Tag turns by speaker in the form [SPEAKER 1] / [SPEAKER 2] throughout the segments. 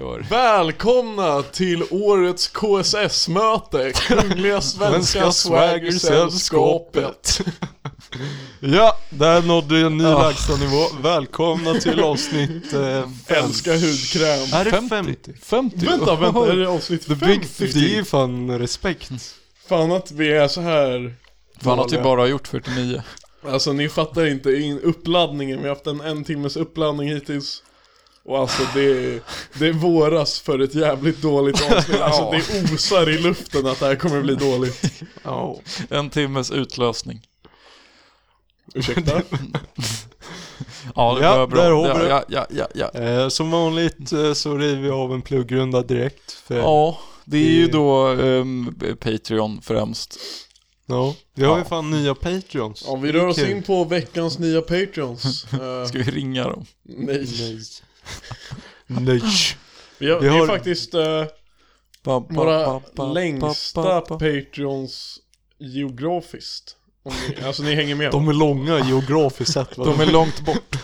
[SPEAKER 1] år.
[SPEAKER 2] Välkomna till årets KSS-möte, Kungliga Svenska Swagger-sällskapet.
[SPEAKER 1] ja, där nådde du en ny lägstanivå. Välkomna till avsnitt... Eh,
[SPEAKER 2] Älskar hudkräm.
[SPEAKER 1] är det 50? 50?
[SPEAKER 2] 50? Vänta, vänta, är det avsnitt
[SPEAKER 1] Äh, The Big 50 är
[SPEAKER 2] 50?
[SPEAKER 1] ju fan respekt.
[SPEAKER 2] Fan att vi är så här
[SPEAKER 3] Fan att vi
[SPEAKER 2] dåliga.
[SPEAKER 3] bara har gjort 49.
[SPEAKER 2] Alltså ni fattar inte in uppladdningen, vi har haft en en timmes uppladdning hittills. Och alltså det är, det är våras för ett jävligt dåligt avsnitt. Alltså det osar i luften att det här kommer bli dåligt.
[SPEAKER 1] Ja.
[SPEAKER 3] En timmes utlösning.
[SPEAKER 2] Ursäkta?
[SPEAKER 3] Ja, det
[SPEAKER 1] Ja,
[SPEAKER 3] var bra.
[SPEAKER 1] där har vi det.
[SPEAKER 3] ja, ja, ja, ja.
[SPEAKER 1] Eh, som vanligt eh, så river vi av en pluggrunda direkt. För, ja.
[SPEAKER 3] ja, det är ju då ehm, Patreon främst.
[SPEAKER 1] Vi har ju
[SPEAKER 3] Ja.
[SPEAKER 1] fan nya Patreons.
[SPEAKER 2] Ja, vi rör oss
[SPEAKER 1] Kul.
[SPEAKER 2] in på veckans nya Patreons. Eh,
[SPEAKER 3] Ska vi ringa dem?
[SPEAKER 2] nej.
[SPEAKER 1] Nej.
[SPEAKER 2] Vi har,
[SPEAKER 1] Vi
[SPEAKER 2] det är
[SPEAKER 1] har-
[SPEAKER 2] faktiskt eh,
[SPEAKER 3] Ba, ba,
[SPEAKER 2] våra
[SPEAKER 3] ba, ba,
[SPEAKER 2] längsta
[SPEAKER 3] ba, ba, ba.
[SPEAKER 2] Patreons geografiskt. Om ni, alltså ni hänger med.
[SPEAKER 1] De är långa geografiskt sett. va?
[SPEAKER 3] De är långt bort.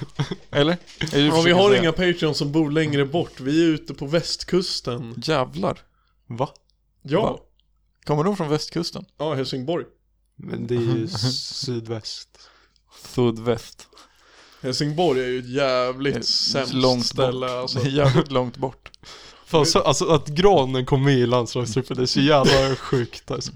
[SPEAKER 3] Eller? Är det
[SPEAKER 2] Ja, vi
[SPEAKER 3] försöker
[SPEAKER 2] har
[SPEAKER 3] säga?
[SPEAKER 2] inga Patreons som bor längre bort, vi är ute på västkusten.
[SPEAKER 3] Jävlar.
[SPEAKER 1] Va?
[SPEAKER 2] Ja,
[SPEAKER 3] Va? Kommer de från västkusten?
[SPEAKER 2] ja Helsingborg.
[SPEAKER 1] Men det är ju sydväst.
[SPEAKER 3] Sydväst.
[SPEAKER 2] Helsingborg är ju ett
[SPEAKER 3] Det är
[SPEAKER 2] jävligt sämst
[SPEAKER 3] långt
[SPEAKER 2] ställe
[SPEAKER 3] bort.
[SPEAKER 2] alltså.
[SPEAKER 3] Det är jävligt långt bort.
[SPEAKER 1] Fan, så, alltså att granen kom med i landslagstruppen, det är så jävla sjukt alltså.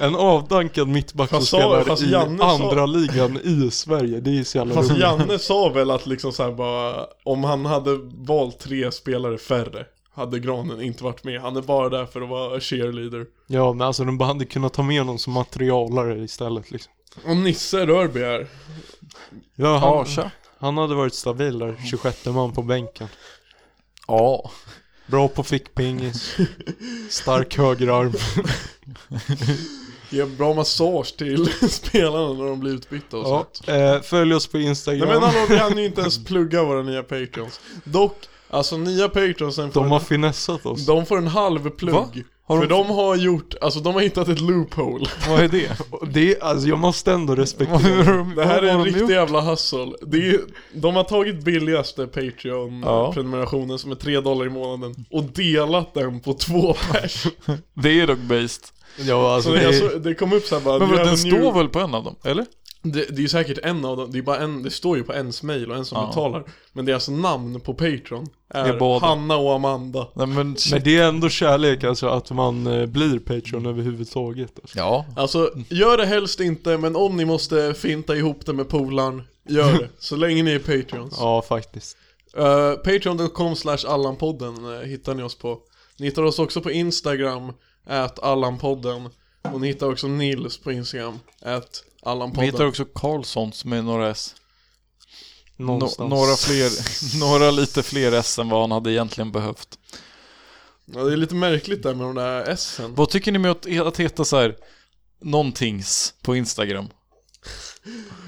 [SPEAKER 1] En avdankad mittback som
[SPEAKER 2] Fast sa-
[SPEAKER 1] spelar
[SPEAKER 2] fast
[SPEAKER 1] i
[SPEAKER 2] Janne sa-
[SPEAKER 1] andra ligan i Sverige, det är så jävla
[SPEAKER 2] Fast
[SPEAKER 1] roligt.
[SPEAKER 2] Janne sa väl att liksom så här bara, om han hade valt tre spelare färre hade Granen inte varit med. Han är bara där för att vara cheerleader.
[SPEAKER 1] Ja men alltså de hade kunnat ta med någon som materialare istället liksom.
[SPEAKER 2] Och Nisse Rörby är.
[SPEAKER 1] Ja, han,
[SPEAKER 3] Arsa?
[SPEAKER 1] han hade varit stabil där, 26 man på bänken.
[SPEAKER 3] Ja.
[SPEAKER 1] Bra på fickpingis, stark högerarm.
[SPEAKER 2] Ger bra massage till spelarna när de blir utbytta och
[SPEAKER 1] Ja,
[SPEAKER 2] sånt.
[SPEAKER 1] eh, följ oss på
[SPEAKER 2] Nej
[SPEAKER 1] Instagram.
[SPEAKER 2] men hallå, vi hann ju inte ens plugga våra nya Patreons. Dock, alltså nya Patreonsen får,
[SPEAKER 1] de har finessat oss.
[SPEAKER 2] de får en halv plugg.
[SPEAKER 3] Va? Har de-
[SPEAKER 2] För de har gjort, alltså de har hittat ett loophole.
[SPEAKER 3] Vad är det?
[SPEAKER 1] Och Det, alltså jag måste ändå
[SPEAKER 3] Vad
[SPEAKER 1] respektera.
[SPEAKER 3] har de-
[SPEAKER 2] Det här
[SPEAKER 3] vad
[SPEAKER 2] är en
[SPEAKER 3] har de
[SPEAKER 2] riktig
[SPEAKER 3] gjort?
[SPEAKER 2] jävla hustle. Det är, de har tagit billigaste Patreon-prenumerationen som är 3 dollar i månaden och delat den på två pers.
[SPEAKER 3] Det är dock based.
[SPEAKER 1] Ja,
[SPEAKER 2] Så
[SPEAKER 1] alltså,
[SPEAKER 2] det,
[SPEAKER 1] det,
[SPEAKER 2] är
[SPEAKER 1] är,
[SPEAKER 2] alltså, det kom upp såhär bara...
[SPEAKER 3] Men
[SPEAKER 2] "You
[SPEAKER 3] den
[SPEAKER 2] have a new-"
[SPEAKER 3] står väl på en av dem? Eller?
[SPEAKER 2] det, det är ju säkert en av dem, det, är bara en, det står ju på ens mail och en som
[SPEAKER 3] Ja.
[SPEAKER 2] betalar. Men deras namn på Patreon
[SPEAKER 3] Det
[SPEAKER 2] är,
[SPEAKER 3] är båda.
[SPEAKER 2] Hanna och Amanda.
[SPEAKER 3] Nej men...
[SPEAKER 1] men det är ändå kärlek alltså att man eh, blir Patreon överhuvudtaget. Alltså.
[SPEAKER 3] Ja.
[SPEAKER 2] Alltså, gör det helst inte, men om ni måste finta ihop det med polaren, gör det. Så länge ni är Patreons.
[SPEAKER 1] Ja, faktiskt.
[SPEAKER 2] Eh, Patreon.com slash Allanpodden eh, hittar ni oss på. Ni hittar oss också på Instagram, at Allanpodden. Och ni hittar också Nils på Instagram, at
[SPEAKER 3] Vi hittar
[SPEAKER 2] Allanpodden.
[SPEAKER 3] också Karlssons med några S. Nå-
[SPEAKER 1] Någonstans.
[SPEAKER 3] några fler, några lite fler S än vad han hade egentligen behövt.
[SPEAKER 2] Ja, det är lite märkligt där med de där S'en.
[SPEAKER 3] Vad tycker ni med att, att heta så här någontings på Instagram?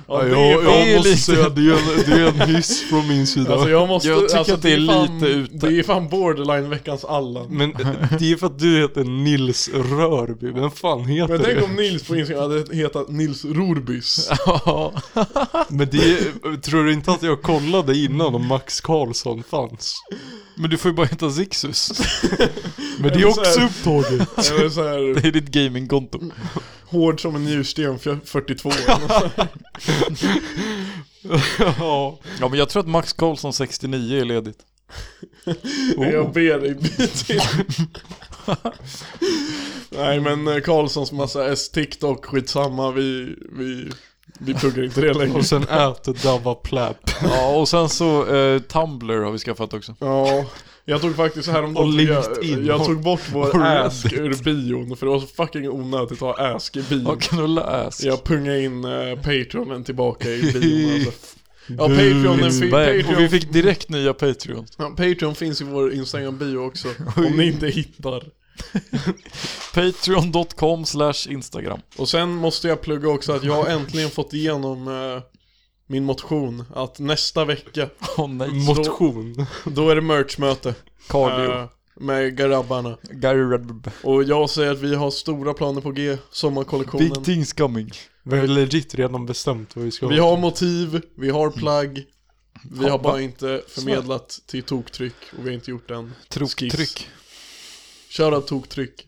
[SPEAKER 2] Ja, det
[SPEAKER 1] ja,
[SPEAKER 2] är
[SPEAKER 1] jag,
[SPEAKER 2] fan-
[SPEAKER 1] jag
[SPEAKER 3] det är
[SPEAKER 1] måste
[SPEAKER 3] lite-
[SPEAKER 1] säga, det är, en, det är en miss från min sida.
[SPEAKER 2] Alltså jag måste,
[SPEAKER 3] Jag tycker
[SPEAKER 2] alltså,
[SPEAKER 3] att det är
[SPEAKER 2] fan,
[SPEAKER 3] lite ute. Mm.
[SPEAKER 2] Det är fan borderline veckans Allan.
[SPEAKER 1] Men eh, det är för att du heter Nils Rörby, vem fan heter
[SPEAKER 2] Men tänk
[SPEAKER 1] det?
[SPEAKER 2] om Nils på Instagram hade hetat Nils Rorbys.
[SPEAKER 3] Ja,
[SPEAKER 1] Men det är, tror du inte att jag kollade innan om Max Karlsson fanns?
[SPEAKER 3] men du får ju bara heta Zixus.
[SPEAKER 1] Men det är
[SPEAKER 2] Eller så
[SPEAKER 1] också
[SPEAKER 2] här-
[SPEAKER 1] upptaget.
[SPEAKER 2] Eller så här,
[SPEAKER 3] Det är ditt gamingkonto.
[SPEAKER 2] Hård som en njursten fj- 42
[SPEAKER 1] ja.
[SPEAKER 3] Ja men jag tror att Max Karlsson 69 är ledigt.
[SPEAKER 2] Jag ber dig bit till Nej men eh, Karlssons massa S TikTok skitsamma vi, vi, vi pluggar inte det längre
[SPEAKER 1] Och sen äter Dava Plapp.
[SPEAKER 3] Ja och sen så eh, Tumblr har vi skaffat också.
[SPEAKER 2] Ja Jag tog faktiskt häromdagen
[SPEAKER 1] Och
[SPEAKER 2] jag,
[SPEAKER 1] LinkedIn.
[SPEAKER 2] jag tog bort vår
[SPEAKER 1] Och
[SPEAKER 2] ask
[SPEAKER 1] Reddit.
[SPEAKER 2] ur bion för det var så fucking onödigt att ha ask i bion
[SPEAKER 3] Och knulla ass.
[SPEAKER 2] Jag pungade in eh, Patreonen tillbaka i bion alltså. Ja Patreonen, fi-
[SPEAKER 3] Bang. Och
[SPEAKER 2] Patreon,
[SPEAKER 3] vi fick direkt nya Patreon.
[SPEAKER 2] ja, Patreon finns i vår Instagram-bio också Om ni inte hittar
[SPEAKER 3] Patreon.com slash Instagram.
[SPEAKER 2] Och sen måste jag plugga också att jag har äntligen fått igenom eh, min motion att nästa vecka,
[SPEAKER 3] Åh
[SPEAKER 1] Mm.
[SPEAKER 3] nej.
[SPEAKER 1] Motion.
[SPEAKER 2] då är det merchmöte
[SPEAKER 3] Cardio.
[SPEAKER 2] eh, med grabbarna.
[SPEAKER 3] Gary Redburn.
[SPEAKER 2] Och jag säger att vi har stora planer på G, sommarkollektionen.
[SPEAKER 3] Big things coming.
[SPEAKER 1] Vi har legit redan bestämt vad vi ska
[SPEAKER 2] Vi har motiv, vi har plagg, Vi har bara inte förmedlat till toktryck och vi har inte gjort en
[SPEAKER 3] Troktryck.
[SPEAKER 2] Shoutout toktryck.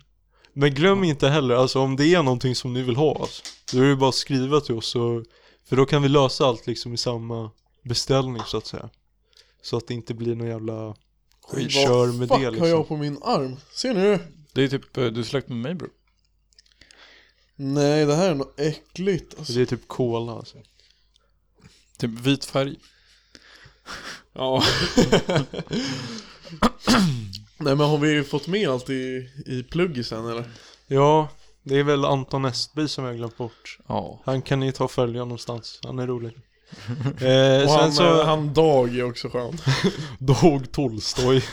[SPEAKER 1] Men glöm inte heller, alltså om det är någonting som ni vill ha, alltså, då är det bara att skriva till oss. Och, för då kan vi lösa allt liksom i samma beställning så att säga. Så att det inte blir någon jävla skitkör med
[SPEAKER 2] fuck
[SPEAKER 1] det
[SPEAKER 2] har
[SPEAKER 1] liksom.
[SPEAKER 2] jag på min arm? Ser ni det?
[SPEAKER 3] Det är typ, eh, du är släkt med mig bro.
[SPEAKER 2] Nej, det här är något äckligt. Alltså.
[SPEAKER 1] Det är typ cola alltså.
[SPEAKER 3] Typ vit färg.
[SPEAKER 2] Ja. Nej men har vi fått med allt i, i pluggisen eller?
[SPEAKER 1] Ja, det är väl Anton Estby som jag glömt bort.
[SPEAKER 3] Ja.
[SPEAKER 1] Han kan ni ta och följa någonstans, han är rolig. eh,
[SPEAKER 2] Och
[SPEAKER 1] sen
[SPEAKER 2] han,
[SPEAKER 1] så,
[SPEAKER 2] eh, han Dag är också skön.
[SPEAKER 1] Dag Tolstoj.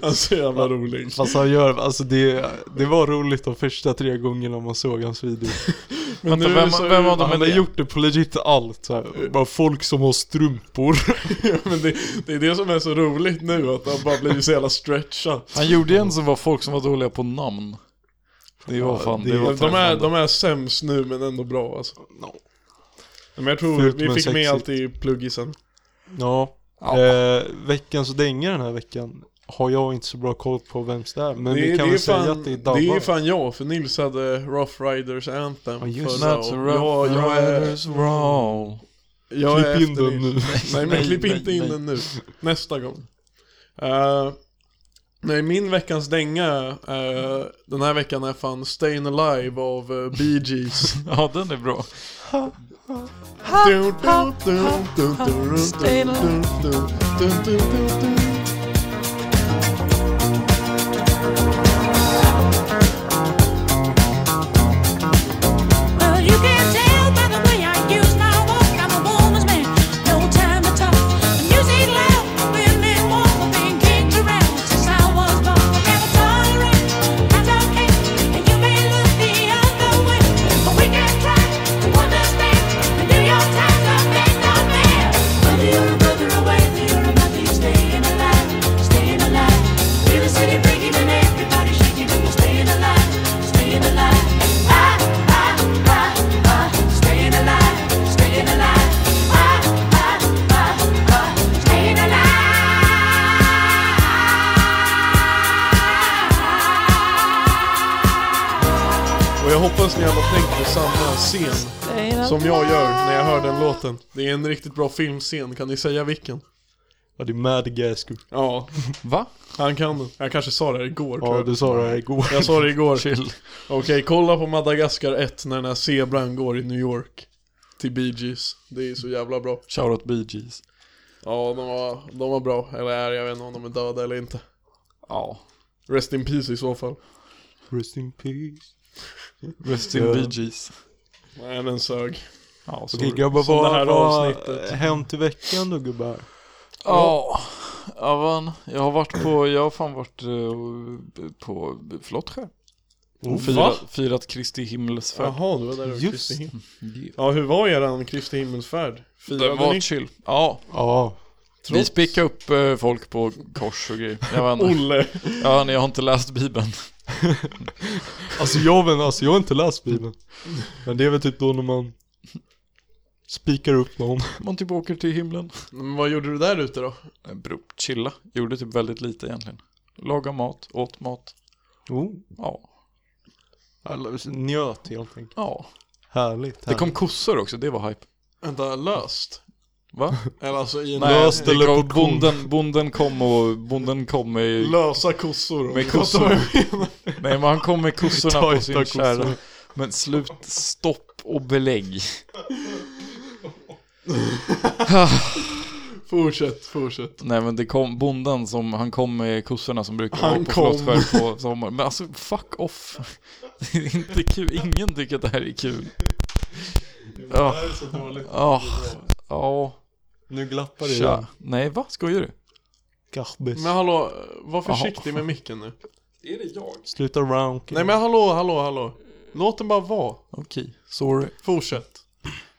[SPEAKER 2] Han är så jävla rolig.
[SPEAKER 1] Fast han gör, alltså det, det var roligt de första tre gångerna man såg hans video.
[SPEAKER 2] Men
[SPEAKER 3] Vänta,
[SPEAKER 2] nu är det
[SPEAKER 3] vem-
[SPEAKER 2] så,
[SPEAKER 3] vem av
[SPEAKER 1] Han
[SPEAKER 3] dem- men
[SPEAKER 1] har
[SPEAKER 3] det-
[SPEAKER 1] gjort det på legit allt så här. Bara folk som har strumpor.
[SPEAKER 2] men det, det är det som är så roligt nu, att han bara blir så jävla stretchad.
[SPEAKER 3] Han gjorde ju en som var folk som var dåliga på namn. Det var
[SPEAKER 1] Ja,
[SPEAKER 3] fan,
[SPEAKER 1] det-
[SPEAKER 3] det, var
[SPEAKER 2] De är,
[SPEAKER 3] träffande.
[SPEAKER 2] de är sämst nu men ändå bra alltså. Men jag tror
[SPEAKER 1] Fult
[SPEAKER 2] vi
[SPEAKER 1] men
[SPEAKER 2] fick med
[SPEAKER 1] sexigt.
[SPEAKER 2] allt i pluggisen.
[SPEAKER 1] Ja.
[SPEAKER 3] Ja.
[SPEAKER 1] Eh, veckans dänga den här veckan har jag inte så bra koll på vems det är. Men vi kan väl säga att det är Dabba.
[SPEAKER 2] det är fan jag, för Nils hade Rough Riders Anthem
[SPEAKER 1] Ja, just
[SPEAKER 2] förra
[SPEAKER 3] That's
[SPEAKER 2] och
[SPEAKER 3] rough
[SPEAKER 2] jag, jag är,
[SPEAKER 3] riders roll.
[SPEAKER 2] jag är
[SPEAKER 1] Klipp in
[SPEAKER 2] efter
[SPEAKER 1] den
[SPEAKER 2] Nils.
[SPEAKER 1] nu.
[SPEAKER 2] Nej men
[SPEAKER 3] Nej,
[SPEAKER 2] klipp
[SPEAKER 3] nej,
[SPEAKER 2] inte in
[SPEAKER 3] nej.
[SPEAKER 2] den nu. Nästa gång. Eh, nej min veckans dänga eh, den här veckan är fan Stayin' Alive av uh, Bee Gees.
[SPEAKER 3] Ja den är bra.
[SPEAKER 4] Well, you can tell by the way I use my walk. I'm a woman's man, no time to talk. Music loud, women walk, being kicked around since I was born. I never tolerate, I don't care, and you may look the other way, but we can try to understand. The New York Times are bent on man. Whether you're a brother or whether you're a mother, you're staying alive, staying alive. Feel the city breaking and everybody shaking, and we're staying alive, staying alive. Ah, ah, ah, ah, staying alive, staying alive. Ah, ah, ah, ah, staying alive.
[SPEAKER 2] Och jag hoppas ni alla tänkt på samma scen som jag gör när jag hör den låten. Det är en riktigt bra filmscen, kan ni säga vilken?
[SPEAKER 1] Ja, det är Madgasco.
[SPEAKER 2] Ja,
[SPEAKER 3] Va?
[SPEAKER 2] han kan den. Jag kanske sa det här igår tror
[SPEAKER 1] Ja,
[SPEAKER 2] jag.
[SPEAKER 1] du sa det här igår.
[SPEAKER 2] Jag sa det igår.
[SPEAKER 3] Chill.
[SPEAKER 2] Okej, kolla på Madagaskar 1 när den här zebran går i New York. Till Bee Gees. Det är så jävla bra.
[SPEAKER 3] Shoutout Bee Gees.
[SPEAKER 2] Ja, de var, de var bra. Eller är, jag vet inte om de är döda eller inte.
[SPEAKER 3] Ja.
[SPEAKER 2] Rest in peace i så fall.
[SPEAKER 1] Rest in peace.
[SPEAKER 3] Rest in
[SPEAKER 1] Ja.
[SPEAKER 3] Bee Gees.
[SPEAKER 2] Nej, den sög.
[SPEAKER 3] Ja, så.
[SPEAKER 1] Okej grabbar,
[SPEAKER 2] som det här
[SPEAKER 1] vad
[SPEAKER 2] avsnittet.
[SPEAKER 1] har hänt i veckan då gubbar?
[SPEAKER 3] Ja. Ja, van. Jag har varit på, jag har fan varit eh, på Flottsjö.
[SPEAKER 2] Oh,
[SPEAKER 3] Och firat, firat Kristi himmelsfärd.
[SPEAKER 2] Jaha, det var där du
[SPEAKER 1] Just
[SPEAKER 2] Kristi himmel. Ja, hur var eran Kristi himmelsfärd?
[SPEAKER 3] Det
[SPEAKER 2] Firade
[SPEAKER 3] var
[SPEAKER 2] ni?
[SPEAKER 3] chill. Ja,
[SPEAKER 1] Ja.
[SPEAKER 3] vi spickade upp eh, folk på kors och grejer. Jag, vet inte.
[SPEAKER 2] Olle!
[SPEAKER 3] ja, nej, jag har inte läst Bibeln.
[SPEAKER 1] Alltså jag, men, alltså jag har inte läst Bibeln. Men det är väl typ då när man spikar upp någon.
[SPEAKER 3] Man typ åker till himlen.
[SPEAKER 2] Men vad gjorde du där ute då?
[SPEAKER 3] Eh, Bro, chilla. Gjorde typ väldigt lite egentligen. Laga mat, åt mat.
[SPEAKER 1] Oh.
[SPEAKER 3] Ja.
[SPEAKER 1] Njöt helt enkelt.
[SPEAKER 3] ja.
[SPEAKER 1] Härligt.
[SPEAKER 3] Det kom kossor också, det var hype.
[SPEAKER 2] Vänta, löst?
[SPEAKER 3] Va?
[SPEAKER 2] Eller alltså i en
[SPEAKER 1] Nej. Löst
[SPEAKER 3] det
[SPEAKER 1] eller
[SPEAKER 3] kom-
[SPEAKER 1] på kon?
[SPEAKER 3] bonden, bonden kom och bonden kom med,
[SPEAKER 2] lösa kossor?
[SPEAKER 3] med kossor. Nej men han kom med kossorna på
[SPEAKER 1] Tajta
[SPEAKER 3] sin
[SPEAKER 1] kossor.
[SPEAKER 3] kärra. Men slut, stopp och belägg.
[SPEAKER 2] Fortsätt, fortsätt.
[SPEAKER 3] Nej men det kom, bonden som, han kom med kossorna som brukar
[SPEAKER 2] Han
[SPEAKER 3] vara på
[SPEAKER 2] kom.
[SPEAKER 3] Slottsskär på sommaren. Men alltså fuck off. Det är inte kul, ingen tycker att det här är kul. Ja,
[SPEAKER 2] är så dåligt.
[SPEAKER 3] ja, ja,
[SPEAKER 1] Nu glappar det igen.
[SPEAKER 3] tja. Nej va, skojar du?
[SPEAKER 1] Gabbis.
[SPEAKER 2] Men hallå, var
[SPEAKER 3] Jaha.
[SPEAKER 2] försiktig med micken nu.
[SPEAKER 1] Sluta rank.
[SPEAKER 2] Nej men hallå, hallå, hallå. Låt den bara vara.
[SPEAKER 3] Okej, sorry.
[SPEAKER 2] Fortsätt.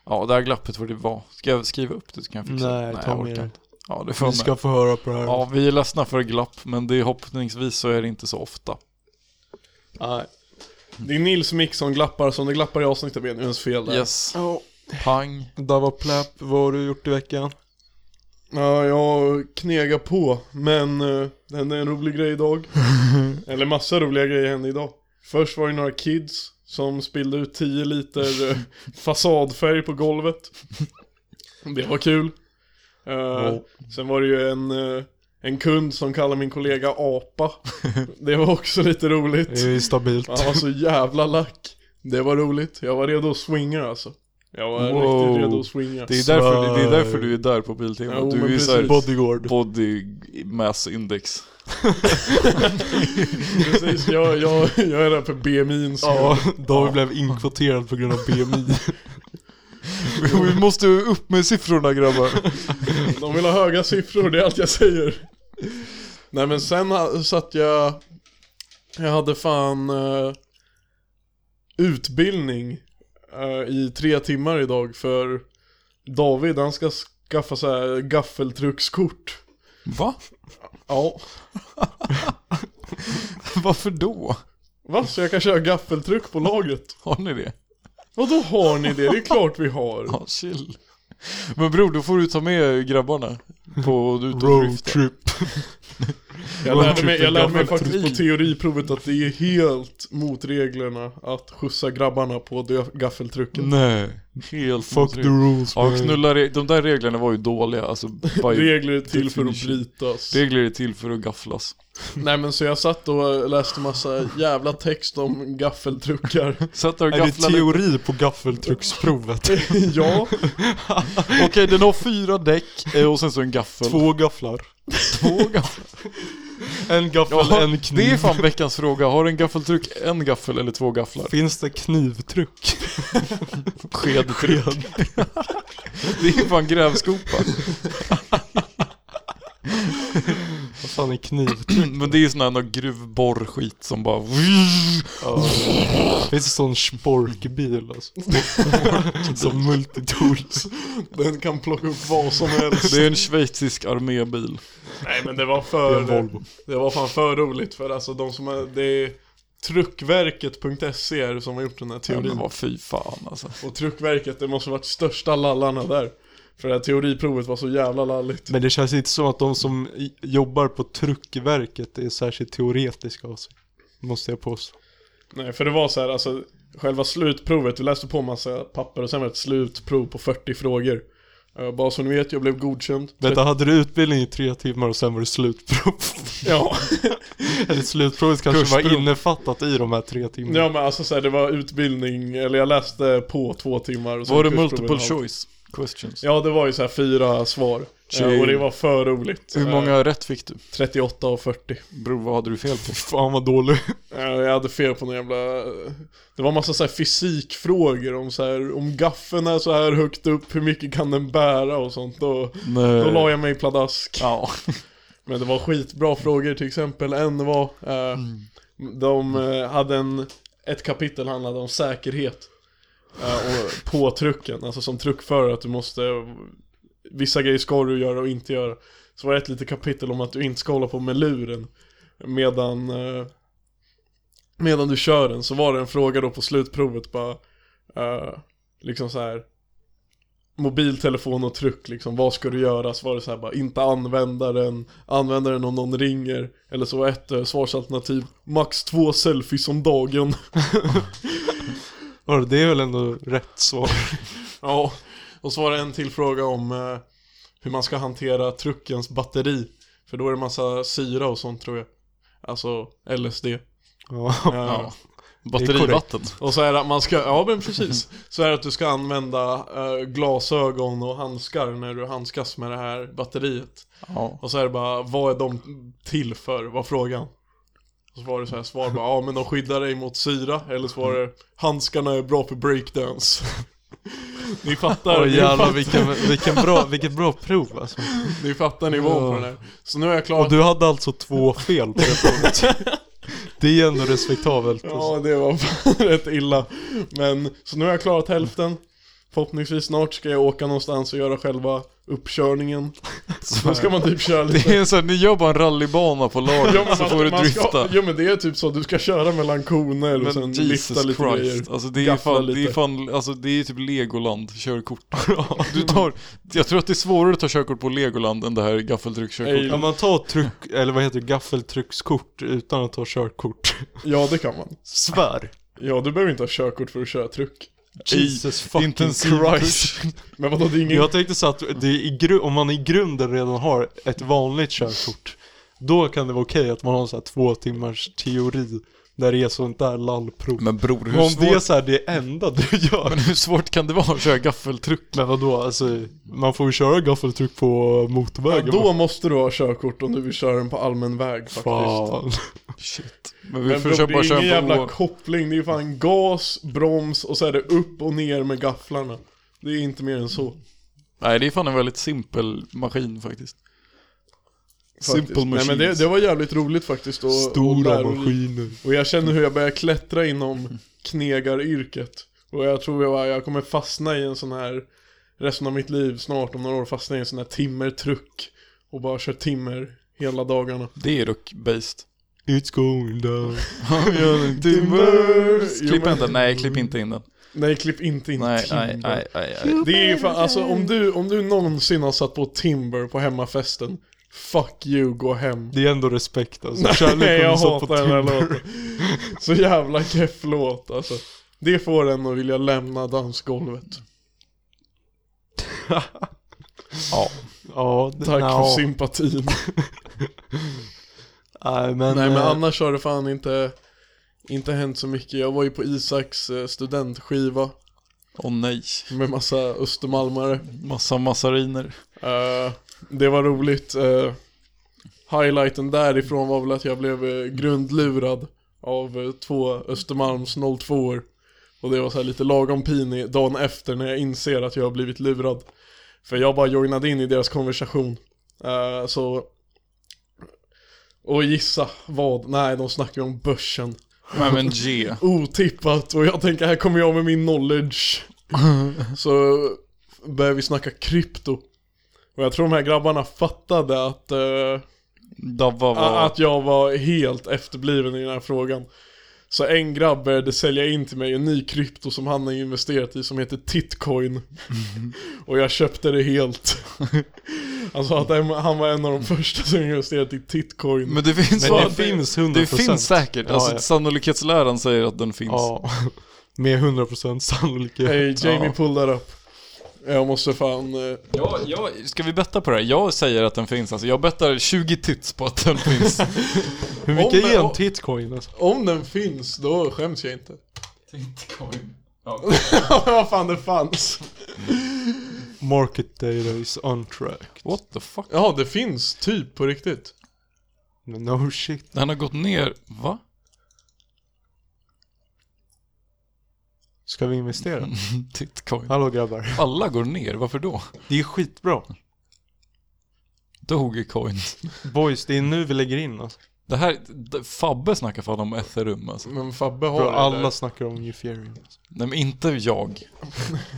[SPEAKER 3] Ja, det här glappet var det var. Ska jag skriva upp det så kan jag fixa det?
[SPEAKER 1] Nej, ta
[SPEAKER 3] jag
[SPEAKER 1] med
[SPEAKER 3] orkar
[SPEAKER 1] det.
[SPEAKER 3] inte. Ja, det får
[SPEAKER 1] Vi
[SPEAKER 3] jag med.
[SPEAKER 1] ska få höra på det här.
[SPEAKER 3] Ja, vi är ledsna för glapp, men det är hoppningsvis så är det inte så ofta.
[SPEAKER 1] Nej.
[SPEAKER 2] Det är Nils mick som glappar, som det glappar i avsnittet med nu ens fel där.
[SPEAKER 3] Yes,
[SPEAKER 1] Ja.
[SPEAKER 3] pang.
[SPEAKER 1] Där var Plapp, vad har du gjort i veckan?
[SPEAKER 2] Ja, jag knegar på, men eh, det hände en rolig grej idag. Eller massa roliga grejer hände idag. Först var det några kids som spillde ut 10 liter eh, fasadfärg på golvet. Det var kul. Eh, Sen var det ju en, eh, en kund som kallar min kollega apa. Det var också lite
[SPEAKER 1] Det
[SPEAKER 2] roligt.
[SPEAKER 1] är stabilt.
[SPEAKER 2] Han var så jävla lack. Det var roligt. Jag var redo att swinga alltså. Jag var
[SPEAKER 3] Wow.
[SPEAKER 2] riktigt redo att swinga.
[SPEAKER 3] Det är,
[SPEAKER 1] Så-
[SPEAKER 3] därför, det är därför du är där på
[SPEAKER 2] Jo,
[SPEAKER 3] Biltema. Du
[SPEAKER 2] men
[SPEAKER 3] är ju såhär
[SPEAKER 2] precis.
[SPEAKER 1] Bodyguard.
[SPEAKER 3] body mass index.
[SPEAKER 2] Precis, jag, jag, jag är där för BMI'n skull.
[SPEAKER 1] Ja, David blev inkvoterad på grund av BMI.
[SPEAKER 3] Vi måste upp med siffrorna grabbar.
[SPEAKER 2] De vill ha höga siffror, det är allt jag säger. Nej men sen ha- satt jag, jag hade fan eh, utbildning eh, i tre timmar idag för David, han ska skaffa så här gaffeltruckskort.
[SPEAKER 3] Va?
[SPEAKER 2] Ja.
[SPEAKER 3] Varför då?
[SPEAKER 2] Va? Så jag kan köra gaffeltruck på lagret?
[SPEAKER 3] Har ni det?
[SPEAKER 2] Vadå har ni det? Det är klart vi har.
[SPEAKER 3] Ja, chill. Men bror, då får du ta med grabbarna på ut och drifta.
[SPEAKER 1] Roadtrip.
[SPEAKER 2] Jag lärde mig, jag lärde mig faktiskt på
[SPEAKER 3] Gaffeltruck.
[SPEAKER 2] teoriprovet att det är helt mot reglerna att skjutsa grabbarna på det gaffeltrucket.
[SPEAKER 3] Nej, helt
[SPEAKER 1] Fuck the rules
[SPEAKER 3] Ja,
[SPEAKER 1] man.
[SPEAKER 3] knulla re- de där reglerna var ju dåliga. Alltså, by-
[SPEAKER 2] Regler är till för att
[SPEAKER 3] Definition.
[SPEAKER 2] brytas.
[SPEAKER 3] regler är till för att gafflas.
[SPEAKER 2] Nej men så jag satt och läste massa jävla text om gaffeltruckar.
[SPEAKER 3] Sätt dig och
[SPEAKER 1] Är det
[SPEAKER 3] gaffla lite.
[SPEAKER 1] teori på gaffeltrucksprovet?
[SPEAKER 2] ja,
[SPEAKER 3] Okej, den har fyra däck eh, och sen så en gaffel.
[SPEAKER 1] Två gafflar.
[SPEAKER 3] Två gafflar.
[SPEAKER 1] En gaffel,
[SPEAKER 3] Ja,
[SPEAKER 1] en kniv.
[SPEAKER 3] det är fan veckans fråga. Har en gaffeltruck en gaffel eller två gafflar?
[SPEAKER 1] Finns det knivtruck?
[SPEAKER 3] Skedtruck. Det är fan grävskopa.
[SPEAKER 1] Vad fan typ. är knivtruck?
[SPEAKER 3] Men det är sån här någon gruvborrskit som bara...
[SPEAKER 1] Ja. Finns det sån sporkbil alltså? som multitools.
[SPEAKER 2] den kan plocka upp vad som helst.
[SPEAKER 3] Det är en schweizisk armébil.
[SPEAKER 2] Nej men det var
[SPEAKER 1] Det är
[SPEAKER 2] för...
[SPEAKER 1] en Volvo.
[SPEAKER 2] Det var fan för roligt för alltså de som är... Det är Truckverket.se är det E som har gjort den här
[SPEAKER 3] Ja, men
[SPEAKER 2] teorin.
[SPEAKER 3] vad fy fan alltså.
[SPEAKER 2] Och Truckverket, det måste ha varit största lallarna där. För det här teoriprovet var så jävla lalligt.
[SPEAKER 1] Men det känns inte som att de som i- jobbar på truckverket är särskilt teoretiska av sig. Måste jag påstå.
[SPEAKER 2] Nej, för det var så här, alltså själva slutprovet, vi läste på massa papper och sen var det ett slutprov på 40 frågor. Eh, Bara så ni vet, jag blev godkänd.
[SPEAKER 1] Vänta, hade du utbildning i tre timmar och sen var det slutprov?
[SPEAKER 2] Ja,
[SPEAKER 1] Eller slutprovet kanske var
[SPEAKER 3] Kursprov.
[SPEAKER 1] innefattat i de här tre timmarna?
[SPEAKER 2] ja men alltså så här, det var utbildning, eller jag läste på två timmar. Och sen
[SPEAKER 3] Var det
[SPEAKER 2] kursprovet och
[SPEAKER 3] multiple
[SPEAKER 2] allt.
[SPEAKER 3] choice questions?
[SPEAKER 2] Ja, det var ju så här fyra svar. Eh, Och det var för roligt.
[SPEAKER 3] Hur
[SPEAKER 2] Eh,
[SPEAKER 3] många rätt fick du?
[SPEAKER 2] 38 av 40.
[SPEAKER 3] Bror, vad hade du fel på?
[SPEAKER 1] Fan vad dålig.
[SPEAKER 2] Eh, Jag hade fel på någon jävla... eh, Det var massa så här fysikfrågor om så här, om gaffeln är så här högt upp, hur mycket kan den bära och sånt. Då,
[SPEAKER 3] Eh.
[SPEAKER 2] då la jag mig i pladask.
[SPEAKER 3] Ja.
[SPEAKER 2] Men det var skitbra frågor till exempel. En var, eh, de eh, hade en, ett kapitel handlade om säkerhet. Eh, och på trucken, alltså som truckförare att du måste, vissa grejer ska du göra och inte göra. Så var det ett litet kapitel om att du inte ska hålla på med luren. Medan, eh, medan du kör den så var det en fråga då på slutprovet bara, eh, liksom så här mobiltelefon och truck liksom, vad ska du göra? Så var det så här bara, inte använda den, använda den om någon ringer, eller så var ett eh, svarsalternativ, max två selfies om dagen.
[SPEAKER 1] Ja, det är väl ändå rätt svar.
[SPEAKER 2] ja, och så var det en till fråga om eh, hur man ska hantera truckens batteri, för då är det massa syra och sånt tror jag. Alltså LSD. Eh,
[SPEAKER 1] Ja.
[SPEAKER 3] ja.
[SPEAKER 1] korrekt.
[SPEAKER 3] Batterivatten.
[SPEAKER 2] Och så är det att man ska, ja men precis, så är det att du ska använda eh, glasögon och handskar när du handskas med det här batteriet.
[SPEAKER 3] Ja.
[SPEAKER 2] Och så är det bara, vad är de till för? Vad är frågan? Och så var det så här svar bara, ja men de skyddar dig mot syra, eller så var det, handskarna är bra för breakdance. ni fattar,
[SPEAKER 1] Oj
[SPEAKER 2] ni,
[SPEAKER 1] jävlar
[SPEAKER 2] fattar
[SPEAKER 1] vilken, vilken bra, vilket bra prov alltså.
[SPEAKER 2] ni fattar nivån på den här. Så nu är jag klar.
[SPEAKER 1] Och du hade alltså två fel på det provet. Det är ändå respektabelt. alltså.
[SPEAKER 2] Ja det var fan rätt illa. Men, så nu har jag klarat hälften. Förhoppningsvis snart ska jag åka någonstans och göra själva uppkörningen. Då ska man typ köra
[SPEAKER 3] Det
[SPEAKER 2] lite...
[SPEAKER 3] är så här, ni gör bara en rallybana på
[SPEAKER 2] Ja, men
[SPEAKER 3] laget så
[SPEAKER 2] man-
[SPEAKER 3] får du
[SPEAKER 2] man ska-
[SPEAKER 3] drifta.
[SPEAKER 2] Jo men det är typ så, du ska köra mellan koner och sen
[SPEAKER 3] Men
[SPEAKER 2] lyfta
[SPEAKER 3] Jesus
[SPEAKER 2] lite grejer.
[SPEAKER 3] Christ, alltså det är ju
[SPEAKER 2] Gaffla
[SPEAKER 3] fan, det är
[SPEAKER 2] lite.
[SPEAKER 3] ju fan, alltså det är ju typ Legoland körkort. Du tar, jag tror att det är svårare att ta körkort på Legoland än det här
[SPEAKER 2] Nej.
[SPEAKER 3] gaffeltryckkörkortet.
[SPEAKER 1] Kan man ta ett tryck, eller vad heter det, gaffeltryckskort utan att ta körkort?
[SPEAKER 2] Ja det kan man.
[SPEAKER 1] Svär!
[SPEAKER 2] Ja du behöver inte ha körkort för att köra truck.
[SPEAKER 1] Jesus fucking
[SPEAKER 3] intensiv
[SPEAKER 1] Christ.
[SPEAKER 2] Men vadå det är ingen...
[SPEAKER 1] Jag tänkte så att det är i gru- om man i grunden redan har ett vanligt körkort, då kan det vara okej att man har så här två timmars teori där det är sånt där lallprov.
[SPEAKER 3] Men bror,
[SPEAKER 1] Men
[SPEAKER 3] hur
[SPEAKER 1] om det är
[SPEAKER 3] svårt,
[SPEAKER 1] så här det enda du gör.
[SPEAKER 3] men hur svårt kan det vara att köra gaffeltryck?
[SPEAKER 1] Men vadå, alltså man får ju köra gaffeltryck på
[SPEAKER 2] Ja,
[SPEAKER 1] motorvägen.
[SPEAKER 2] då måste du ha körkort om du vill köra den på allmän väg faktiskt.
[SPEAKER 1] Fan.
[SPEAKER 3] Shit. Men vi
[SPEAKER 2] Men bror,
[SPEAKER 3] försöker
[SPEAKER 2] det
[SPEAKER 3] bara
[SPEAKER 2] är ingen
[SPEAKER 3] köra
[SPEAKER 2] jävla
[SPEAKER 3] på...
[SPEAKER 2] koppling, det är fan gas, broms och så är det upp och ner med gafflarna. Det är inte mer än så.
[SPEAKER 3] Nej, det är fan en väldigt simpel maskin faktiskt.
[SPEAKER 2] faktiskt.
[SPEAKER 3] Simple
[SPEAKER 2] Nej
[SPEAKER 3] machines.
[SPEAKER 2] men det, det var jävligt roligt faktiskt och, och,
[SPEAKER 1] Stora
[SPEAKER 2] lärorikt.
[SPEAKER 1] maskiner.
[SPEAKER 2] och jag känner hur jag börjar klättra inom knegaryrket. Och jag tror jag, jag kommer fastna i en sån här, resten av mitt liv snart om några år, fastna i en sån här timmertruck. Och bara kör timmer hela dagarna.
[SPEAKER 3] Det är dock based.
[SPEAKER 1] It's going down.
[SPEAKER 2] Timbers.
[SPEAKER 3] Klipp
[SPEAKER 2] Jo,
[SPEAKER 3] inte, nej klipp inte in den.
[SPEAKER 2] Nej klipp inte in
[SPEAKER 3] Nej,
[SPEAKER 2] timmer.
[SPEAKER 3] nej, nej, nej, nej.
[SPEAKER 2] Det är ju fan, alltså om du, om du någonsin har satt på Timber på hemmafesten Fuck you, gå hem
[SPEAKER 1] Det är ändå respekt alltså.
[SPEAKER 2] Nej
[SPEAKER 1] Kärlek
[SPEAKER 2] jag
[SPEAKER 1] om du satt på
[SPEAKER 2] hatar den här
[SPEAKER 1] Tinder.
[SPEAKER 2] låten Så jävla keff låt alltså Det får en att vilja lämna dansgolvet
[SPEAKER 1] Ja,
[SPEAKER 2] Tack
[SPEAKER 1] nja.
[SPEAKER 2] för sympatin
[SPEAKER 1] Nej men,
[SPEAKER 2] Nej men
[SPEAKER 1] eh,
[SPEAKER 2] annars har det fan inte Inte hänt så mycket Jag var ju på Isaks eh, studentskiva
[SPEAKER 3] Åh nej.
[SPEAKER 2] Med massa östermalmare
[SPEAKER 3] Massa massariner.
[SPEAKER 2] Eh, det var roligt. Eh, highlighten därifrån var väl att jag blev eh, grundlurad av eh, två Östermalms 02-or. Och det var så här lite lagom pin dagen efter när jag inser att jag har blivit lurad. För jag bara joinade in i deras konversation. Eh, så... Och gissa vad? Nej, de snackar ju om börsen.
[SPEAKER 3] Nej men G.
[SPEAKER 2] Otippat och jag tänker här kommer jag med min knowledge. Så börjar vi snacka krypto. Och jag tror de här grabbarna fattade att, eh,
[SPEAKER 3] Dabba
[SPEAKER 2] a-
[SPEAKER 3] var...
[SPEAKER 2] Ah, att jag var helt efterbliven i den här frågan. Så en grabb började sälja in till mig en ny krypto som han har investerat i som heter Titcoin. och jag köpte det helt. alltså att en- han var en av de första som investerade i Titcoin.
[SPEAKER 3] Men det finns
[SPEAKER 1] men
[SPEAKER 3] bara-
[SPEAKER 1] det finns 100%.
[SPEAKER 3] Det finns säkert.
[SPEAKER 1] Ja,
[SPEAKER 3] Alltså
[SPEAKER 1] ja.
[SPEAKER 3] sannolikhetsläran säger att den finns.
[SPEAKER 1] Ja, med 100% sannolikhet.
[SPEAKER 2] Hey, Jamie
[SPEAKER 3] Ja.
[SPEAKER 2] pull that up. Jag måste fan... eh,
[SPEAKER 3] Jag, jag, ska vi betta på det här? Jag säger att den finns. Alltså jag bettar 20 tits på att den finns.
[SPEAKER 1] Hur mycket
[SPEAKER 2] Om-
[SPEAKER 1] är en
[SPEAKER 2] om-
[SPEAKER 1] titcoin alltså?
[SPEAKER 2] Om den finns, då skäms jag inte.
[SPEAKER 3] Titcoin.
[SPEAKER 2] Vad fan det fanns.
[SPEAKER 1] Market data is on track.
[SPEAKER 3] What the fuck?
[SPEAKER 2] Ja, det finns typ på riktigt.
[SPEAKER 1] No shit.
[SPEAKER 3] Den har gått ner, va?
[SPEAKER 1] Ska vi investera?
[SPEAKER 2] Mm.
[SPEAKER 3] Titcoin.
[SPEAKER 1] Hallå grabbar.
[SPEAKER 3] Alla går ner, varför då?
[SPEAKER 1] Det är skitbra.
[SPEAKER 3] Dogecoin.
[SPEAKER 1] Boys, det är nu vi lägger in alltså.
[SPEAKER 3] Det här, d- Fabbe snackar fan om etherum alltså.
[SPEAKER 2] Men Fabbe har
[SPEAKER 1] Bro,
[SPEAKER 2] det
[SPEAKER 1] alla
[SPEAKER 2] där.
[SPEAKER 1] snackar om Ethereum. Alltså.
[SPEAKER 3] Nej men inte jag.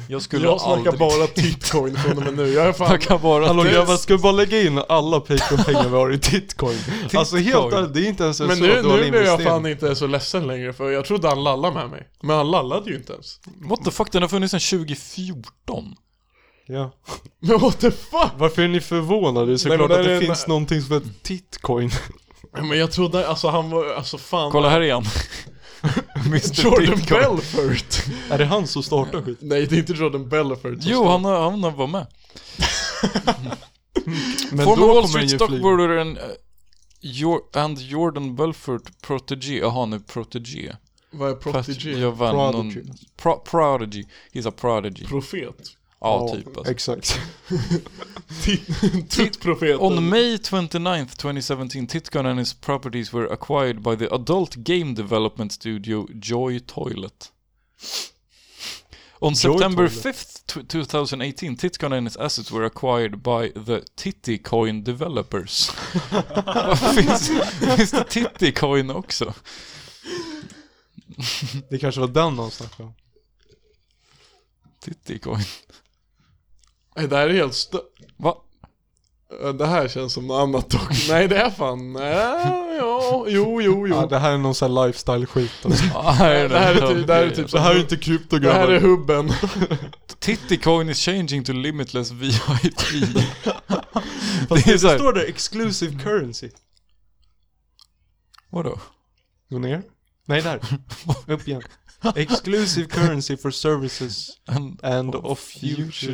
[SPEAKER 3] Jag skulle
[SPEAKER 2] Jag snackar
[SPEAKER 3] aldrig...
[SPEAKER 2] bara typ- titcoin från och med nu. Jag är fan...
[SPEAKER 3] Snackar bara
[SPEAKER 1] Hallå
[SPEAKER 3] tits.
[SPEAKER 1] grabbar, ska vi bara lägga in alla Patreon-pengar vi har i titcoin? Alltså helt
[SPEAKER 3] Titcoin.
[SPEAKER 1] ärligt, det är inte ens en
[SPEAKER 2] Men
[SPEAKER 1] så
[SPEAKER 2] nu,
[SPEAKER 1] dålig
[SPEAKER 2] nu blir jag
[SPEAKER 1] investering.
[SPEAKER 2] fan inte så ledsen längre för jag trodde han lallade med mig. Men han lallade ju inte ens.
[SPEAKER 3] What the fuck, den har funnits sedan 2014.
[SPEAKER 1] Ja.
[SPEAKER 2] Men what the fuck?
[SPEAKER 1] Varför är ni förvånade? Det är
[SPEAKER 2] Nej, men
[SPEAKER 1] såklart
[SPEAKER 2] där
[SPEAKER 1] att det
[SPEAKER 2] är en-
[SPEAKER 1] finns någonting som heter titcoin.
[SPEAKER 2] Men jag trodde, alltså han var, alltså fan.
[SPEAKER 3] Kolla här igen. Mr.
[SPEAKER 2] Jordan
[SPEAKER 3] Titcoin.
[SPEAKER 2] Belfort.
[SPEAKER 1] är det han som startar skit?
[SPEAKER 2] Nej, det är inte Jordan Belfort. som
[SPEAKER 3] Jo, han, har- han var med.
[SPEAKER 1] Men då
[SPEAKER 3] Former
[SPEAKER 1] kommer
[SPEAKER 3] Wall
[SPEAKER 1] den
[SPEAKER 3] Street
[SPEAKER 1] ju flyga.
[SPEAKER 3] stockbrokern eh, Jor- and Jordan Belfort Protégé. Jaha, nu Protégé.
[SPEAKER 2] Vad är
[SPEAKER 3] Fast
[SPEAKER 2] protégé?
[SPEAKER 3] Jag vann någon...
[SPEAKER 1] Prodigy.
[SPEAKER 3] Pro- prodigy. He's a prodigy.
[SPEAKER 2] Profet.
[SPEAKER 3] ja, typ alltså.
[SPEAKER 1] Exakt.
[SPEAKER 2] Tuttprofeten.
[SPEAKER 3] On May 29th, 2017, Titcon and his properties were acquired by the adult game development studio Joy Toilet. On
[SPEAKER 1] Joy
[SPEAKER 3] September
[SPEAKER 1] Toilet.
[SPEAKER 3] 5th, tw- 2018, Titcon and his assets were acquired by the Tittycoin developers. finns, finns det Tittycoin också?
[SPEAKER 1] Det kanske var den han snackade om.
[SPEAKER 3] Titticoin.
[SPEAKER 2] Nej, det här är helt stö...
[SPEAKER 3] Va?
[SPEAKER 2] Eh, Det här känns som något annat dock. Nej det är fan, nej, ja, jo, jo,
[SPEAKER 1] Ja,
[SPEAKER 2] jo.
[SPEAKER 1] det här är någon sån här lifestyle-skit alltså.
[SPEAKER 2] Det här är typ, det här är typ
[SPEAKER 1] Det här är inte krypto
[SPEAKER 2] det här är
[SPEAKER 1] grabbar.
[SPEAKER 2] hubben.
[SPEAKER 3] Titticoin is changing to limitless VIP.
[SPEAKER 1] Fast
[SPEAKER 3] det är
[SPEAKER 1] det
[SPEAKER 3] så här-
[SPEAKER 1] står där exclusive currency.
[SPEAKER 3] Vadå?
[SPEAKER 1] Gå ner. Nej, där. Upp igen. Exclusive currency for services
[SPEAKER 3] En
[SPEAKER 1] and
[SPEAKER 3] of
[SPEAKER 1] of
[SPEAKER 3] future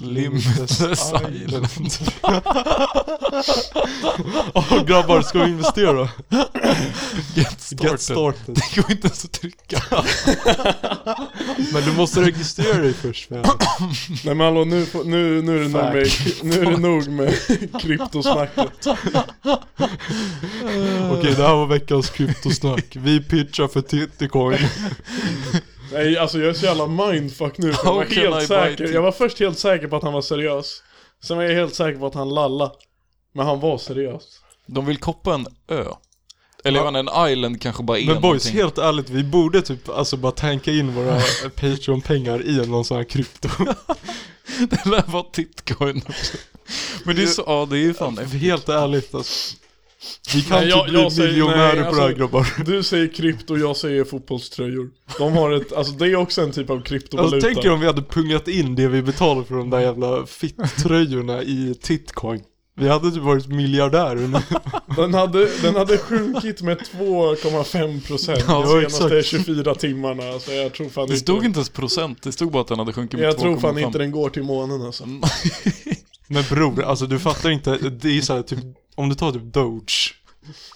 [SPEAKER 3] limitless island.
[SPEAKER 1] Åh grabbar, ska vi investera?
[SPEAKER 3] Get
[SPEAKER 1] Get
[SPEAKER 3] started.
[SPEAKER 1] started.
[SPEAKER 3] Det går inte ens att trycka.
[SPEAKER 1] Men du måste registrera dig först. Med.
[SPEAKER 2] Nej men hallå nu, får- nu, nu är det nog
[SPEAKER 1] Fuck.
[SPEAKER 2] med, nu är det nog med kryptosnacket.
[SPEAKER 1] Okej, det här var veckans kryptosnack. Vi pitchar för Titticoin.
[SPEAKER 2] Nej alltså jag är så jävla mindfuck nu för jag
[SPEAKER 3] How
[SPEAKER 2] var
[SPEAKER 3] can I
[SPEAKER 2] helt
[SPEAKER 3] buy
[SPEAKER 2] säker.
[SPEAKER 3] tea?
[SPEAKER 2] Jag var först helt säker på att han var seriös. Sen var jag helt säker på att han lalla. Men han var seriös.
[SPEAKER 3] De vill koppa en ö. Eller jag menar en island kanske bara är
[SPEAKER 1] Men boys,
[SPEAKER 3] någonting.
[SPEAKER 1] helt ärligt, vi borde typ alltså bara tanka in våra Patreon-pengar i någon sån här krypto.
[SPEAKER 3] Det lär vara titcoin också. Men det är så, ja det är ju fan
[SPEAKER 1] Helt ärligt alltså. Vi kan
[SPEAKER 2] Nej, jag-
[SPEAKER 1] typ bli
[SPEAKER 2] jag säger-
[SPEAKER 1] miljonärer
[SPEAKER 2] nej,
[SPEAKER 1] på det här
[SPEAKER 2] alltså-
[SPEAKER 1] grabbar.
[SPEAKER 2] Du säger krypto, jag säger fotbollströjor. De har ett, alltså det är också en typ av kryptovaluta.
[SPEAKER 1] Alltså, tänk er om vi hade pungat in det vi betalar för de där jävla fitt-tröjorna i titcoin. Vi hade typ varit miljardärer nu.
[SPEAKER 2] Den hade, den hade sjunkit med 2,5% procent
[SPEAKER 3] Ja,
[SPEAKER 2] de senaste
[SPEAKER 1] exakt.
[SPEAKER 2] 24 timmarna. Alltså jag tror fan
[SPEAKER 3] Det stod
[SPEAKER 2] inte,
[SPEAKER 3] inte ens procent, det stod bara att den hade sjunkit med
[SPEAKER 2] jag tror fan
[SPEAKER 3] 2,5.
[SPEAKER 2] inte den går till månen alltså.
[SPEAKER 3] Mm.
[SPEAKER 1] Men bror, alltså du fattar inte. Det är så här, typ, om du tar typ Doge.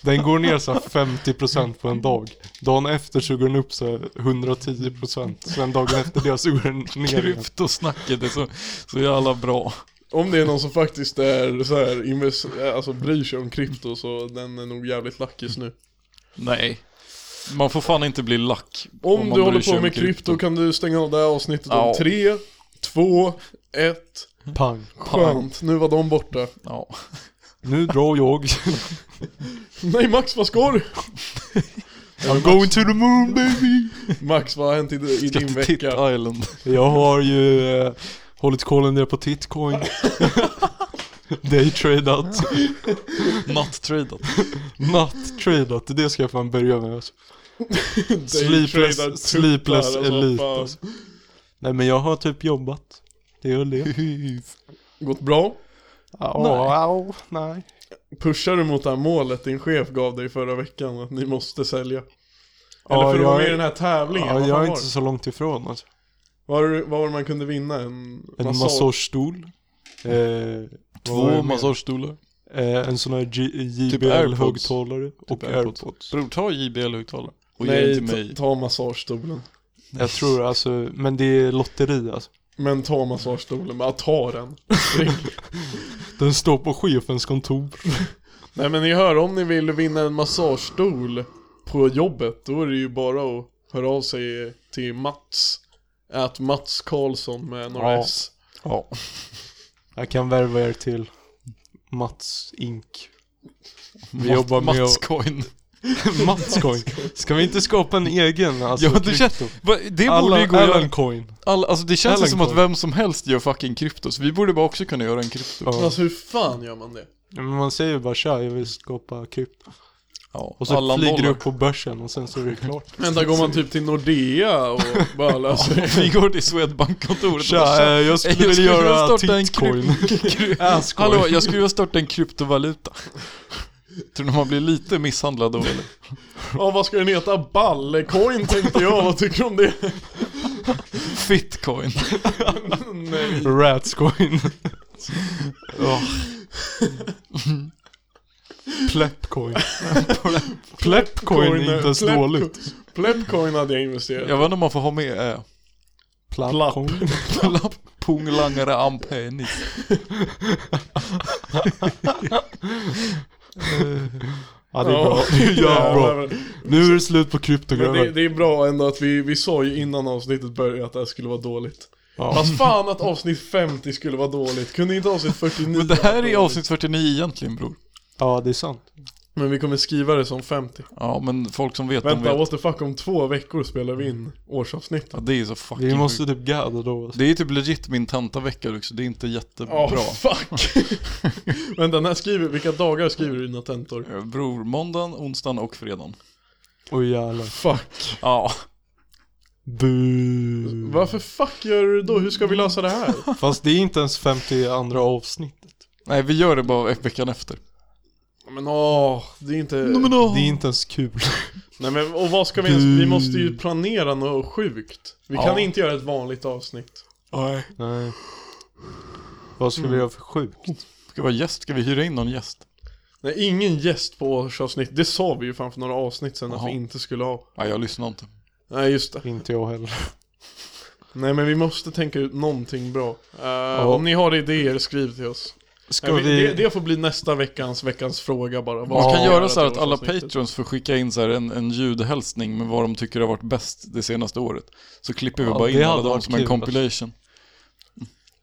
[SPEAKER 1] Den går ner så här 50% på en dag. Dagen efter så går den upp så här 110%. Sen dagen efter det så går den ner igen.
[SPEAKER 3] Kryptosnacket är så, så jävla bra.
[SPEAKER 2] Om det är någon som faktiskt är så här, invest- alltså bryr sig om krypto så den är nog jävligt lack just nu.
[SPEAKER 3] Nej. Man får fan inte bli lack.
[SPEAKER 2] Om,
[SPEAKER 3] man
[SPEAKER 2] du
[SPEAKER 3] bryr
[SPEAKER 2] håller
[SPEAKER 3] sig
[SPEAKER 2] på
[SPEAKER 3] om
[SPEAKER 2] med krypto kan du stänga av det här avsnittet om
[SPEAKER 3] Ja.
[SPEAKER 2] 3, 2, 1.
[SPEAKER 1] Pang.
[SPEAKER 2] Skönt, nu var de borta.
[SPEAKER 3] Ja.
[SPEAKER 1] Nu drar jag.
[SPEAKER 2] Nej Max, vad ska du?
[SPEAKER 1] I'm going to the moon baby.
[SPEAKER 2] Max, vad har hänt i, i
[SPEAKER 3] Ska
[SPEAKER 2] din
[SPEAKER 3] till Tit
[SPEAKER 2] vecka?
[SPEAKER 3] Island.
[SPEAKER 1] Jag har ju eh, hållit kollen ner på titcoin. Daytradat.
[SPEAKER 3] Natt-tradat.
[SPEAKER 1] Natt-tradat, det ska jag fan börja med alltså.
[SPEAKER 2] Daytrader,
[SPEAKER 1] Sleepless,
[SPEAKER 2] tuttar,
[SPEAKER 1] sleepless
[SPEAKER 2] alltså,
[SPEAKER 1] elite
[SPEAKER 2] fan.
[SPEAKER 1] alltså. Nej men jag har typ jobbat. Det är väl det.
[SPEAKER 2] Gått bra?
[SPEAKER 1] Au, nej. nej.
[SPEAKER 2] Pushar du mot det här målet din chef gav dig förra veckan att ni måste sälja? Eller
[SPEAKER 1] Ja,
[SPEAKER 2] för att vara med
[SPEAKER 1] jag-
[SPEAKER 2] i den här tävlingen?
[SPEAKER 1] Ja,
[SPEAKER 2] vad fan
[SPEAKER 1] jag är
[SPEAKER 2] var
[SPEAKER 1] inte
[SPEAKER 2] det?
[SPEAKER 1] så långt ifrån alltså.
[SPEAKER 2] Vad var det- vad var det man kunde vinna? En,
[SPEAKER 1] En
[SPEAKER 2] massage?
[SPEAKER 1] massagestol. Eh, vad var det
[SPEAKER 3] Två
[SPEAKER 1] mer?
[SPEAKER 3] massagestolar.
[SPEAKER 1] Eh, en sån här G-
[SPEAKER 3] AirPods.
[SPEAKER 1] JBL-högtalare och
[SPEAKER 3] AirPods.
[SPEAKER 1] AirPods.
[SPEAKER 3] Bror, ta JBL-högtalare. Och ge den
[SPEAKER 2] Nej,
[SPEAKER 3] till mig.
[SPEAKER 2] ta, ta massagestolen.
[SPEAKER 1] Jag tror alltså, men det är lotteri alltså.
[SPEAKER 2] Men ta massagestolen, bara ta den.
[SPEAKER 1] Den står på chefens kontor.
[SPEAKER 2] Nej men ni hör, om ni vill vinna en massagestol på jobbet, då är det ju bara att höra av sig till Mats. Att Mats Karlsson med några
[SPEAKER 1] Ja.
[SPEAKER 2] S.
[SPEAKER 3] Ja.
[SPEAKER 1] Jag kan värva er till Mats Ink.
[SPEAKER 3] Vi
[SPEAKER 1] jobbar med
[SPEAKER 3] Mats
[SPEAKER 1] att-
[SPEAKER 3] Coin.
[SPEAKER 1] Matscoin. Ska vi inte skapa en egen alltså,
[SPEAKER 3] Ja, det
[SPEAKER 1] krypto?
[SPEAKER 3] känns- Va, Det borde ju
[SPEAKER 1] Allan,
[SPEAKER 3] gå att
[SPEAKER 1] Allan
[SPEAKER 3] göra.
[SPEAKER 1] coin.
[SPEAKER 3] Alla, alltså det känns ju
[SPEAKER 1] Allan
[SPEAKER 3] som att
[SPEAKER 1] Coin.
[SPEAKER 3] vem som helst gör fucking krypto, så vi borde bara också kunna göra en krypto.
[SPEAKER 1] Ja.
[SPEAKER 2] Alltså hur fan gör man det?
[SPEAKER 1] Men man säger ju bara tja, jag vill skapa krypto.
[SPEAKER 3] Ja.
[SPEAKER 1] Och så
[SPEAKER 3] Allan
[SPEAKER 1] flyger det
[SPEAKER 3] Bollar.
[SPEAKER 1] upp på börsen och sen så är det klart.
[SPEAKER 2] Vänta, går man typ till Nordea och bara löser det?
[SPEAKER 3] Vi går till Swedbank-kontoret och bara,
[SPEAKER 1] Tja, eh, jag skulle
[SPEAKER 3] jag
[SPEAKER 1] vilja
[SPEAKER 3] skulle vilja
[SPEAKER 1] göra
[SPEAKER 3] starta en
[SPEAKER 1] titcoin. Asscoin.
[SPEAKER 3] eh, Hallå, jag skulle vilja starta en kryptovaluta. Tror ni man blir lite misshandlad då eller?
[SPEAKER 2] Ja vad ska den heta? Ballecoin tänkte jag, vad tycker du om det?
[SPEAKER 3] Fitcoin.
[SPEAKER 2] Nej.
[SPEAKER 1] Ratscoin. Plepcoin. Plepcoin är inte ens
[SPEAKER 2] Plep-
[SPEAKER 1] dåligt.
[SPEAKER 2] eh, Plepcoin hade jag investerat.
[SPEAKER 3] Jag vet inte om man får ha med eh,
[SPEAKER 1] Plappcoin.
[SPEAKER 3] lapp, punglangare ampenis.
[SPEAKER 1] Ja det är bra. Det är jävligt bra. Nu är det slut på krypto
[SPEAKER 2] Men det,
[SPEAKER 1] grabbar.
[SPEAKER 2] det är bra ändå att vi, vi sa ju innan avsnittet började att det här skulle vara dåligt.
[SPEAKER 1] Ja.
[SPEAKER 2] Fast fan att avsnitt 50 skulle vara dåligt. Kunde inte avsnitt 49
[SPEAKER 3] Men det här
[SPEAKER 2] vara
[SPEAKER 3] är
[SPEAKER 2] dåligt?
[SPEAKER 3] avsnitt 49 egentligen bror.
[SPEAKER 1] ja det är sant.
[SPEAKER 2] Men vi kommer skriva det som 50.
[SPEAKER 3] Ja, men folk som vet,
[SPEAKER 2] Vänta,
[SPEAKER 3] de vet.
[SPEAKER 2] what the fuck, om två veckor spelar vi in årsavsnittet.
[SPEAKER 3] Ja, det är så fucking
[SPEAKER 1] Vi
[SPEAKER 3] måste...
[SPEAKER 1] måste typ gadda då.
[SPEAKER 3] Det är typ legit min tantavecka också, det är inte jättebra.
[SPEAKER 2] Ja, fuck! Vänta, när skriver, vilka dagar skriver du dina tentor?
[SPEAKER 3] Eh, Bror, måndagen, onsdagen och fredagen.
[SPEAKER 1] Oj jävlar.
[SPEAKER 2] Fuck.
[SPEAKER 3] Ja,
[SPEAKER 1] Bu.
[SPEAKER 2] Varför fuck gör du då? Hur ska vi lösa det här?
[SPEAKER 1] Fast det är inte ens 50 andra avsnittet.
[SPEAKER 3] nej vi gör det bara ett veckan efter.
[SPEAKER 2] Men åh, det är inte...
[SPEAKER 1] Det är inte ens kul.
[SPEAKER 2] Nej men, och vad ska vi ens... Vi måste ju planera något sjukt. Vi
[SPEAKER 3] Ja.
[SPEAKER 2] kan inte göra ett vanligt avsnitt.
[SPEAKER 3] Nej.
[SPEAKER 1] Nej. Vad skulle
[SPEAKER 2] Mm.
[SPEAKER 1] vi göra för sjukt?
[SPEAKER 3] Ska vara gäst, ska vi hyra in någon gäst?
[SPEAKER 2] Nej, ingen gäst på årsavsnitt. Det sa vi ju fan för några avsnitt sedan att
[SPEAKER 3] Jaha.
[SPEAKER 2] vi inte skulle ha.
[SPEAKER 3] Nej, jag lyssnar inte.
[SPEAKER 2] Nej, just det.
[SPEAKER 1] Inte jag heller.
[SPEAKER 2] Nej men vi måste tänka ut någonting bra. Eh, Om ni har idéer, skriv till oss.
[SPEAKER 1] Ska
[SPEAKER 2] Nej, vi... det,
[SPEAKER 1] vi...
[SPEAKER 2] det får bli nästa veckans veckans fråga bara. Vad
[SPEAKER 3] Man
[SPEAKER 2] ska
[SPEAKER 3] kan
[SPEAKER 2] vi
[SPEAKER 3] göra så här att
[SPEAKER 2] till
[SPEAKER 3] alla
[SPEAKER 2] årsavsnittet?
[SPEAKER 3] patrons får skicka in så här en, en ljudhälsning med vad de tycker har varit bäst det senaste året. Så klipper vi
[SPEAKER 1] Ja,
[SPEAKER 3] bara
[SPEAKER 1] det
[SPEAKER 3] in alla
[SPEAKER 1] hade
[SPEAKER 3] dem
[SPEAKER 1] varit
[SPEAKER 3] som en
[SPEAKER 1] kul, alltså.
[SPEAKER 3] compilation.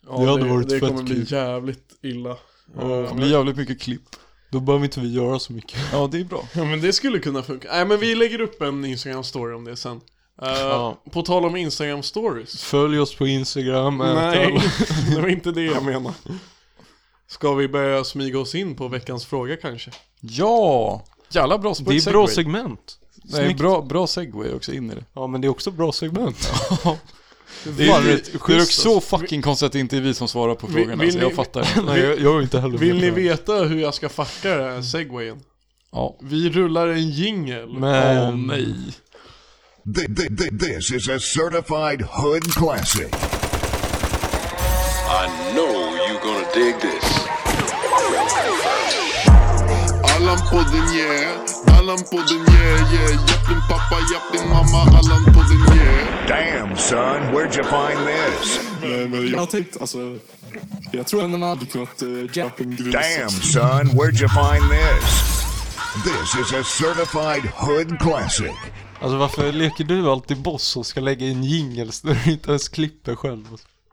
[SPEAKER 2] Ja,
[SPEAKER 1] Det hade
[SPEAKER 2] det,
[SPEAKER 1] varit
[SPEAKER 2] det
[SPEAKER 1] fett
[SPEAKER 2] kommer bli
[SPEAKER 1] kul.
[SPEAKER 2] jävligt illa.
[SPEAKER 3] Det
[SPEAKER 2] Eh,
[SPEAKER 3] kommer bli jävligt mycket klipp.
[SPEAKER 1] Då behöver inte vi göra så mycket.
[SPEAKER 3] Ja, det är bra.
[SPEAKER 2] Ja men det skulle kunna funka. Nej men vi lägger upp en Instagram-story om det sen. Eh,
[SPEAKER 1] Ja.
[SPEAKER 2] På tal om Instagram-stories.
[SPEAKER 1] Följ oss på Instagram.
[SPEAKER 2] Nej,
[SPEAKER 1] ätel.
[SPEAKER 2] det var inte det jag menar. Ska vi börja smyga oss in på veckans fråga kanske?
[SPEAKER 3] Ja! Jävla bra
[SPEAKER 1] Det
[SPEAKER 3] segway.
[SPEAKER 1] är bra segment.
[SPEAKER 3] Nej, bra, bra segway också in i det.
[SPEAKER 1] Ja men det är också bra segment.
[SPEAKER 3] Det är,
[SPEAKER 1] Fan,
[SPEAKER 3] det,
[SPEAKER 1] rätt
[SPEAKER 3] det är också
[SPEAKER 1] schysst,
[SPEAKER 3] så fucking konstigt att det inte är vi som svarar på frågorna,
[SPEAKER 2] vill
[SPEAKER 3] så jag
[SPEAKER 2] ni-
[SPEAKER 3] fattar.
[SPEAKER 1] Nej jag, jag är inte heller
[SPEAKER 2] Vill
[SPEAKER 1] med
[SPEAKER 2] ni
[SPEAKER 1] på det.
[SPEAKER 2] veta hur jag ska fucka den här segwayen?
[SPEAKER 3] Ja.
[SPEAKER 2] Vi rullar en jingel.
[SPEAKER 1] Men...
[SPEAKER 3] Åh nej.
[SPEAKER 5] Th- th- th- This is a certified hood classic.
[SPEAKER 6] I know you gonna dig this. Allan podden yeah, Allan podden yeah yeah. Japp din pappa, japp din mamma, Allan podden yeah.
[SPEAKER 5] Damn, son, where'd you find this?
[SPEAKER 7] Eh, Men jag har tänkt, alltså... Jag tror ändå man hade kunnat uh, jappa en grus.
[SPEAKER 5] Damn, son, where'd you find this? This is a certified hood classic.
[SPEAKER 1] Alltså varför leker du alltid boss och ska lägga in jingles när du inte ens klipper själv?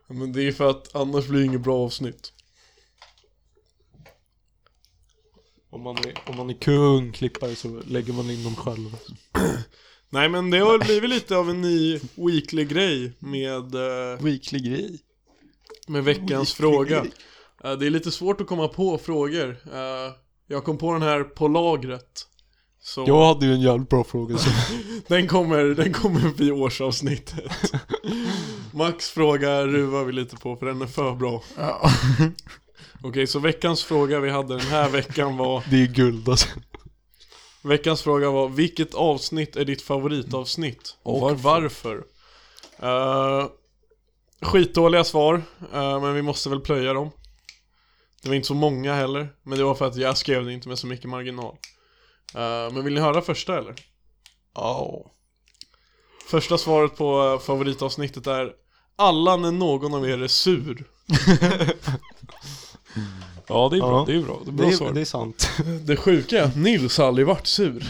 [SPEAKER 2] Men det är för att annars blir det inget bra avsnitt.
[SPEAKER 1] Om man är, om man är kung klippare så lägger man in dem själv.
[SPEAKER 2] Nej men det har blivit lite av en ny weekly grej med, eh,
[SPEAKER 3] Weekly grej.
[SPEAKER 2] med veckans fråga. Eh, Det är lite svårt att komma på frågor. Eh, Jag kom på den här på lagret. Så
[SPEAKER 1] Jag hade ju en jävligt bra fråga så.
[SPEAKER 2] den kommer, den kommer vid årsavsnittet. Max fråga ruvar vi lite på för den är för bra.
[SPEAKER 3] Ja.
[SPEAKER 2] Okej, så veckans fråga vi hade den här veckan var
[SPEAKER 1] Det är guld alltså.
[SPEAKER 2] Veckans fråga var Vilket avsnitt är ditt favoritavsnitt? Och varför? Eh, skitdåliga svar, eh, men vi måste väl plöja dem Det var inte så många heller, men det var för att jag skrev det inte med så mycket marginal Eh, Men vill ni höra första eller?
[SPEAKER 1] Ja.
[SPEAKER 2] Första svaret på eh, favoritavsnittet är Alla när någon av er är sur
[SPEAKER 3] Ja, det är bra.
[SPEAKER 1] Ja.
[SPEAKER 3] Det är bra. Det är
[SPEAKER 1] Det
[SPEAKER 3] bra
[SPEAKER 1] är,
[SPEAKER 3] svar.
[SPEAKER 1] det är sant.
[SPEAKER 2] Det sjuka är att Nils har aldrig varit sur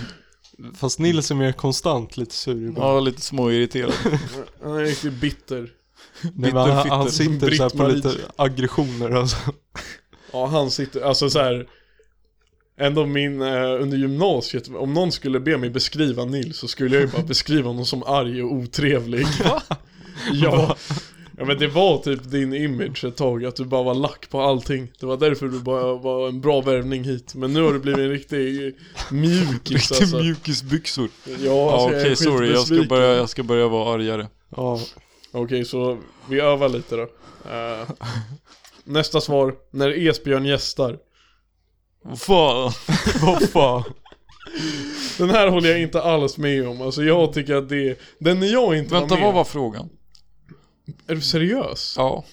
[SPEAKER 1] Fast Nils är mer konstant lite sur ibland.
[SPEAKER 3] Ja, lite småirriterad.
[SPEAKER 2] Han är riktigt bitter
[SPEAKER 1] Nej, men han, han
[SPEAKER 3] bitterfitter.
[SPEAKER 1] sitter så här på
[SPEAKER 2] Britt-Marie.
[SPEAKER 1] lite aggressioner alltså.
[SPEAKER 2] Ja, han sitter, alltså så här. Ändå min, eh, under gymnasiet, om någon skulle be mig beskriva Nils så skulle jag ju bara beskriva honom som arg och otrevlig ja. ja men det var typ din image ett tag, att du bara var lack på allting Det var därför du bara var en bra värvning hit Men nu har du blivit en riktig mjukis
[SPEAKER 3] Riktigt
[SPEAKER 2] alltså
[SPEAKER 3] mjukisbyxor.
[SPEAKER 2] Ja,
[SPEAKER 3] Ja,
[SPEAKER 2] alltså,
[SPEAKER 3] okej,
[SPEAKER 2] jag är
[SPEAKER 3] sorry. Jag ska,
[SPEAKER 2] skitbesviken.
[SPEAKER 3] börja, jag ska börja vara argare.
[SPEAKER 1] Ja.
[SPEAKER 2] Okej, så vi övar lite då Eh, Nästa svar, när Esbjörn gästar
[SPEAKER 3] Fan.
[SPEAKER 1] Vad fan.
[SPEAKER 2] Den här håller jag inte alls med om, alltså jag tycker att det Den är jag inte
[SPEAKER 3] Vänta,
[SPEAKER 2] var med
[SPEAKER 3] vad var frågan?
[SPEAKER 2] Är du seriös?
[SPEAKER 3] Ja.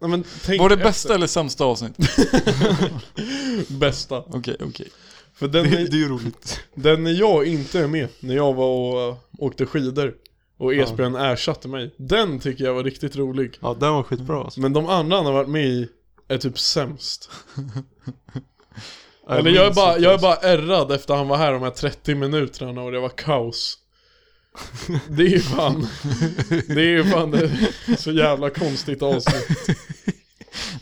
[SPEAKER 2] Nej, men tänk
[SPEAKER 3] Var det
[SPEAKER 2] efter.
[SPEAKER 3] bästa eller sämsta avsnitt?
[SPEAKER 2] bästa?
[SPEAKER 3] Okej, okej.
[SPEAKER 2] För den
[SPEAKER 1] Det,
[SPEAKER 2] är,
[SPEAKER 1] det är ju roligt.
[SPEAKER 2] den är jag inte är med när jag var och äh, åkte skidor Och Esbjörn ersatte mig Den tycker jag var riktigt rolig
[SPEAKER 1] Ja den var skitbra alltså.
[SPEAKER 2] Men de andra han har varit med i är typ sämst Eller jag är,
[SPEAKER 1] minns
[SPEAKER 2] bara,
[SPEAKER 1] inte
[SPEAKER 2] jag är
[SPEAKER 1] ens.
[SPEAKER 2] bara ärrad efter han var här de här 30 minuterna och det var kaos Det är ju fan Det är ju fan ett så jävla konstigt avsnitt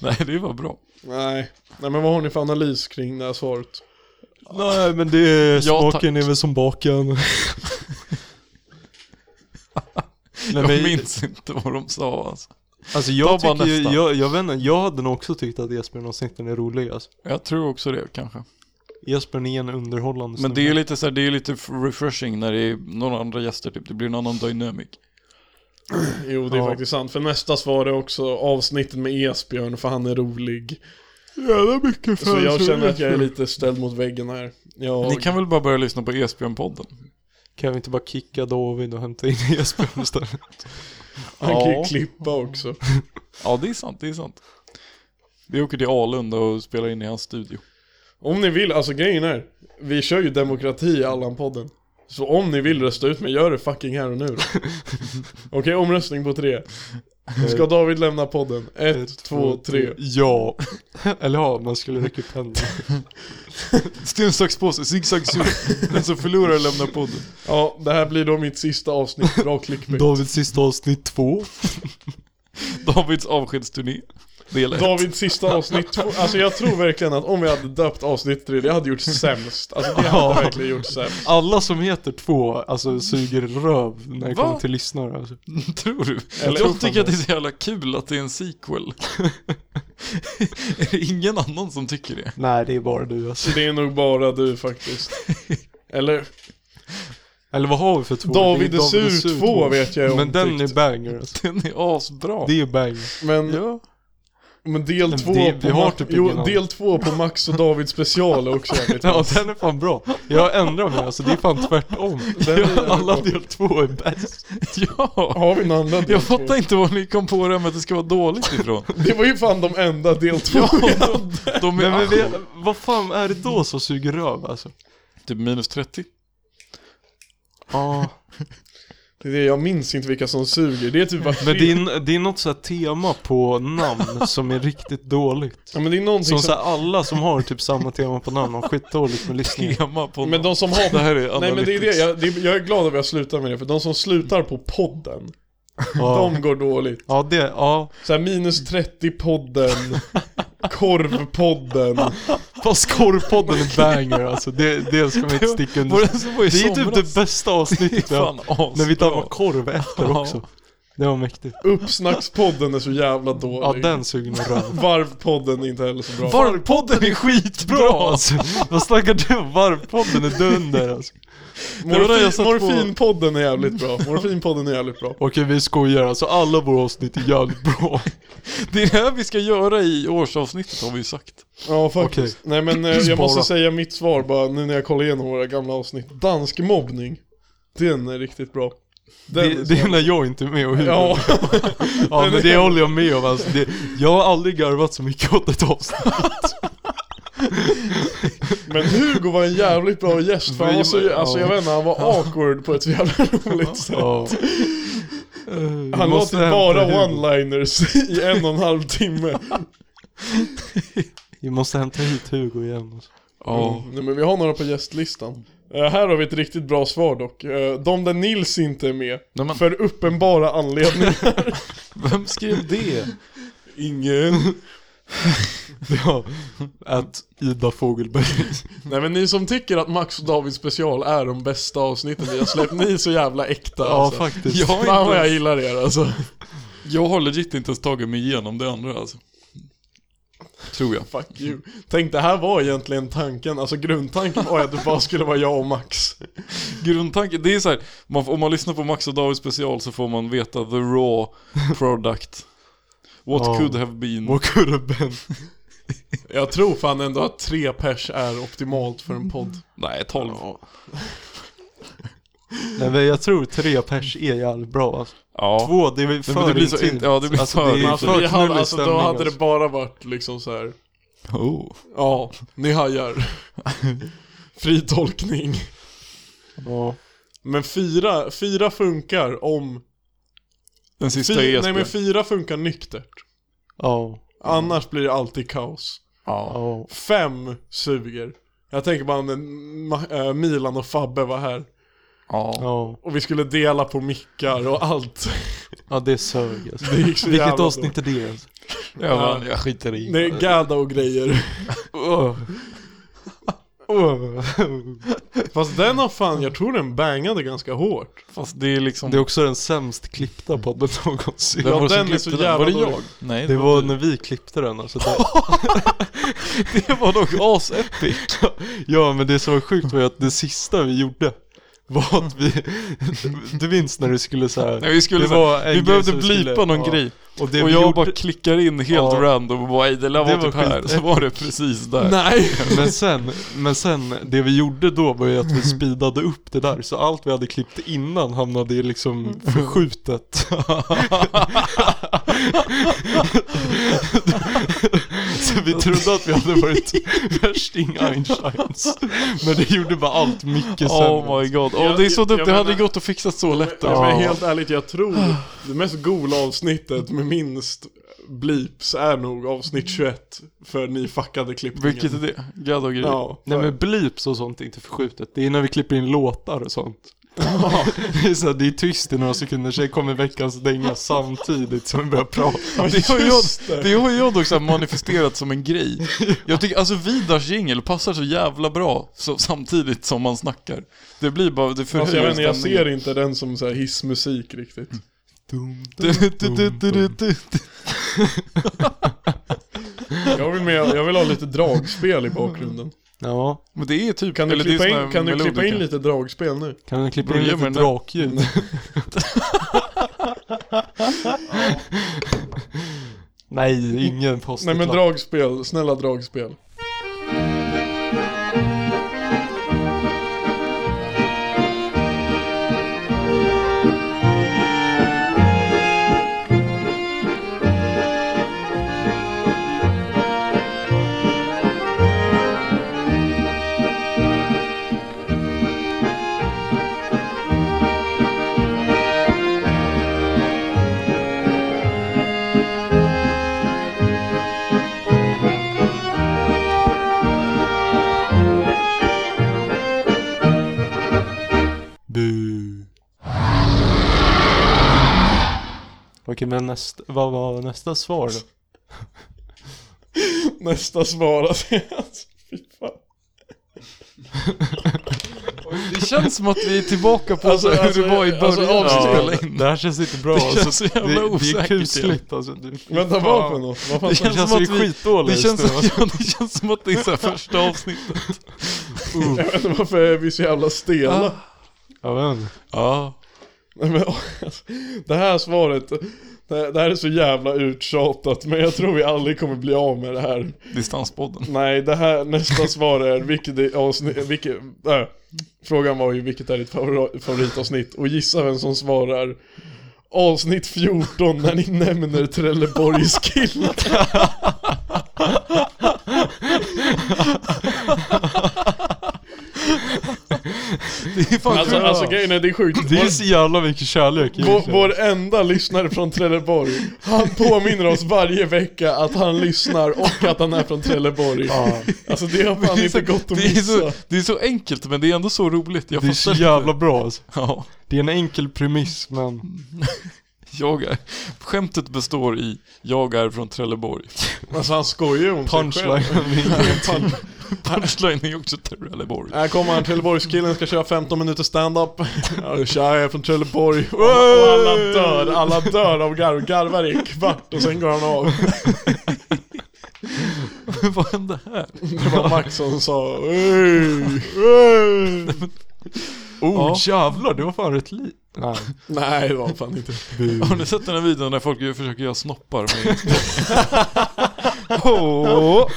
[SPEAKER 3] Nej, det var bra.
[SPEAKER 2] Nej, nej men vad har ni för analys kring det här svaret?
[SPEAKER 1] Nej men det är,
[SPEAKER 3] Ja,
[SPEAKER 1] smaken är väl som baken. Nej,
[SPEAKER 3] Jag
[SPEAKER 1] men,
[SPEAKER 3] minns inte vad de sa alltså.
[SPEAKER 1] alltså jag,
[SPEAKER 3] Ta bara
[SPEAKER 1] tycker, ju-
[SPEAKER 3] nästa.
[SPEAKER 1] jag, jag, vet inte, jag hade nog också tyckt att Jesper Någonsin är rolig alltså.
[SPEAKER 3] Jag tror också det kanske.
[SPEAKER 1] Jesper är en underhållande
[SPEAKER 3] Men det är ju
[SPEAKER 1] snubbe.
[SPEAKER 3] lite så här, det är ju lite refreshing när det är några andra gäster typ. Det blir en annan dynamic.
[SPEAKER 2] Jo, det är
[SPEAKER 1] Ja.
[SPEAKER 2] faktiskt sant. För nästa svar är också avsnittet med Esbjörn, för han är rolig.
[SPEAKER 1] jävla mycket
[SPEAKER 2] Så jag känner att jag är lite ställd mot väggen här.
[SPEAKER 3] Ni
[SPEAKER 2] Jag,
[SPEAKER 3] kan väl bara börja lyssna på Esbjörn-podden?
[SPEAKER 1] Kan vi inte bara kicka David och hämta in Jesper istället?
[SPEAKER 2] han kan ju
[SPEAKER 3] Ja.
[SPEAKER 2] klippa också.
[SPEAKER 3] Ja, det är sant, det är sant. Vi åker till Alunda och spelar in i hans studio.
[SPEAKER 2] Om ni vill, alltså grejen är, vi kör ju demokrati i Allan-podden. Så om ni vill rösta ut mig, gör det fucking här och nu då. Okej, omröstning på tre. Ska David lämna podden? Ett, två, tre.
[SPEAKER 1] Ja. Eller ja, man skulle räcka upp händerna.
[SPEAKER 3] Sten, sax, påse, zig, zag, zug. Den som förlorar lämnar podden.
[SPEAKER 2] Ja, det här blir då mitt sista avsnitt, bra clickbait.
[SPEAKER 1] Davids sista avsnitt två.
[SPEAKER 3] Davids avskedsturné. Del ett.
[SPEAKER 2] Davids sista avsnitt två. Alltså jag tror verkligen att om vi hade döpt avsnitt tre, det hade gjort sämst. Alltså det hade
[SPEAKER 1] Ja.
[SPEAKER 2] verkligen gjort sämst.
[SPEAKER 1] Alla som heter två, alltså suger röv när det
[SPEAKER 3] Va?
[SPEAKER 1] kommer till lyssnare alltså.
[SPEAKER 3] Tror du?
[SPEAKER 2] Eller-
[SPEAKER 3] jag tycker att det är så jävla kul att det är en sequel. är det ingen annan som tycker det?
[SPEAKER 1] Nej, det är bara du alltså.
[SPEAKER 2] Det är nog bara du faktiskt. Eller,
[SPEAKER 1] Eller vad har vi för två?
[SPEAKER 2] David
[SPEAKER 1] Det
[SPEAKER 2] är sur 2 vet jag är
[SPEAKER 1] Men den är
[SPEAKER 2] omtyckt.
[SPEAKER 1] banger alltså.
[SPEAKER 3] Den är asbra.
[SPEAKER 1] Det är banger.
[SPEAKER 2] Men
[SPEAKER 3] Ja.
[SPEAKER 2] Men del
[SPEAKER 1] Men
[SPEAKER 2] 2
[SPEAKER 1] det-
[SPEAKER 2] på,
[SPEAKER 1] vi har
[SPEAKER 2] Ma-
[SPEAKER 1] typ ingen
[SPEAKER 2] jo,
[SPEAKER 1] annan.
[SPEAKER 2] del två på Max och David special är också jävligt
[SPEAKER 1] Ja,
[SPEAKER 2] bra.
[SPEAKER 1] den är fan bra. Jag ändrar mig alltså, det är fan tvärtom.
[SPEAKER 2] Den är jävligt
[SPEAKER 1] Alla
[SPEAKER 2] bra.
[SPEAKER 1] del två är bäst.
[SPEAKER 3] ja.
[SPEAKER 2] Har vi någon annan del
[SPEAKER 3] Jag
[SPEAKER 2] två?
[SPEAKER 3] fattar inte var ni kom på det här med att det ska vara dåligt ifrån.
[SPEAKER 2] Det var ju fan de enda del 2
[SPEAKER 3] de, de
[SPEAKER 1] Men,
[SPEAKER 3] är
[SPEAKER 1] men vi, vad fan är det då som suger röv alltså?
[SPEAKER 3] typ minus 30.
[SPEAKER 1] Ja,
[SPEAKER 2] Det är det, jag minns inte vilka som suger. Det är typ bara tre...
[SPEAKER 1] men det är, det är något så här tema på namn som är riktigt dåligt.
[SPEAKER 2] Ja, men det är någonting
[SPEAKER 1] Som
[SPEAKER 3] Liksom-
[SPEAKER 2] som...
[SPEAKER 1] så här, alla som har typ samma tema på namn har skitdåligt med lyssningar.
[SPEAKER 3] Tema på
[SPEAKER 2] Men de som
[SPEAKER 3] Det
[SPEAKER 2] har...
[SPEAKER 3] här är
[SPEAKER 2] Nej men det är det,
[SPEAKER 3] analytics.
[SPEAKER 2] jag, det, jag är glad att jag slutar med det, för de som slutar på podden,
[SPEAKER 1] Ja,
[SPEAKER 2] de går dåligt.
[SPEAKER 1] ja det, ja.
[SPEAKER 2] Såhär minus 30-podden, korvpodden.
[SPEAKER 1] Fast korvpodden är banger alltså, det, det ska man inte sticka under
[SPEAKER 3] Var det som var i
[SPEAKER 1] Det är typ
[SPEAKER 3] somras?
[SPEAKER 1] det bästa avsnittet
[SPEAKER 3] Det är fan asbra.
[SPEAKER 1] När vi dammar korv efter
[SPEAKER 3] Ja.
[SPEAKER 1] också. Det var mäktigt.
[SPEAKER 2] Uppsnackspodden är så jävla
[SPEAKER 1] Ja
[SPEAKER 2] dålig.
[SPEAKER 1] den suger nog röv.
[SPEAKER 2] Varvpodden är inte heller så bra.
[SPEAKER 1] Varvpodden är skitbra alltså. Vad snackar du om? Varvpodden är dunder alltså.
[SPEAKER 3] var där jag
[SPEAKER 2] Morfin,
[SPEAKER 3] satt
[SPEAKER 2] morfinpodden är jävligt bra. Morfinpodden är jävligt bra.
[SPEAKER 1] Okej vi skojar alltså, alla våra avsnitt är jävligt bra.
[SPEAKER 3] Det är det här vi ska göra i årsavsnittet har vi ju sagt.
[SPEAKER 2] Ja, faktiskt. Nej men eh, jag måste
[SPEAKER 1] Spara.
[SPEAKER 2] säga mitt svar bara nu när jag kollar igenom våra gamla avsnitt. Dansk mobbning. Den är riktigt bra. Den är
[SPEAKER 1] Det,
[SPEAKER 2] så
[SPEAKER 1] det är
[SPEAKER 2] jävla-
[SPEAKER 1] när jag inte är med och hur.
[SPEAKER 2] Ja,
[SPEAKER 1] ja men det håller jag med om alltså. Det, jag har aldrig garvat så mycket åt ett avsnitt.
[SPEAKER 2] men Hugo var en jävligt bra gäst för han var så, alltså jag vet inte, han var awkward på ett så jävla roligt sätt.
[SPEAKER 1] Ja. Eh,
[SPEAKER 2] Han la typ bara one-liners i en och en halv timme.
[SPEAKER 1] Vi måste hämta hit Hugo igen. Alltså.
[SPEAKER 3] Ja.
[SPEAKER 2] Nej men vi har några på gästlistan. Mm. Eh, här har vi ett riktigt bra svar dock. Eh, de där Nils inte är med,
[SPEAKER 3] Nej, men-
[SPEAKER 2] för uppenbara anledningar.
[SPEAKER 3] Vem skrev det?
[SPEAKER 2] Ingen.
[SPEAKER 1] Ja, att Ida Fogelberg.
[SPEAKER 2] Nej men ni som tycker att Max och David special är de bästa avsnitten vi har släppt, ni är så jävla äkta
[SPEAKER 1] Ja
[SPEAKER 2] alltså.
[SPEAKER 1] faktiskt.
[SPEAKER 3] Jag har,
[SPEAKER 2] Fan
[SPEAKER 3] inte,
[SPEAKER 2] vad jag gillar er alltså.
[SPEAKER 3] jag har legit inte ens tagit mig igenom det andra alltså. Tror jag.
[SPEAKER 2] Fuck you. Tänk det här var egentligen tanken, alltså grundtanken var ju att det bara skulle vara jag och Max.
[SPEAKER 3] Grundtanken, det är så här, man, om man lyssnar på Max och David special så får man veta the raw product. What
[SPEAKER 1] Ja.
[SPEAKER 3] could have been.
[SPEAKER 1] Vad kunde Ben?
[SPEAKER 2] Jag tror fan ändå att tre pers är optimalt för en podd.
[SPEAKER 3] Nej, 12. Ja,
[SPEAKER 1] Nej men jag tror tre pers är jävligt bra alltså. Två, det är väl
[SPEAKER 3] men
[SPEAKER 1] för
[SPEAKER 3] det blir så
[SPEAKER 1] intimt.
[SPEAKER 3] in- ja, det blir
[SPEAKER 1] alltså,
[SPEAKER 3] för
[SPEAKER 1] det är
[SPEAKER 3] intimt.
[SPEAKER 1] för
[SPEAKER 2] Vi hade,
[SPEAKER 1] knullig
[SPEAKER 2] alltså då
[SPEAKER 1] stämning,
[SPEAKER 2] hade det
[SPEAKER 1] alltså.
[SPEAKER 2] bara varit liksom så här.
[SPEAKER 3] Oh.
[SPEAKER 2] ja, ni hajar. Fri tolkning.
[SPEAKER 1] Ja.
[SPEAKER 2] Men fyra, fyra funkar om...
[SPEAKER 3] Den sista är
[SPEAKER 2] Fy,
[SPEAKER 3] Esbjörn.
[SPEAKER 2] nej men fyra funkar nyktert.
[SPEAKER 1] Ja.
[SPEAKER 2] Annars blir det alltid kaos.
[SPEAKER 3] ja.
[SPEAKER 1] Ja.
[SPEAKER 2] Fem suger. Jag tänker bara när Ma- eh, Milan och Fabbe var här.
[SPEAKER 3] ja.
[SPEAKER 1] Ja.
[SPEAKER 2] Och vi skulle dela på mickar och allt.
[SPEAKER 1] Ja det sög alltså.
[SPEAKER 2] Det gick så jävla
[SPEAKER 1] Vilket
[SPEAKER 2] bra.
[SPEAKER 1] avsnitt är det alltså?
[SPEAKER 3] Jag, vann, jag skiter i.
[SPEAKER 2] Nej, Gada och grejer.
[SPEAKER 1] Åh.
[SPEAKER 2] Åh
[SPEAKER 1] Åh.
[SPEAKER 2] Fast den har fan, jag tror den bangade ganska hårt.
[SPEAKER 3] Fast det är liksom...
[SPEAKER 1] Det är också den sämst klippta podden någonsin.
[SPEAKER 3] Vem var det som
[SPEAKER 2] den är så
[SPEAKER 3] klippte
[SPEAKER 2] jävla
[SPEAKER 3] Var det
[SPEAKER 2] dålig.
[SPEAKER 3] jag? Nej,
[SPEAKER 1] Det var
[SPEAKER 3] du.
[SPEAKER 1] när vi klippte den alltså. Det,
[SPEAKER 3] det var dock asepic.
[SPEAKER 1] ja men det som var sjukt var ju att det sista vi gjorde var att vi, du minns när du skulle såhär,
[SPEAKER 3] Nej, vi skulle,
[SPEAKER 1] Det
[SPEAKER 3] så
[SPEAKER 1] var en
[SPEAKER 3] här- vi
[SPEAKER 1] grej
[SPEAKER 3] behövde
[SPEAKER 1] som vi skulle-
[SPEAKER 3] blipa någon
[SPEAKER 1] ja.
[SPEAKER 3] grej.
[SPEAKER 1] och det
[SPEAKER 3] och
[SPEAKER 1] vi
[SPEAKER 3] jag
[SPEAKER 1] gjorde,
[SPEAKER 3] bara klickar in helt
[SPEAKER 1] Ja.
[SPEAKER 3] random och bara "Ej, det där var
[SPEAKER 1] Det
[SPEAKER 3] typ
[SPEAKER 1] var
[SPEAKER 3] här. Så var det precis där.
[SPEAKER 2] Nej!
[SPEAKER 1] men sen, men sen, det vi gjorde då var ju att vi speedade upp det där så allt vi hade klippt innan hamnade i liksom förskjutet. så vi trodde att vi hade varit värsting Einsteins. Men det gjorde bara allt mycket sämre.
[SPEAKER 3] Oh my god. Oh,
[SPEAKER 2] Jag-
[SPEAKER 3] det är så
[SPEAKER 2] jag-
[SPEAKER 3] dumt,
[SPEAKER 2] jag
[SPEAKER 3] det hade
[SPEAKER 2] menar-
[SPEAKER 3] gått att fixa så lätt.
[SPEAKER 2] Men,
[SPEAKER 3] alltså.
[SPEAKER 2] men helt ärligt, jag tror det mest gola avsnittet med minst bleeps är nog avsnitt 21. För ni fuckade klippningen.
[SPEAKER 3] Vilket är det? Gadd och grejer.
[SPEAKER 2] Ja.
[SPEAKER 1] Nej men blips och sånt är inte förskjutet. Det är när vi klipper in låtar och sånt. det, är så här, det är tyst i några sekunder, sen kommer veckans dänga samtidigt som vi börjar prata.
[SPEAKER 3] Det har, jag,
[SPEAKER 2] Just det.
[SPEAKER 3] det har jag dock så här manifesterat som en grej. Jag tycker, alltså Vidars jingel passar så jävla bra så, samtidigt som man snackar. Det blir bara, det förhöjer
[SPEAKER 2] Alltså, jag, vet, inte, jag ser
[SPEAKER 3] stämningen.
[SPEAKER 2] inte den som så här hissmusik riktigt.
[SPEAKER 3] Du, du, du, du, du.
[SPEAKER 2] Jag vill, med, jag vill ha lite dragspel i bakgrunden.
[SPEAKER 1] Ja,
[SPEAKER 3] Men det är typ,
[SPEAKER 2] Kan du
[SPEAKER 3] eller det är
[SPEAKER 2] klippa
[SPEAKER 3] såna
[SPEAKER 2] in,
[SPEAKER 3] här
[SPEAKER 2] kan du klippa in
[SPEAKER 3] melodiker.
[SPEAKER 2] lite dragspel nu?
[SPEAKER 1] kan du klippa in
[SPEAKER 3] Börja
[SPEAKER 1] lite
[SPEAKER 3] med den där-
[SPEAKER 1] drakljud? Nej, ingen post
[SPEAKER 2] Nej men dragspel, snälla dragspel.
[SPEAKER 1] Bu. Okej men nästa, vad var nästa svar då?
[SPEAKER 2] Nästa svar alltså. Fy fan.
[SPEAKER 3] Det känns som att vi är tillbaka på
[SPEAKER 2] Alltså,
[SPEAKER 3] så här
[SPEAKER 2] alltså,
[SPEAKER 3] hur det var i början.
[SPEAKER 2] alltså,
[SPEAKER 3] att
[SPEAKER 2] avsnitt-
[SPEAKER 3] spela in.
[SPEAKER 1] Det här känns inte bra
[SPEAKER 3] Det känns
[SPEAKER 1] alltså.
[SPEAKER 3] så jävla
[SPEAKER 1] Det är
[SPEAKER 3] osäkert igen.
[SPEAKER 1] kusligt alltså. Det,
[SPEAKER 2] Vänta, vad för något? Vad fan
[SPEAKER 3] Det
[SPEAKER 1] det
[SPEAKER 2] sa du?
[SPEAKER 1] känns,
[SPEAKER 3] känns som att vi-
[SPEAKER 1] skitdåligt.
[SPEAKER 3] Det känns,
[SPEAKER 1] nu, alltså.
[SPEAKER 3] ja, det känns som att det är så här första avsnittet.
[SPEAKER 2] Jag vet inte varför är vi så jävla stela.
[SPEAKER 1] Jag vet inte.
[SPEAKER 3] Ja.
[SPEAKER 2] Nej, men, alltså, det här svaret, det här, det här är så jävla uttjatat men jag tror vi aldrig kommer bli av med det här.
[SPEAKER 3] Distanspodden.
[SPEAKER 2] Nej, det här, nästa svar är vilket är avsnitt, vilket, äh, frågan var ju vilket är ditt favora- favoritavsnitt och gissa vem som svarar avsnitt 14 när ni nämner Trelleborgs killar.
[SPEAKER 3] Det är fan
[SPEAKER 2] Alltså,
[SPEAKER 3] sjukt.
[SPEAKER 2] alltså grejen är det är sjukt.
[SPEAKER 1] Det är
[SPEAKER 2] Vår-
[SPEAKER 1] så jävla mycket kärlek i
[SPEAKER 2] Vår, vår enda lyssnare från Trelleborg, han påminner oss varje vecka att han lyssnar och att han är från Trelleborg. Alltså det har fan
[SPEAKER 3] Det är
[SPEAKER 2] inte
[SPEAKER 3] så-
[SPEAKER 2] gått att
[SPEAKER 3] det är så-
[SPEAKER 2] missa.
[SPEAKER 3] Det är så enkelt men det är ändå så roligt. Jag
[SPEAKER 1] Det är
[SPEAKER 3] fattar
[SPEAKER 1] så
[SPEAKER 3] inte.
[SPEAKER 1] jävla bra alltså.
[SPEAKER 3] Ja,
[SPEAKER 1] Det är en enkel premiss men
[SPEAKER 3] jag är. Skämtet består i jag är från Trelleborg.
[SPEAKER 2] Alltså han skojar ju om
[SPEAKER 1] punchline.
[SPEAKER 2] Punch.
[SPEAKER 3] Punchline är också Trelleborg.
[SPEAKER 2] Här kommer han, Trelleborgskillen ska köra 15 minuter stand-up. Ja, Tja, jag är från Trelleborg. Och alla dör, alla dör av garv. Garvar i en kvart och sen går han av.
[SPEAKER 3] Vad hände här?
[SPEAKER 2] Det var Max som sa "Ey."
[SPEAKER 1] oh jävlar, det var fan rätt li... Nej.
[SPEAKER 2] Nej, det var han fan inte.
[SPEAKER 3] Har ni sett den här videon där folk ju försöker göra snoppar? Med...
[SPEAKER 1] Oh.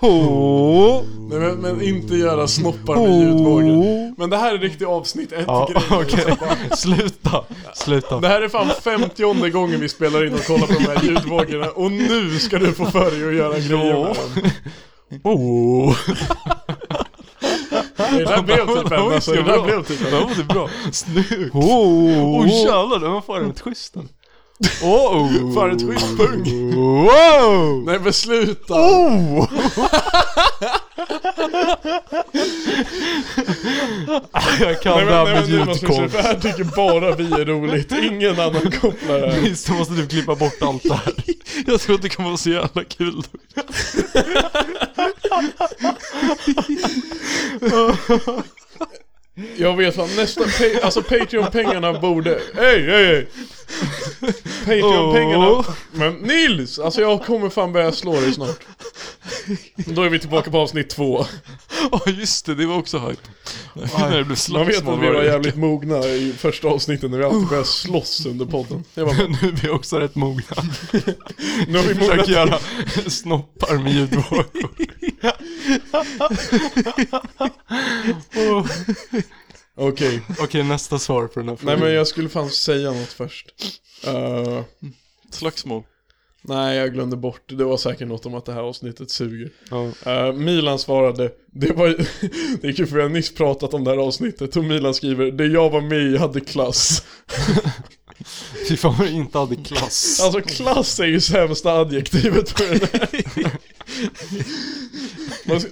[SPEAKER 1] Oh.
[SPEAKER 2] Nej, men, men inte göra snoppar med ljudvågen. Men det här är riktigt avsnitt ett
[SPEAKER 1] Ja,
[SPEAKER 2] grej.
[SPEAKER 1] okej. Sluta.
[SPEAKER 2] Det
[SPEAKER 1] Sluta.
[SPEAKER 2] här är fan femtionde gången vi spelar in och kollar på de här ljudvågorna och nu ska du få för dig att göra grejer med den.
[SPEAKER 1] Oh.
[SPEAKER 2] Det där blev typ en alltså, det där blev typ en.
[SPEAKER 3] Ja, det är bra.
[SPEAKER 1] Snyggt. Oh. Oh jävlar, den var fan rätt schysst den. Oh.
[SPEAKER 2] Fan, ett skitpung.
[SPEAKER 1] Wow.
[SPEAKER 2] Nej men sluta!
[SPEAKER 1] Oh. Jag kan
[SPEAKER 2] Nej
[SPEAKER 1] det
[SPEAKER 2] men,
[SPEAKER 1] här
[SPEAKER 2] nej, men
[SPEAKER 1] med
[SPEAKER 2] nu måste vi se,
[SPEAKER 1] ljudkonst.
[SPEAKER 2] för här tycker bara vi är roligt, ingen annan kopplar det här.
[SPEAKER 1] Visst, då måste du klippa bort allt det här.
[SPEAKER 3] Jag tror att det kommer vara så jävla kul.
[SPEAKER 2] Jag vet fan, nästa, pa- alltså Patreon-pengarna borde, hej hej hej! Patreon-pengarna, men Nils! Alltså jag kommer fan börja slå dig snart. Då är vi tillbaka på avsnitt två.
[SPEAKER 3] Ja just det, det var också hype. När det blev
[SPEAKER 2] Man vet
[SPEAKER 3] slagsmål
[SPEAKER 2] att vi var
[SPEAKER 3] varje vecka.
[SPEAKER 2] jävligt mogna i första avsnittet när vi alltid började slåss under podden. Jag bara,
[SPEAKER 1] Nu är vi också rätt mogna.
[SPEAKER 2] nu har vi mognat
[SPEAKER 1] Försöker göra snoppar med ljudvågor.
[SPEAKER 2] Okej,
[SPEAKER 1] Okej, nästa svar på den här
[SPEAKER 2] nej
[SPEAKER 1] frågan.
[SPEAKER 2] men jag skulle fan säga något först. Eh,
[SPEAKER 3] Slagsmål.
[SPEAKER 2] nej jag glömde bort, det var säkert något om att det här avsnittet suger.
[SPEAKER 1] Ja.
[SPEAKER 2] Eh, Milan svarade, det var det är kul för vi har nyss pratat om det här avsnittet och Milan skriver, det jag var med i hade klass.
[SPEAKER 1] Fy fan vad jag inte hade klass.
[SPEAKER 2] Alltså klass är ju sämsta adjektivet för den här. Man ska-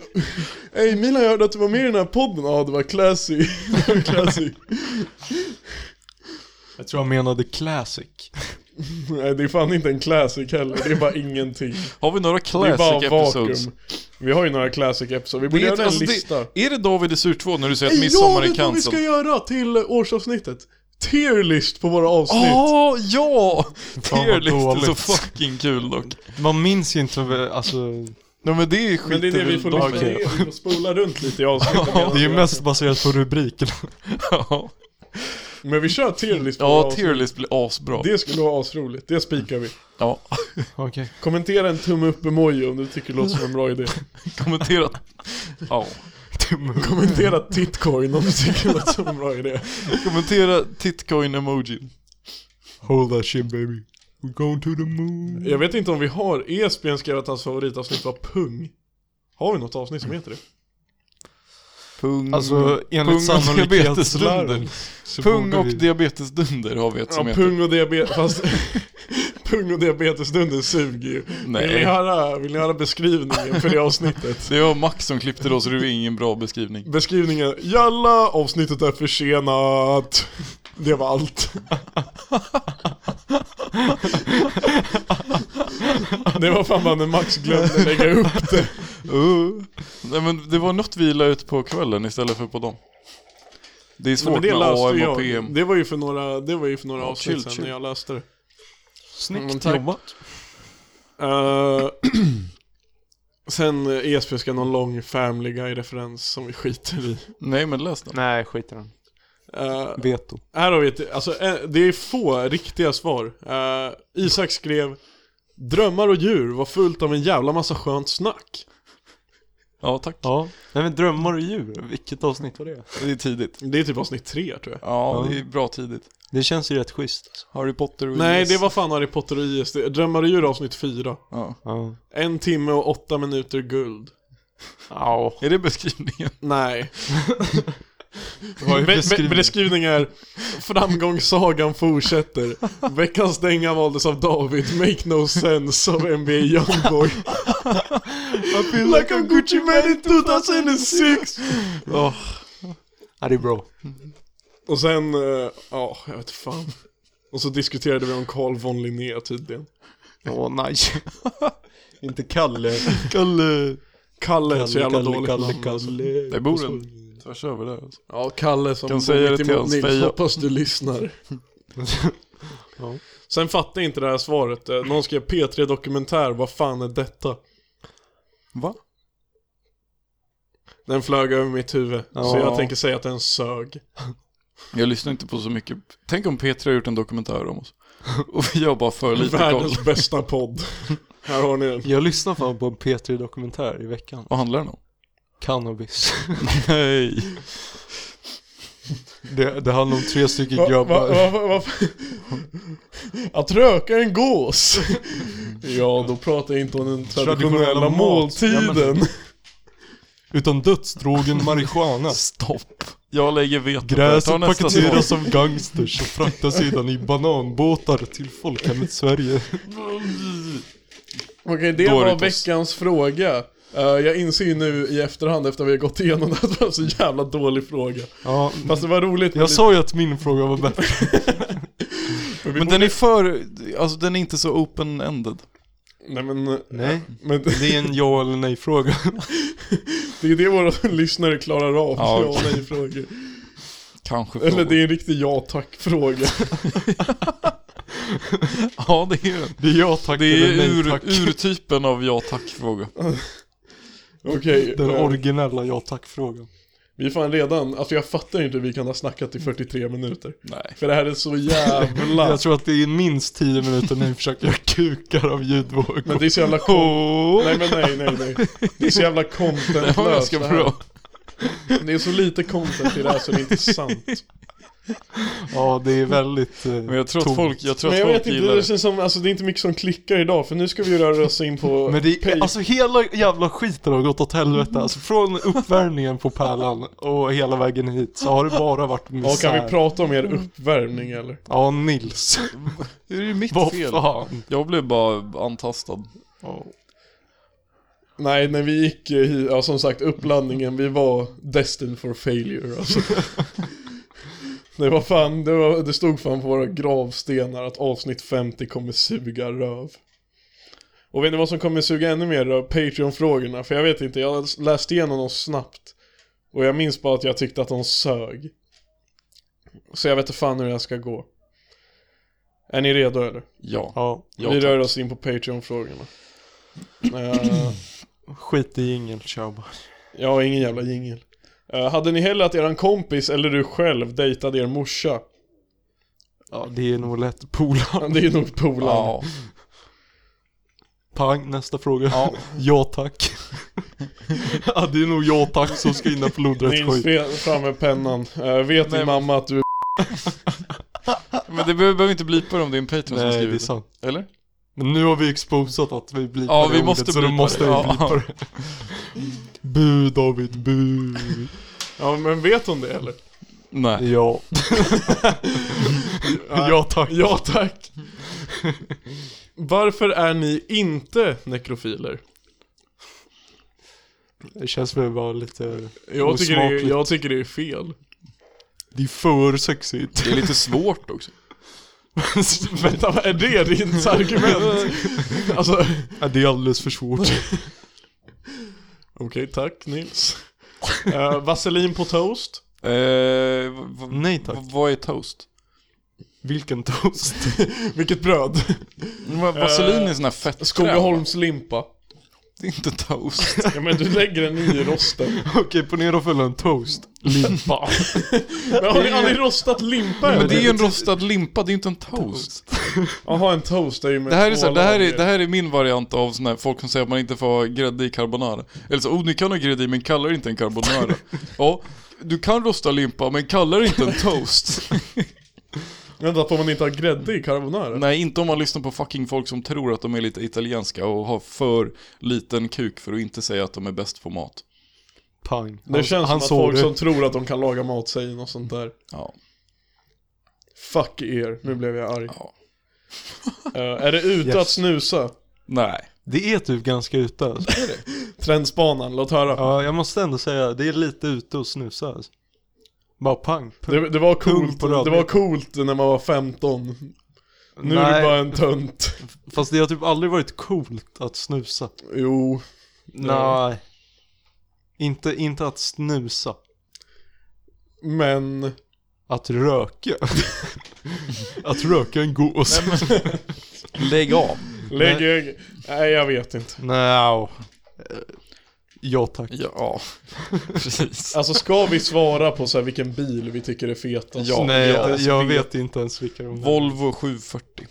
[SPEAKER 2] Hej Milan, jag hörde att du var med i den här podden. Ja, det var classy. Det var classy.
[SPEAKER 1] Jag tror jag menade classic.
[SPEAKER 2] Nej, det är fan inte en classic heller. Det är bara ingenting.
[SPEAKER 3] Har vi några
[SPEAKER 2] Det är
[SPEAKER 3] classic
[SPEAKER 2] bara
[SPEAKER 3] episodes?
[SPEAKER 2] vakuum. Vi har ju några classic episodes. Vi borde
[SPEAKER 3] Det är,
[SPEAKER 2] göra
[SPEAKER 3] ett,
[SPEAKER 2] en
[SPEAKER 3] alltså
[SPEAKER 2] lista.
[SPEAKER 3] det, är det David i Sur 2 när du säger att
[SPEAKER 2] Ey, jag
[SPEAKER 3] midsommar är
[SPEAKER 2] vet vad vi ska
[SPEAKER 3] cancelled?
[SPEAKER 2] göra till årsavsnittet. Tier list på våra avsnitt.
[SPEAKER 3] Åh, ja!
[SPEAKER 1] vad
[SPEAKER 3] Tierlist är så
[SPEAKER 1] dåligt.
[SPEAKER 3] fucking kul dock.
[SPEAKER 1] Man minns ju inte, vad- alltså
[SPEAKER 3] Nej men det är skit
[SPEAKER 2] Men det är det vi får lyssna
[SPEAKER 1] Okej.
[SPEAKER 2] igenom. Vi får spola runt lite i avsnittet.
[SPEAKER 1] Det är ju mest baserat på rubrikerna.
[SPEAKER 3] Ja,
[SPEAKER 2] Men vi kör tier list på våra
[SPEAKER 3] ja
[SPEAKER 2] avsnitt.
[SPEAKER 3] tierlist blir asbra.
[SPEAKER 2] Det skulle vara asroligt. Det spikar vi.
[SPEAKER 3] Ja,
[SPEAKER 1] Okej.
[SPEAKER 2] Kommentera en tumme upp-emoji om du tycker det låter som en bra idé.
[SPEAKER 3] kommentera. Ja.
[SPEAKER 2] Kommentera titcoin om du tycker det låter som en bra idé.
[SPEAKER 3] Kommentera titcoin-emojin.
[SPEAKER 1] Hold that shit baby. We're going to the moon.
[SPEAKER 2] Jag vet inte om vi har... E Esbjörn skrev att hans favoritavsnitt var pung. Har vi något avsnitt som heter det?
[SPEAKER 3] Pung,
[SPEAKER 1] Alltså enligt
[SPEAKER 3] pung och
[SPEAKER 1] sannolikhetsläran.
[SPEAKER 3] diabetesdunder. Pung och diabetesdunder har vi ett som
[SPEAKER 2] Ja,
[SPEAKER 3] heter.
[SPEAKER 2] pung och diabetes... Fast... pung och diabetesdunden suger ju. Vill ni,
[SPEAKER 3] Nej,
[SPEAKER 2] höra, vill ni höra beskrivningen för det avsnittet?
[SPEAKER 3] det var Max som klippte då så det är ingen bra beskrivning.
[SPEAKER 2] Beskrivningen, jalla avsnittet är försenat. Det var allt. Det var fan bara när Max glömde lägga upp det.
[SPEAKER 3] Uh. Nej men det var något vi la ut på kvällen istället för på dem. Det är
[SPEAKER 2] Nej,
[SPEAKER 3] svårt
[SPEAKER 2] men det
[SPEAKER 3] med
[SPEAKER 2] läste
[SPEAKER 3] AM och
[SPEAKER 2] jag.
[SPEAKER 3] PM.
[SPEAKER 2] Det var ju för några, det var ju för några avsnitt
[SPEAKER 3] chill,
[SPEAKER 2] sen
[SPEAKER 3] chill.
[SPEAKER 2] när jag läste det. Mm,
[SPEAKER 1] Snyggt
[SPEAKER 2] tack.
[SPEAKER 1] jobbat.
[SPEAKER 2] Eh, sen eh, ESP ska någon lång Family Guy-referens som vi skiter i.
[SPEAKER 3] Nej men läs den.
[SPEAKER 1] Nej, skit i den.
[SPEAKER 2] Eh,
[SPEAKER 1] Veto.
[SPEAKER 2] Här har vi ett, alltså eh, det är få riktiga svar. Eh, Isak skrev Drömmar och djur var fullt av en jävla massa skönt snack.
[SPEAKER 3] Ja tack.
[SPEAKER 1] Ja. Nej men drömmar och djur, vilket avsnitt var det?
[SPEAKER 3] Det är tidigt.
[SPEAKER 2] Det är typ avsnitt tre tror jag.
[SPEAKER 3] Ja,
[SPEAKER 1] Ja.
[SPEAKER 3] det är bra tidigt.
[SPEAKER 1] Det känns ju rätt schysst. alltså.
[SPEAKER 3] Harry Potter och
[SPEAKER 2] Nej,
[SPEAKER 3] IS.
[SPEAKER 2] det var fan Harry Potter och IS. Det- Drömmar och djur avsnitt fyra.
[SPEAKER 3] Ja.
[SPEAKER 1] Ja.
[SPEAKER 2] En timme och åtta minuter guld.
[SPEAKER 1] Ja.
[SPEAKER 3] Är det beskrivningen?
[SPEAKER 2] Nej.
[SPEAKER 1] Vad är
[SPEAKER 2] Be- be-
[SPEAKER 1] beskrivningen?
[SPEAKER 2] beskrivning är Framgångssagan fortsätter. Veckans dänga valdes av David. Make no sense av NBA Youngboy. I feel like I'm Gucci man in 2006.
[SPEAKER 1] Ja det är bra.
[SPEAKER 2] Och sen, eh, ja, jag vet fan. Och så diskuterade vi om Carl von Linné tydligen.
[SPEAKER 1] Åh nej. Inte Kalle.
[SPEAKER 2] Kalle. Kalle är så jävla dåligt
[SPEAKER 1] Kalle,
[SPEAKER 2] namn, alltså.
[SPEAKER 1] Kalle.
[SPEAKER 3] Det bor en tvärs över där alltså.
[SPEAKER 2] Ja, Kalle som
[SPEAKER 3] Kan
[SPEAKER 2] bor
[SPEAKER 3] säga det
[SPEAKER 2] mitt
[SPEAKER 3] till
[SPEAKER 2] emot
[SPEAKER 3] hans
[SPEAKER 2] Nils.
[SPEAKER 3] feja.
[SPEAKER 2] Hoppas du lyssnar.
[SPEAKER 1] Ja.
[SPEAKER 2] Sen fattar jag inte det här svaret. Eh, Någon skrev P3 Dokumentär, vad fan är detta?
[SPEAKER 3] Va?
[SPEAKER 2] Den flög över mitt huvud. Så
[SPEAKER 1] Ja.
[SPEAKER 2] jag tänker säga att den sög.
[SPEAKER 3] Jag lyssnar inte på så mycket. Tänk om Petra har gjort en dokumentär om oss. Och vi har bara för lite koll.
[SPEAKER 2] Världens bästa podd. här har ni den.
[SPEAKER 1] Jag lyssnade fan på en P3 Dokumentär i veckan.
[SPEAKER 3] Vad handlar den om?
[SPEAKER 1] Cannabis.
[SPEAKER 3] Nej.
[SPEAKER 1] Det, det handlar om tre stycken
[SPEAKER 2] Va, va,
[SPEAKER 1] grabbar.
[SPEAKER 2] va, va, va, att röka en gås? ja, då pratar jag inte om den traditionella
[SPEAKER 1] Traditionella mat. Ja,
[SPEAKER 2] måltiden.
[SPEAKER 1] Utan dödsdrogen marijuana.
[SPEAKER 3] Stopp. Jag lägger veto. på det. Ta
[SPEAKER 1] Gräset
[SPEAKER 3] nästa svar.
[SPEAKER 1] paketeras som gangsters och fraktas sedan i bananbåtar till folkhemmet Sverige.
[SPEAKER 2] Okej, det
[SPEAKER 3] Doritos.
[SPEAKER 2] var veckans fråga. Eh, jag inser ju nu i efterhand efter vi har gått igenom det att det var en så jävla dålig fråga.
[SPEAKER 1] Ja,
[SPEAKER 2] Fast det var roligt. men
[SPEAKER 1] jag
[SPEAKER 2] det-
[SPEAKER 1] sa ju att min fråga var bättre.
[SPEAKER 2] men vi
[SPEAKER 3] Men
[SPEAKER 2] borde-
[SPEAKER 3] den är för, alltså den är inte så open-ended.
[SPEAKER 2] Nej men... eh,
[SPEAKER 1] Nej,
[SPEAKER 2] Men
[SPEAKER 1] det är en ja eller nej fråga.
[SPEAKER 2] det är det våra lyssnare klarar av.
[SPEAKER 3] Ja,
[SPEAKER 2] Ja, och nej frågor.
[SPEAKER 3] Kanske frågor.
[SPEAKER 2] Eller det är en riktig ja tack-fråga.
[SPEAKER 3] Ja, det är den.
[SPEAKER 1] Det är ja tack
[SPEAKER 3] Det är
[SPEAKER 1] eller nej
[SPEAKER 3] ur,
[SPEAKER 1] tack.
[SPEAKER 3] urtypen av ja tack-fråga.
[SPEAKER 2] Okej.
[SPEAKER 1] Den
[SPEAKER 2] eh,
[SPEAKER 1] originella ja tack frågan.
[SPEAKER 2] vi är fan redan... Alltså jag fattar inte hur vi kan ha snackat i 43 minuter.
[SPEAKER 3] Nej.
[SPEAKER 2] För det här är så jävla...
[SPEAKER 1] Jag tror att det är minst 10 minuter när vi försöker göra kukar av ljudvågor.
[SPEAKER 2] Men det är så jävla
[SPEAKER 1] Oh.
[SPEAKER 2] kom... Nej men nej nej nej. Det är så jävla
[SPEAKER 3] Det var
[SPEAKER 2] contentlöst
[SPEAKER 3] ganska
[SPEAKER 2] det här.
[SPEAKER 3] bra.
[SPEAKER 2] Det är så lite content i det här så det är inte sant.
[SPEAKER 1] Ja, det är väldigt eh,
[SPEAKER 3] Men jag tror att
[SPEAKER 1] tomt.
[SPEAKER 3] folk, jag tror
[SPEAKER 2] Men
[SPEAKER 3] att
[SPEAKER 2] jag
[SPEAKER 3] folk
[SPEAKER 2] vet
[SPEAKER 3] gillar
[SPEAKER 2] inte, det
[SPEAKER 3] det.
[SPEAKER 2] känns som, alltså det är inte mycket som klickar idag för nu ska vi ju röra oss in på...
[SPEAKER 1] Men det
[SPEAKER 2] pay-
[SPEAKER 1] är, alltså hela jävla skiten har gått åt helvete. Alltså från uppvärmningen på Pärlan och hela vägen hit så har det bara varit
[SPEAKER 2] ja,
[SPEAKER 1] misär.
[SPEAKER 2] kan vi prata om er uppvärmning eller?
[SPEAKER 1] Ja, Nils.
[SPEAKER 3] Det är ju mitt
[SPEAKER 1] Vad
[SPEAKER 3] fel.
[SPEAKER 1] fan.
[SPEAKER 3] Jag blev bara antastad.
[SPEAKER 2] Nej, när vi gick eh, hit, ja som sagt uppladdningen, vi var destined for failure alltså. Det var fan, det, var, det stod fan på våra gravstenar att avsnitt 50 kommer suga röv. Och vet ni vad som kommer suga ännu mer röv? Patreon-frågorna, för jag vet inte, jag läste igenom dem snabbt. Och jag minns bara att jag tyckte att de sög. Så jag vet inte fan hur det här ska gå. Är ni redo eller?
[SPEAKER 3] Ja.
[SPEAKER 1] Ja,
[SPEAKER 3] ja
[SPEAKER 2] vi
[SPEAKER 3] tack.
[SPEAKER 2] rör oss in på Patreon-frågorna. Eh,
[SPEAKER 1] skit i ingen kör bara.
[SPEAKER 2] Jag har ingen jävla jingel. Eh, hade ni hellre att eran kompis eller du själv dejtade er morsa?
[SPEAKER 1] Ja, det är nog lätt. Polaren.
[SPEAKER 2] Det är nog polaren.
[SPEAKER 3] Ja.
[SPEAKER 1] Pang, nästa fråga.
[SPEAKER 3] Ja.
[SPEAKER 1] Ja tack. ja, det är nog ja tack som ska in och förlora ett
[SPEAKER 2] Nils,
[SPEAKER 1] skit.
[SPEAKER 2] fe- fram med pennan. Eh, vet
[SPEAKER 3] Nej,
[SPEAKER 2] din
[SPEAKER 3] men-
[SPEAKER 2] mamma att du är
[SPEAKER 3] Men det behöver behöver inte blipa det om det är en Patreon som
[SPEAKER 1] Nej, det
[SPEAKER 3] skriver
[SPEAKER 1] är sant.
[SPEAKER 3] Eller?
[SPEAKER 1] Men nu har vi exposat att vi blipar
[SPEAKER 3] Ja,
[SPEAKER 1] det
[SPEAKER 3] vi
[SPEAKER 1] ordet,
[SPEAKER 3] måste
[SPEAKER 1] så då
[SPEAKER 3] blipa
[SPEAKER 1] måste
[SPEAKER 3] det.
[SPEAKER 1] vi
[SPEAKER 3] Ja.
[SPEAKER 1] blipa det. Bu David, bu.
[SPEAKER 2] Ja men vet hon det eller?
[SPEAKER 3] Nej.
[SPEAKER 1] Ja. ja tack.
[SPEAKER 2] Ja tack! Varför är ni inte nekrofiler?
[SPEAKER 1] Det känns väl bara lite...
[SPEAKER 2] Jag tycker, det är,
[SPEAKER 1] Osmakligt.
[SPEAKER 2] jag tycker det är fel.
[SPEAKER 1] Det är för sexigt.
[SPEAKER 3] Det är lite svårt också.
[SPEAKER 2] Vänta, vad är det ditt argument? alltså,
[SPEAKER 1] Ja, det är alldeles för svårt.
[SPEAKER 2] okej tack Nils. Eh, vaselin på toast?
[SPEAKER 3] Eh, v- v-
[SPEAKER 1] Nej Mm, tack.
[SPEAKER 3] v- vad är toast?
[SPEAKER 1] Vilken toast.
[SPEAKER 2] Vilket bröd?
[SPEAKER 3] Men Vaselin är sån här fettkräm.
[SPEAKER 2] Skogaholmslimpa?
[SPEAKER 3] Det är inte toast.
[SPEAKER 2] Ja men du lägger den i rosten.
[SPEAKER 1] Okej, ponera och följa en toast. Limpa.
[SPEAKER 2] Men har ni aldrig rostat limpa
[SPEAKER 3] Men det är ju
[SPEAKER 2] eller?
[SPEAKER 3] en rostad limpa, det är inte en toast.
[SPEAKER 2] Jaha en toast är ju med
[SPEAKER 3] Det här är, så här,
[SPEAKER 2] två
[SPEAKER 3] det här är,
[SPEAKER 2] lager.
[SPEAKER 3] det här är min variant av sån här, folk som säger att man inte får ha grädde i carbonara. Eller så, oh ni kan ha grädde i men kallar det inte en carbonara. Ja, du kan rosta limpa men kallar det inte en toast.
[SPEAKER 2] Vänta får man inte ha grädde i carbonara?
[SPEAKER 3] Nej, inte om man lyssnar på fucking folk som tror att de är lite italienska och har för liten kuk för att inte säga att de är bäst på mat.
[SPEAKER 1] Pang.
[SPEAKER 2] Det känns som att
[SPEAKER 1] såg
[SPEAKER 2] folk
[SPEAKER 1] det.
[SPEAKER 2] som tror att de kan laga mat säger något sånt där.
[SPEAKER 3] Ja.
[SPEAKER 2] Fuck er, nu blev jag arg.
[SPEAKER 3] Ja.
[SPEAKER 2] Eh, är det ute
[SPEAKER 1] Yes.
[SPEAKER 2] att snusa?
[SPEAKER 3] Nej.
[SPEAKER 1] Det är typ ganska ute alltså.
[SPEAKER 2] Trendspanan, låt höra.
[SPEAKER 1] Ja, jag måste ändå säga, det är lite ute och snusa alltså. Bara pang. P-
[SPEAKER 2] Det, det, var
[SPEAKER 1] Pung
[SPEAKER 2] coolt,
[SPEAKER 1] på
[SPEAKER 2] det
[SPEAKER 1] rödbetan.
[SPEAKER 2] var coolt när man var 15. Nu är
[SPEAKER 1] Nej.
[SPEAKER 2] du bara en tönt.
[SPEAKER 1] Fast det har typ aldrig varit coolt att snusa.
[SPEAKER 2] Jo.
[SPEAKER 1] Nej. Inte, inte att snusa.
[SPEAKER 2] Men...
[SPEAKER 1] Att röka. att röka en gås.
[SPEAKER 3] Lägg av.
[SPEAKER 2] Lägg Nej. Nej jag vet inte.
[SPEAKER 1] Nej. Ja tack.
[SPEAKER 3] Ja, precis.
[SPEAKER 2] Alltså ska vi svara på så här vilken bil vi tycker är fetast?
[SPEAKER 3] Ja,
[SPEAKER 1] Nej,
[SPEAKER 3] ja,
[SPEAKER 1] jag,
[SPEAKER 3] alltså,
[SPEAKER 1] jag
[SPEAKER 2] det-
[SPEAKER 1] vet inte ens vilka de är.
[SPEAKER 3] Volvo 740.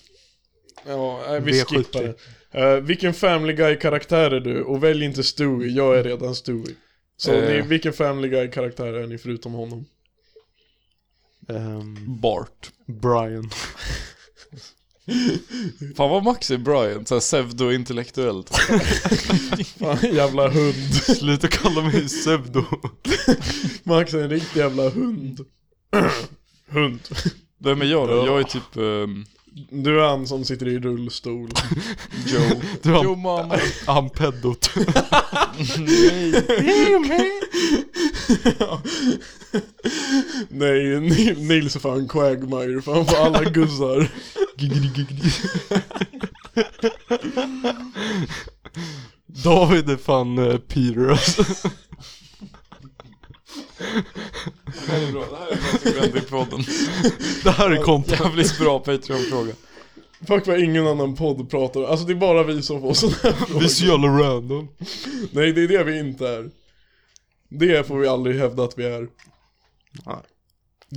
[SPEAKER 2] Ja, nej, vi
[SPEAKER 1] V70.
[SPEAKER 2] skippar det. Eh, vilken Family Guy-karaktär är du? Och välj inte Stewie, jag är redan Stewie. Så
[SPEAKER 3] Eh.
[SPEAKER 2] ni, vilken Family Guy-karaktär är ni förutom honom?
[SPEAKER 1] Ehm,
[SPEAKER 3] Bart.
[SPEAKER 1] Brian.
[SPEAKER 3] Fan vad Max är Brian, såhär pseudo-intellektuellt.
[SPEAKER 2] Fan, jävla hund.
[SPEAKER 1] Sluta kalla mig pseudo.
[SPEAKER 2] Max är en riktig jävla hund. hund.
[SPEAKER 3] Vem är jag då? Jag är typ ehm,
[SPEAKER 2] Du är han som sitter i rullstol. Joe.
[SPEAKER 1] Du
[SPEAKER 3] Jo
[SPEAKER 1] har
[SPEAKER 3] mamma.
[SPEAKER 1] ampeddot.
[SPEAKER 2] Nej, Ni- Nils är fan Quagmire, för han får alla gussar.
[SPEAKER 1] David är fan eh, Peter alltså.
[SPEAKER 3] Det här är bra. Det här är bra segment i podden.
[SPEAKER 1] Det här är content.
[SPEAKER 3] Jävligt bra Patreon-fråga.
[SPEAKER 2] Fuck vad ingen annan podd pratar Alltså det är bara vi som får sådana här
[SPEAKER 1] Vi är så
[SPEAKER 2] frågor.
[SPEAKER 1] jävla random.
[SPEAKER 2] Nej, det är det vi inte är. Det får vi aldrig hävda att vi är.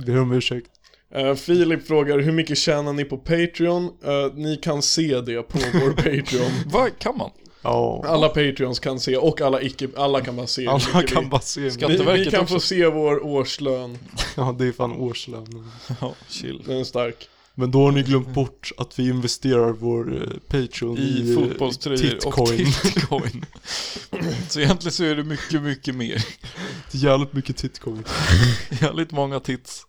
[SPEAKER 1] Ber om ursäkt.
[SPEAKER 2] Eh, Filip frågar, hur mycket tjänar ni på Patreon? Eh, ni kan se det på vår Patreon.
[SPEAKER 3] Vad kan man?
[SPEAKER 1] Ja.
[SPEAKER 2] Alla Patreons kan se, och alla icke, alla kan bara se. hur
[SPEAKER 1] Alla
[SPEAKER 2] mycket
[SPEAKER 1] kan
[SPEAKER 2] vi,
[SPEAKER 1] bara se mig.
[SPEAKER 3] Skatt-
[SPEAKER 2] vi, vi
[SPEAKER 3] Skatteverket
[SPEAKER 2] kan
[SPEAKER 3] också.
[SPEAKER 2] få se vår årslön.
[SPEAKER 1] Ja, det är fan årslönen.
[SPEAKER 3] Ja, chill.
[SPEAKER 2] Den är stark.
[SPEAKER 1] Men då har ni glömt bort att vi investerar vår eh, Patreon i,
[SPEAKER 3] I
[SPEAKER 1] eh,
[SPEAKER 3] fotbollströjor och
[SPEAKER 1] titcoin.
[SPEAKER 3] titcoin. Så egentligen så är det mycket, mycket mer.
[SPEAKER 1] Det är jävligt mycket titcoin.
[SPEAKER 3] Jävligt många tits.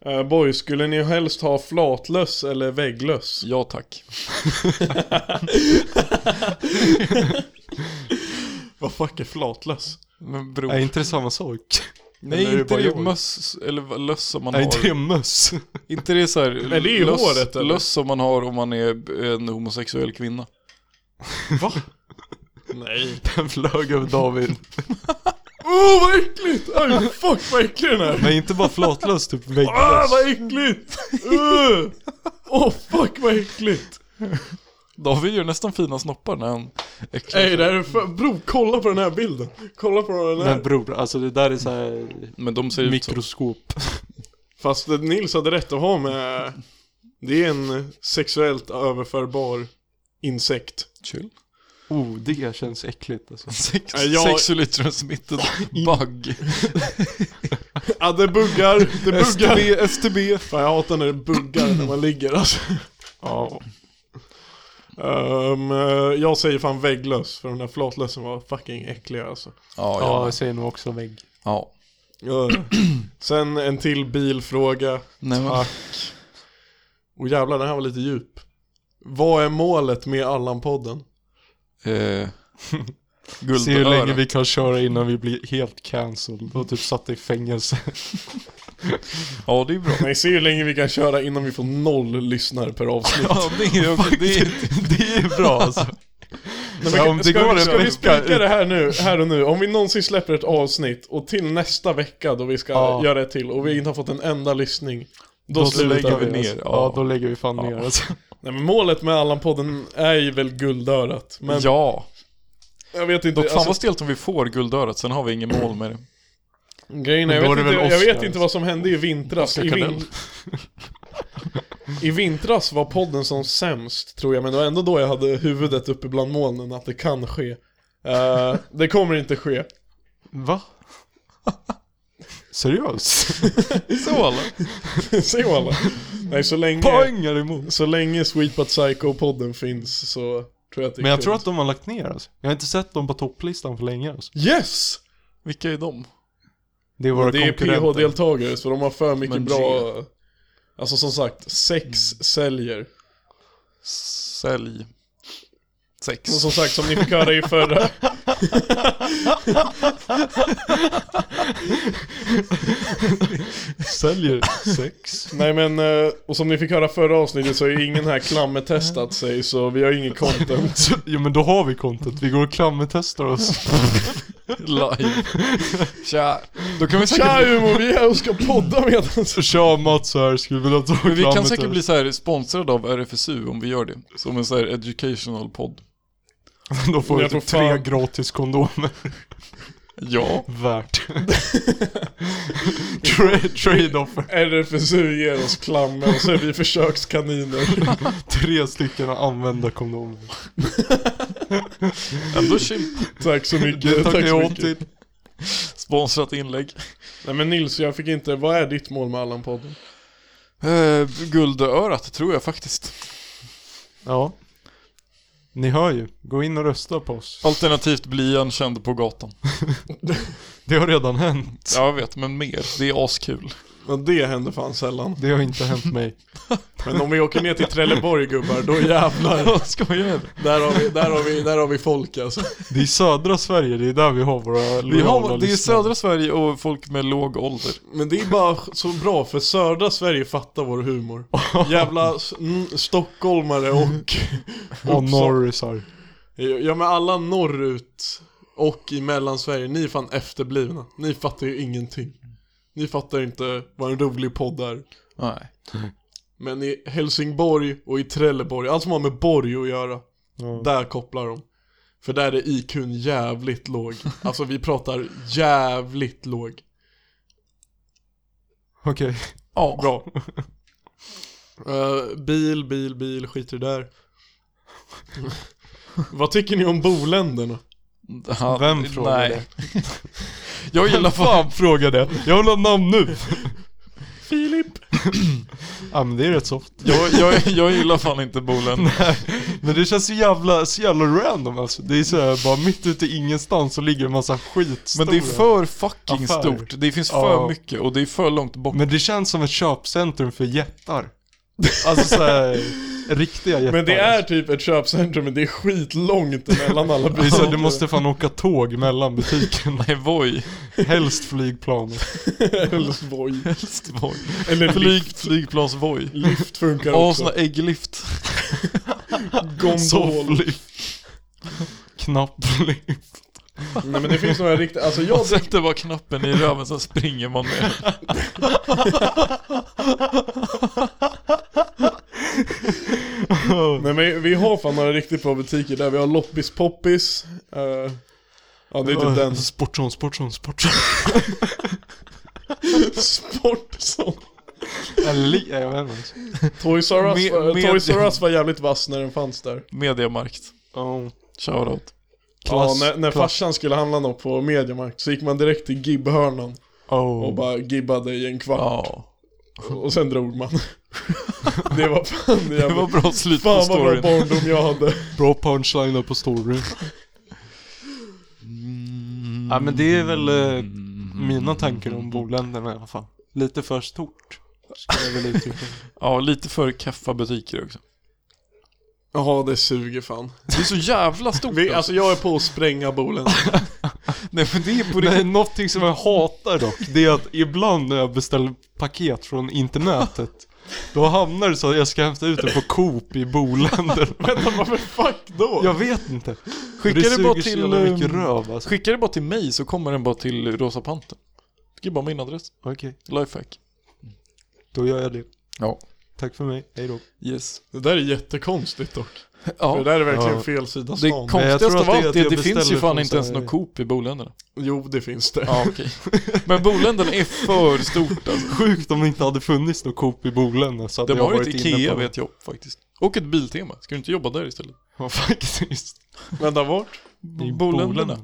[SPEAKER 2] Eh, boy, skulle ni helst ha flatlöss eller vägglöss?
[SPEAKER 3] Ja tack.
[SPEAKER 2] Vad fuck är flatlöss?
[SPEAKER 3] Men bror.
[SPEAKER 1] Är inte det samma sak?
[SPEAKER 3] Nej,
[SPEAKER 1] eller är det
[SPEAKER 3] inte
[SPEAKER 1] bara
[SPEAKER 3] det
[SPEAKER 1] jag?
[SPEAKER 3] möss eller vad- löss som man
[SPEAKER 1] Är
[SPEAKER 3] har.
[SPEAKER 1] inte det möss?
[SPEAKER 3] Inte det så här
[SPEAKER 2] Är det i
[SPEAKER 3] löss,
[SPEAKER 2] håret, eller?
[SPEAKER 3] löss som man har om man är en homosexuell kvinna.
[SPEAKER 2] Va? Nej.
[SPEAKER 1] Den flög över David.
[SPEAKER 2] Åh, oh, vad äckligt! Aj, fuck vad äcklig den är!
[SPEAKER 1] Nej, inte bara flatlös, typ
[SPEAKER 2] Ah,
[SPEAKER 1] vägglös.
[SPEAKER 2] vad äckligt! Åh, oh, fuck vad äckligt!
[SPEAKER 3] David gör nästan fina snoppar när han äcklar
[SPEAKER 2] Nej,
[SPEAKER 3] sig.
[SPEAKER 2] det här är för... Bro, kolla på den här bilden! Kolla på den här!
[SPEAKER 1] Men bror, alltså det typ där är så här
[SPEAKER 3] Men de ser ut så.
[SPEAKER 1] mikroskop.
[SPEAKER 2] Fast Nils hade rätt att ha med... Det är en sexuellt överförbar insekt.
[SPEAKER 3] Chill.
[SPEAKER 1] Oh, det känns äckligt alltså.
[SPEAKER 3] Sex,
[SPEAKER 2] Nej, jag-
[SPEAKER 3] Sexulyttrumsmittad bugg.
[SPEAKER 2] Ja, det buggar, det buggar.
[SPEAKER 3] STB, STB.
[SPEAKER 2] Fan, jag hatar när det buggar när man ligger alltså.
[SPEAKER 3] Ja.
[SPEAKER 2] Ehm, eh, jag säger fan vägglöss, för den där flatlössen var fucking äcklig alltså.
[SPEAKER 3] Ja,
[SPEAKER 1] Ja,
[SPEAKER 3] ja.
[SPEAKER 1] jag säger nog också vägg.
[SPEAKER 3] ja.
[SPEAKER 2] Ja. Sen en till bilfråga.
[SPEAKER 3] Nej, men,
[SPEAKER 2] Tack. Och jävlar, den här var lite djup. Vad är målet med Allan-podden?
[SPEAKER 3] eh,
[SPEAKER 1] Se hur länge
[SPEAKER 3] guldöra.
[SPEAKER 1] vi kan köra innan vi blir helt cancelled och typ satt i fängelse.
[SPEAKER 3] Ja, det är bra.
[SPEAKER 2] Nej, se hur länge vi kan köra innan vi får noll lyssnare per avsnitt.
[SPEAKER 3] Ja, det är, det är,
[SPEAKER 1] det är bra alltså. Ja, om det
[SPEAKER 2] ska
[SPEAKER 1] går
[SPEAKER 2] vi,
[SPEAKER 1] en
[SPEAKER 2] ska vi
[SPEAKER 1] vecka
[SPEAKER 2] spika
[SPEAKER 1] ut-
[SPEAKER 2] det här nu, här och nu? Om vi någonsin släpper ett avsnitt och till nästa vecka då vi ska
[SPEAKER 1] Ja.
[SPEAKER 2] göra ett till och vi inte har fått en enda lyssning. Då,
[SPEAKER 1] Då
[SPEAKER 2] slutar
[SPEAKER 1] lägger
[SPEAKER 2] vi.
[SPEAKER 1] vi ner.
[SPEAKER 3] alltså.
[SPEAKER 1] Ja, då lägger vi fan ner alltså.
[SPEAKER 2] Nej, men målet med Allan-podden är ju väl guldörat. Men
[SPEAKER 3] ja.
[SPEAKER 2] jag vet inte.
[SPEAKER 3] Dock fan
[SPEAKER 2] alltså,
[SPEAKER 3] vad stelt om vi får guldörat, sen har vi ingen mål med det.
[SPEAKER 2] Grejen är, jag,
[SPEAKER 1] Men
[SPEAKER 2] vet
[SPEAKER 1] då är
[SPEAKER 2] inte,
[SPEAKER 1] det väl
[SPEAKER 2] jag vet
[SPEAKER 1] Oscar.
[SPEAKER 2] inte vad som hände i vintras. I, vin... I vintras var podden som sämst tror jag, men det var ändå då jag hade huvudet uppe bland molnen att det kan ske. Eh, det kommer inte ske.
[SPEAKER 1] Va? Seriöst?
[SPEAKER 3] Så alla.
[SPEAKER 2] Se alla. Nej, så länge,
[SPEAKER 1] Poängar emot.
[SPEAKER 2] så länge Sweet But Psycho-podden finns så tror jag att det är
[SPEAKER 1] Men jag
[SPEAKER 2] kul.
[SPEAKER 1] tror att de har lagt ner alltså. Jag har inte sett dem på topplistan för länge alltså.
[SPEAKER 2] Yes!
[SPEAKER 3] Vilka är de?
[SPEAKER 1] Det är våra
[SPEAKER 2] Det är
[SPEAKER 1] konkurrenter.
[SPEAKER 2] PH-deltagare, så de har för mycket
[SPEAKER 3] Men
[SPEAKER 2] bra... Alltså som sagt, sex säljer.
[SPEAKER 3] Sälj. Sex.
[SPEAKER 2] Och som sagt, som ni fick höra i förra...
[SPEAKER 1] Säljer sex.
[SPEAKER 2] Nej men, eh, och som ni fick höra förra avsnittet så är ingen här klammetestat sig så vi har ingen content.
[SPEAKER 1] Så, ja men då har vi content. Vi går och klammetestar oss.
[SPEAKER 3] Live. Tja. Då kan vi säkert...
[SPEAKER 2] Tja Umo, vi är här och ska podda medans...
[SPEAKER 1] Tja Mats här, skulle vilja ta
[SPEAKER 3] Men vi kan
[SPEAKER 1] klammetest.
[SPEAKER 3] säkert bli så här sponsrade av RFSU om vi gör det. Som en så här educational podd.
[SPEAKER 1] Då får vi
[SPEAKER 2] Jag
[SPEAKER 1] typ
[SPEAKER 2] tror
[SPEAKER 1] tre
[SPEAKER 2] fan-
[SPEAKER 1] gratis kondomer.
[SPEAKER 3] Ja.
[SPEAKER 1] Värt. Tra- Trade-offer.
[SPEAKER 2] RFSU ger oss klammer och så är vi försökskaniner.
[SPEAKER 1] Tre stycken använda kondomer.
[SPEAKER 3] Ändå chill.
[SPEAKER 2] Tack så
[SPEAKER 1] Det
[SPEAKER 2] mycket,
[SPEAKER 1] tackar
[SPEAKER 2] tack så
[SPEAKER 1] jag
[SPEAKER 2] mycket.
[SPEAKER 1] till.
[SPEAKER 3] Sponsrat inlägg.
[SPEAKER 2] Nej men Nils, jag fick inte, vad är ditt mål med Allan-podden?
[SPEAKER 3] Eh, guldörat tror jag faktiskt.
[SPEAKER 1] Ja. Ni hör ju. Gå in och rösta på oss.
[SPEAKER 3] Alternativt bli en känd på gatan.
[SPEAKER 1] Det har redan hänt.
[SPEAKER 3] Ja, jag vet, men mer. Det är askul.
[SPEAKER 2] Men det händer fan sällan.
[SPEAKER 1] Det har inte hänt mig.
[SPEAKER 2] Men om vi åker ner till Trelleborg gubbar, då jävlar.
[SPEAKER 1] Skojar du?
[SPEAKER 2] Där har vi, där har vi, där har vi folk alltså.
[SPEAKER 1] Det är södra Sverige, det är där vi har våra
[SPEAKER 3] Vi har,
[SPEAKER 1] lojala
[SPEAKER 3] det är
[SPEAKER 1] lyssnare.
[SPEAKER 3] södra Sverige och folk med låg ålder.
[SPEAKER 2] Men det är bara så bra för södra Sverige fattar vår humor. Jävla s- mm, stockholmare och...
[SPEAKER 1] Och norrisar.
[SPEAKER 2] Ja men alla norrut och i mellansverige, ni är fan efterblivna. Ni fattar ju ingenting. Ni fattar inte vad en rolig podd är.
[SPEAKER 3] Nej.
[SPEAKER 2] Men i Helsingborg och i Trelleborg, allt som har med borg att göra,
[SPEAKER 1] Ja.
[SPEAKER 2] där kopplar de. För där är IQn jävligt låg. Alltså vi pratar jävligt låg.
[SPEAKER 1] Okej.
[SPEAKER 2] Ja. Bra. Eh, bil, bil, bil, skit i det där. Vad tycker ni om boländerna?
[SPEAKER 3] Han,
[SPEAKER 1] Vem frågar
[SPEAKER 3] nej. Jag gillar fan
[SPEAKER 1] Frågade. Jag vill ha namn nu.
[SPEAKER 2] Filip!
[SPEAKER 1] Ja men det är rätt soft.
[SPEAKER 3] Jag, jag, jag gillar fan inte Bolund.
[SPEAKER 1] Men det känns så jävla, så jävla random alltså. Det är så här, bara mitt ute i ingenstans så ligger en massa skitstora.
[SPEAKER 3] Men det är för fucking
[SPEAKER 1] Affär.
[SPEAKER 3] stort. Det finns för
[SPEAKER 1] Ja.
[SPEAKER 3] mycket och det är för långt bort.
[SPEAKER 1] Men det känns som ett köpcentrum för jättar. Alltså så här, riktiga jättar.
[SPEAKER 2] Men det är typ ett köpcentrum, men det är skitlångt emellan alla
[SPEAKER 1] Det är så här,
[SPEAKER 2] butiker.
[SPEAKER 1] du måste fan åka tåg mellan butikerna.
[SPEAKER 3] Nej, Voi.
[SPEAKER 1] Helst flygplan.
[SPEAKER 2] Helsingborg.
[SPEAKER 3] Helst Voi.
[SPEAKER 2] Eller
[SPEAKER 3] Flyg,
[SPEAKER 2] lift.
[SPEAKER 3] flygplans-Voi.
[SPEAKER 2] Lift funkar
[SPEAKER 3] Ja,
[SPEAKER 2] också.
[SPEAKER 3] sån här ägglift.
[SPEAKER 2] Gondol.
[SPEAKER 1] Sofflift. Knapplift.
[SPEAKER 2] Nej men det finns några riktiga, alltså jag
[SPEAKER 3] Man sätter bara knappen i röven, sen springer man med.
[SPEAKER 2] Nej men vi har fan några riktigt bra butiker där, vi har Loppis Poppis eh, Ja det är typ den
[SPEAKER 1] Sportson, sportson, sportson.
[SPEAKER 2] Sportson
[SPEAKER 1] Eller, jag vet inte.
[SPEAKER 2] Toys R Us,
[SPEAKER 3] Med-
[SPEAKER 2] var-
[SPEAKER 3] med-
[SPEAKER 2] Toys R Us var jävligt vass när den fanns där
[SPEAKER 3] Mediamarkt.
[SPEAKER 1] Ja.
[SPEAKER 3] Shoutout.
[SPEAKER 1] Klass,
[SPEAKER 2] Ja när, när
[SPEAKER 1] klass.
[SPEAKER 2] farsan skulle handla något på Mediamarkt så gick man direkt till Gibbhörnan och
[SPEAKER 1] Oh.
[SPEAKER 2] bara gibbade i en kvart
[SPEAKER 3] Ja.
[SPEAKER 2] och sen drog man Det var fan det
[SPEAKER 3] Det var
[SPEAKER 2] jävla
[SPEAKER 3] bra slut på
[SPEAKER 2] Fan vad bra
[SPEAKER 3] storyn.
[SPEAKER 2] barndom jag hade
[SPEAKER 1] Bra punchline där på story. Ja men det är väl eh, mina tankar om boländerna i alla fall. Lite för stort. Skulle jag väl uttrycka det.
[SPEAKER 3] Ja, lite för kaffa butiker också.
[SPEAKER 2] Ja det suger fan
[SPEAKER 3] Det är så jävla stort.
[SPEAKER 2] vi,
[SPEAKER 3] alltså.
[SPEAKER 2] Alltså jag är på att spränga bolen
[SPEAKER 3] Nej men det är på
[SPEAKER 1] Nej,
[SPEAKER 3] riktigt.
[SPEAKER 1] någonting som jag hatar dock, det är att ibland när jag beställer paket från internetet, då hamnar det så att jag ska hämta ut det på Coop i Boländerna.
[SPEAKER 2] Vänta varför fuck då?
[SPEAKER 1] Jag vet inte.
[SPEAKER 3] Skicka
[SPEAKER 1] det
[SPEAKER 3] det, bara
[SPEAKER 1] suger så
[SPEAKER 3] till...
[SPEAKER 1] jävla mycket
[SPEAKER 3] ehm,
[SPEAKER 1] röv alltså.
[SPEAKER 3] Skicka det bara till mig så kommer den bara till Rosa Panten. Skriv bara min adress.
[SPEAKER 1] Okej,
[SPEAKER 3] Lifehack.
[SPEAKER 1] då gör jag det.
[SPEAKER 3] Ja.
[SPEAKER 1] Tack för mig, hejdå.
[SPEAKER 3] Yes.
[SPEAKER 2] Det där är jättekonstigt dock. För
[SPEAKER 3] Ja.
[SPEAKER 2] det där är verkligen
[SPEAKER 1] Ja.
[SPEAKER 2] fel sida
[SPEAKER 3] Det
[SPEAKER 2] stan.
[SPEAKER 1] jag
[SPEAKER 3] konstigaste
[SPEAKER 1] tror att
[SPEAKER 3] av
[SPEAKER 1] det är
[SPEAKER 3] allt
[SPEAKER 1] att
[SPEAKER 3] är
[SPEAKER 1] jag
[SPEAKER 3] att det finns ju
[SPEAKER 1] beställer
[SPEAKER 3] fan
[SPEAKER 1] från
[SPEAKER 3] inte ens
[SPEAKER 1] Sverige.
[SPEAKER 3] någon Coop i boländerna.
[SPEAKER 2] Jo, det finns det.
[SPEAKER 3] Ja okej. Men boländerna är för stort alltså.
[SPEAKER 1] Sjukt om det inte hade funnits något Coop i Boländerna så hade
[SPEAKER 3] De
[SPEAKER 1] jag
[SPEAKER 3] har ju
[SPEAKER 1] varit
[SPEAKER 3] ett
[SPEAKER 1] inne
[SPEAKER 3] Ikea
[SPEAKER 1] på det.
[SPEAKER 3] vet jag faktiskt. Och ett Biltema. Ska du inte jobba där istället?
[SPEAKER 1] Ja faktiskt.
[SPEAKER 2] Vänta, vart?
[SPEAKER 1] I
[SPEAKER 3] Boländerna.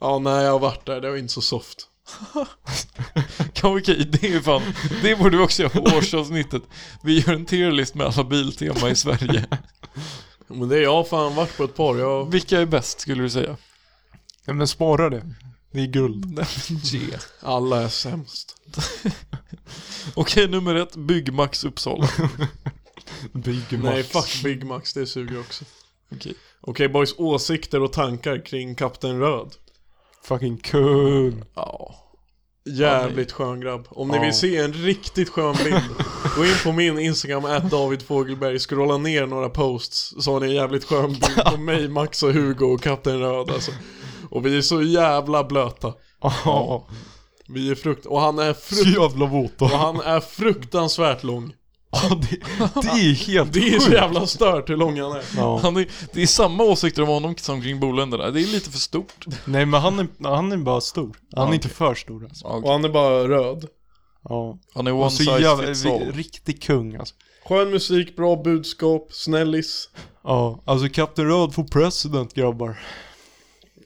[SPEAKER 2] Ja, nej jag har varit där, det var inte så soft.
[SPEAKER 3] Ja, okej, det är fan, det borde vi också göra på årsavsnittet. Vi gör en tier list med alla Biltema i Sverige.
[SPEAKER 2] Men det har jag har fan varit på ett par, jag...
[SPEAKER 3] Vilka är bäst skulle du säga?
[SPEAKER 1] Ja, men spara det. Det är guld.
[SPEAKER 3] Nej, men ge.
[SPEAKER 2] Alla är sämst.
[SPEAKER 3] Okej, nummer ett, Byggmax Uppsala.
[SPEAKER 1] Bygg
[SPEAKER 2] Nej,
[SPEAKER 1] Max.
[SPEAKER 2] fuck Big Max, det suger också.
[SPEAKER 3] Okej.
[SPEAKER 2] Okej boys, åsikter och tankar kring Kapten Röd.
[SPEAKER 1] Fucking kung.
[SPEAKER 3] Ja.
[SPEAKER 2] Jävligt skön grabb. Om ni
[SPEAKER 1] Ja.
[SPEAKER 2] vill se en riktigt skön bild, gå in på min Instagram, at David Fogelberg, scrolla ner några posts, så har ni en jävligt skön bild på mig, Max och Hugo och Kapten Röd alltså. Och vi är så jävla blöta.
[SPEAKER 1] Ja.
[SPEAKER 2] Vi är frukt... Och han är,
[SPEAKER 1] Så
[SPEAKER 2] frukt,
[SPEAKER 1] jävla våta.
[SPEAKER 2] och han är fruktansvärt lång.
[SPEAKER 1] Ja, det, det är helt
[SPEAKER 2] Det är så
[SPEAKER 1] sjukt.
[SPEAKER 2] jävla stört hur lång han är.
[SPEAKER 1] Ja.
[SPEAKER 3] Han är, det är samma åsikter om honom som kring boländerna. Det är lite för stort.
[SPEAKER 1] Nej men han är, han är bara stor. Han är
[SPEAKER 3] Ja,
[SPEAKER 1] inte för stor alltså.
[SPEAKER 3] Ja,
[SPEAKER 2] Och
[SPEAKER 3] okej.
[SPEAKER 2] han är bara röd.
[SPEAKER 1] Ja.
[SPEAKER 3] Han är one
[SPEAKER 1] Och så
[SPEAKER 3] size
[SPEAKER 1] jävla,
[SPEAKER 3] fits
[SPEAKER 1] vi-
[SPEAKER 3] all.
[SPEAKER 1] riktig kung alltså.
[SPEAKER 2] Skön musik, bra budskap, snällis.
[SPEAKER 1] Ja, alltså Kapten Röd får president grabbar.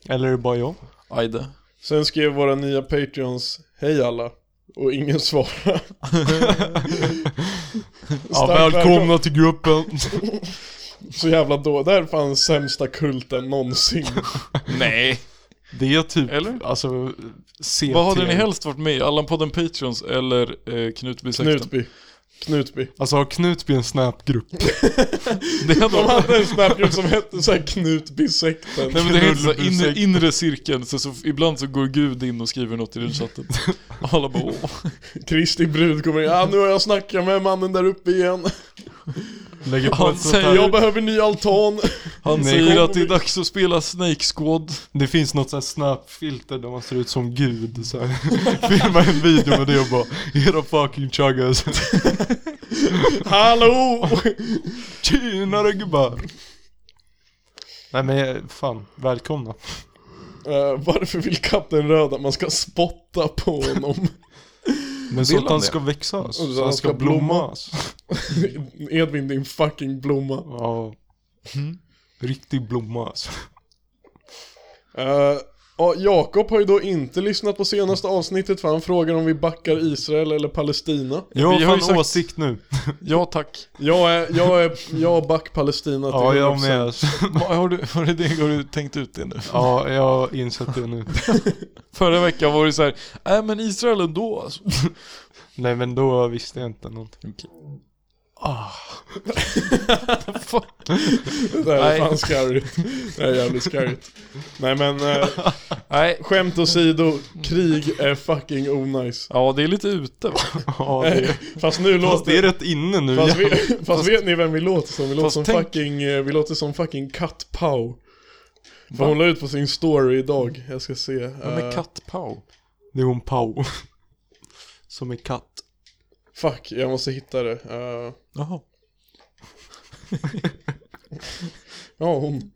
[SPEAKER 1] Eller är det bara jag?
[SPEAKER 3] Ajde.
[SPEAKER 2] Sen skrev våra nya Patreons, hej alla. Och ingen svarade.
[SPEAKER 1] Ja,
[SPEAKER 2] Starkt
[SPEAKER 1] välkomna till gruppen.
[SPEAKER 2] Så jävla då, det här är fan sämsta kulten någonsin.
[SPEAKER 3] Nej.
[SPEAKER 1] Det är typ,
[SPEAKER 3] Eller?
[SPEAKER 1] alltså, CT.
[SPEAKER 3] Vad hade ni helst varit med i? Allan-podden Patreons eller eh, Knutby sekten?
[SPEAKER 2] Knutby. Knutby.
[SPEAKER 1] Alltså har Knutby en snapgrupp?
[SPEAKER 3] Det hade
[SPEAKER 2] De
[SPEAKER 3] varit...
[SPEAKER 2] hade en snapgrupp som hette såhär Knutby-sekten.
[SPEAKER 3] Nej men det heter så här, inre,
[SPEAKER 1] Knutby-sekten.
[SPEAKER 3] inre cirkeln, så, så ibland så går Gud in och skriver något i den chatten. Och alla bara åh.
[SPEAKER 2] Kristi brud kommer in, ah, nu har jag snackat med mannen där uppe igen.
[SPEAKER 1] Lägger på
[SPEAKER 3] Han
[SPEAKER 1] ett sånt här,
[SPEAKER 3] säger-
[SPEAKER 2] Jag behöver ny altan.
[SPEAKER 3] Han
[SPEAKER 1] Nej.
[SPEAKER 3] säger att det är dags att spela Snake Squad.
[SPEAKER 1] det finns något sånt här snapfilter där man ser ut som gud så här. Filma en video med det och bara Era fucking chuggas
[SPEAKER 2] Hallå!
[SPEAKER 1] Tjenare gubbar! Nej men eh, fan, välkomna
[SPEAKER 2] Eh, varför vill Kapten Röd att man ska spotta på honom?
[SPEAKER 1] Men så
[SPEAKER 3] Vill
[SPEAKER 1] att
[SPEAKER 3] han
[SPEAKER 1] han
[SPEAKER 3] det?
[SPEAKER 1] ska växas,
[SPEAKER 2] så
[SPEAKER 1] så han ska blommas
[SPEAKER 2] Edvin din fucking blomma.
[SPEAKER 1] Ja
[SPEAKER 3] Mm.
[SPEAKER 1] Riktig blomma alltså.
[SPEAKER 2] Eh, ja, Jakob har ju då inte lyssnat på senaste avsnittet för han frågar om vi backar Israel eller Palestina.
[SPEAKER 1] Jag
[SPEAKER 3] vi har
[SPEAKER 1] har fan
[SPEAKER 3] ju sagt-
[SPEAKER 1] åsikt nu
[SPEAKER 3] Ja tack.
[SPEAKER 2] Jag är, jag är, jag back Palestina till
[SPEAKER 1] Ja jag
[SPEAKER 2] 100%.
[SPEAKER 1] med alltså.
[SPEAKER 3] Vad- Har du, har, du, har du tänkt ut det nu?
[SPEAKER 1] Ja jag har insett det nu
[SPEAKER 3] Förra veckan var det så här, nej men Israel ändå alltså.
[SPEAKER 1] Nej men då visste jag inte någonting
[SPEAKER 2] Det här är
[SPEAKER 3] Nej.
[SPEAKER 2] fan skarrigt. Det här är jävligt skarrigt. Nej men, eh,
[SPEAKER 3] Nej.
[SPEAKER 2] skämt åsido, krig är fucking onajs.
[SPEAKER 3] Ja det är lite ute va?
[SPEAKER 1] Ja det
[SPEAKER 2] Fast nu
[SPEAKER 1] Fast det
[SPEAKER 2] låter...
[SPEAKER 1] är rätt inne nu
[SPEAKER 2] Fast,
[SPEAKER 1] ja.
[SPEAKER 2] vi, fast, vet ni vem vi låter som? Vi låter
[SPEAKER 3] Fast
[SPEAKER 2] som,
[SPEAKER 3] tänk-
[SPEAKER 2] fucking, eh, vi låter som fucking Kat Pau. För hon la ut på sin story idag, jag ska se.
[SPEAKER 3] Men
[SPEAKER 2] Eh,
[SPEAKER 3] med kattpaw.
[SPEAKER 1] Det är hon Pau Som är katt
[SPEAKER 2] Fuck, jag måste hitta det. Eh,
[SPEAKER 3] Jaha.
[SPEAKER 2] ja, hon.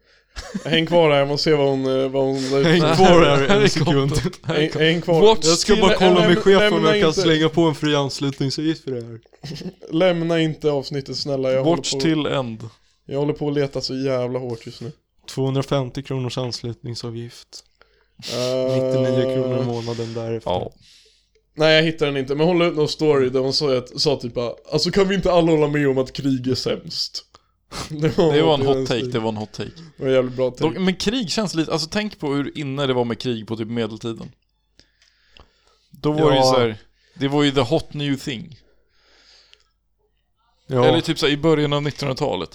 [SPEAKER 2] Häng kvar här, jag måste se vad hon, eh, vad hon la ut.
[SPEAKER 1] Häng kvar här en sekund
[SPEAKER 2] Häng, häng kvar.
[SPEAKER 3] What?
[SPEAKER 1] Jag ska
[SPEAKER 3] Till-
[SPEAKER 1] bara kolla med
[SPEAKER 2] lämna-
[SPEAKER 1] chefen om jag
[SPEAKER 2] lämna
[SPEAKER 1] kan
[SPEAKER 2] inte-
[SPEAKER 1] slänga på en fri anslutningsavgift för det här
[SPEAKER 2] Lämna inte avsnittet snälla, jag håller,
[SPEAKER 3] Watch
[SPEAKER 2] på,
[SPEAKER 3] till end.
[SPEAKER 2] jag håller på att leta så jävla hårt just nu.
[SPEAKER 1] 250 kronors anslutningsavgift
[SPEAKER 2] Eh,
[SPEAKER 1] 99 kronor i månaden därefter
[SPEAKER 3] Ja.
[SPEAKER 2] Nej jag hittar den inte, men hon la ut någon story där hon sa, att, sa typ bara, Alltså kan vi inte alla hålla med om att krig är sämst? Det var,
[SPEAKER 3] Det var en
[SPEAKER 2] det var
[SPEAKER 3] hot take,
[SPEAKER 2] stil.
[SPEAKER 3] det var en hot take.
[SPEAKER 2] Det var en jävligt bra take.
[SPEAKER 3] Dock, men krig känns lite, alltså tänk på hur inne det var med krig på typ medeltiden. Då var det
[SPEAKER 1] Ja.
[SPEAKER 3] ju såhär, det var ju the hot new thing. Eller
[SPEAKER 1] Ja,
[SPEAKER 3] typ såhär i början av 1900-talet.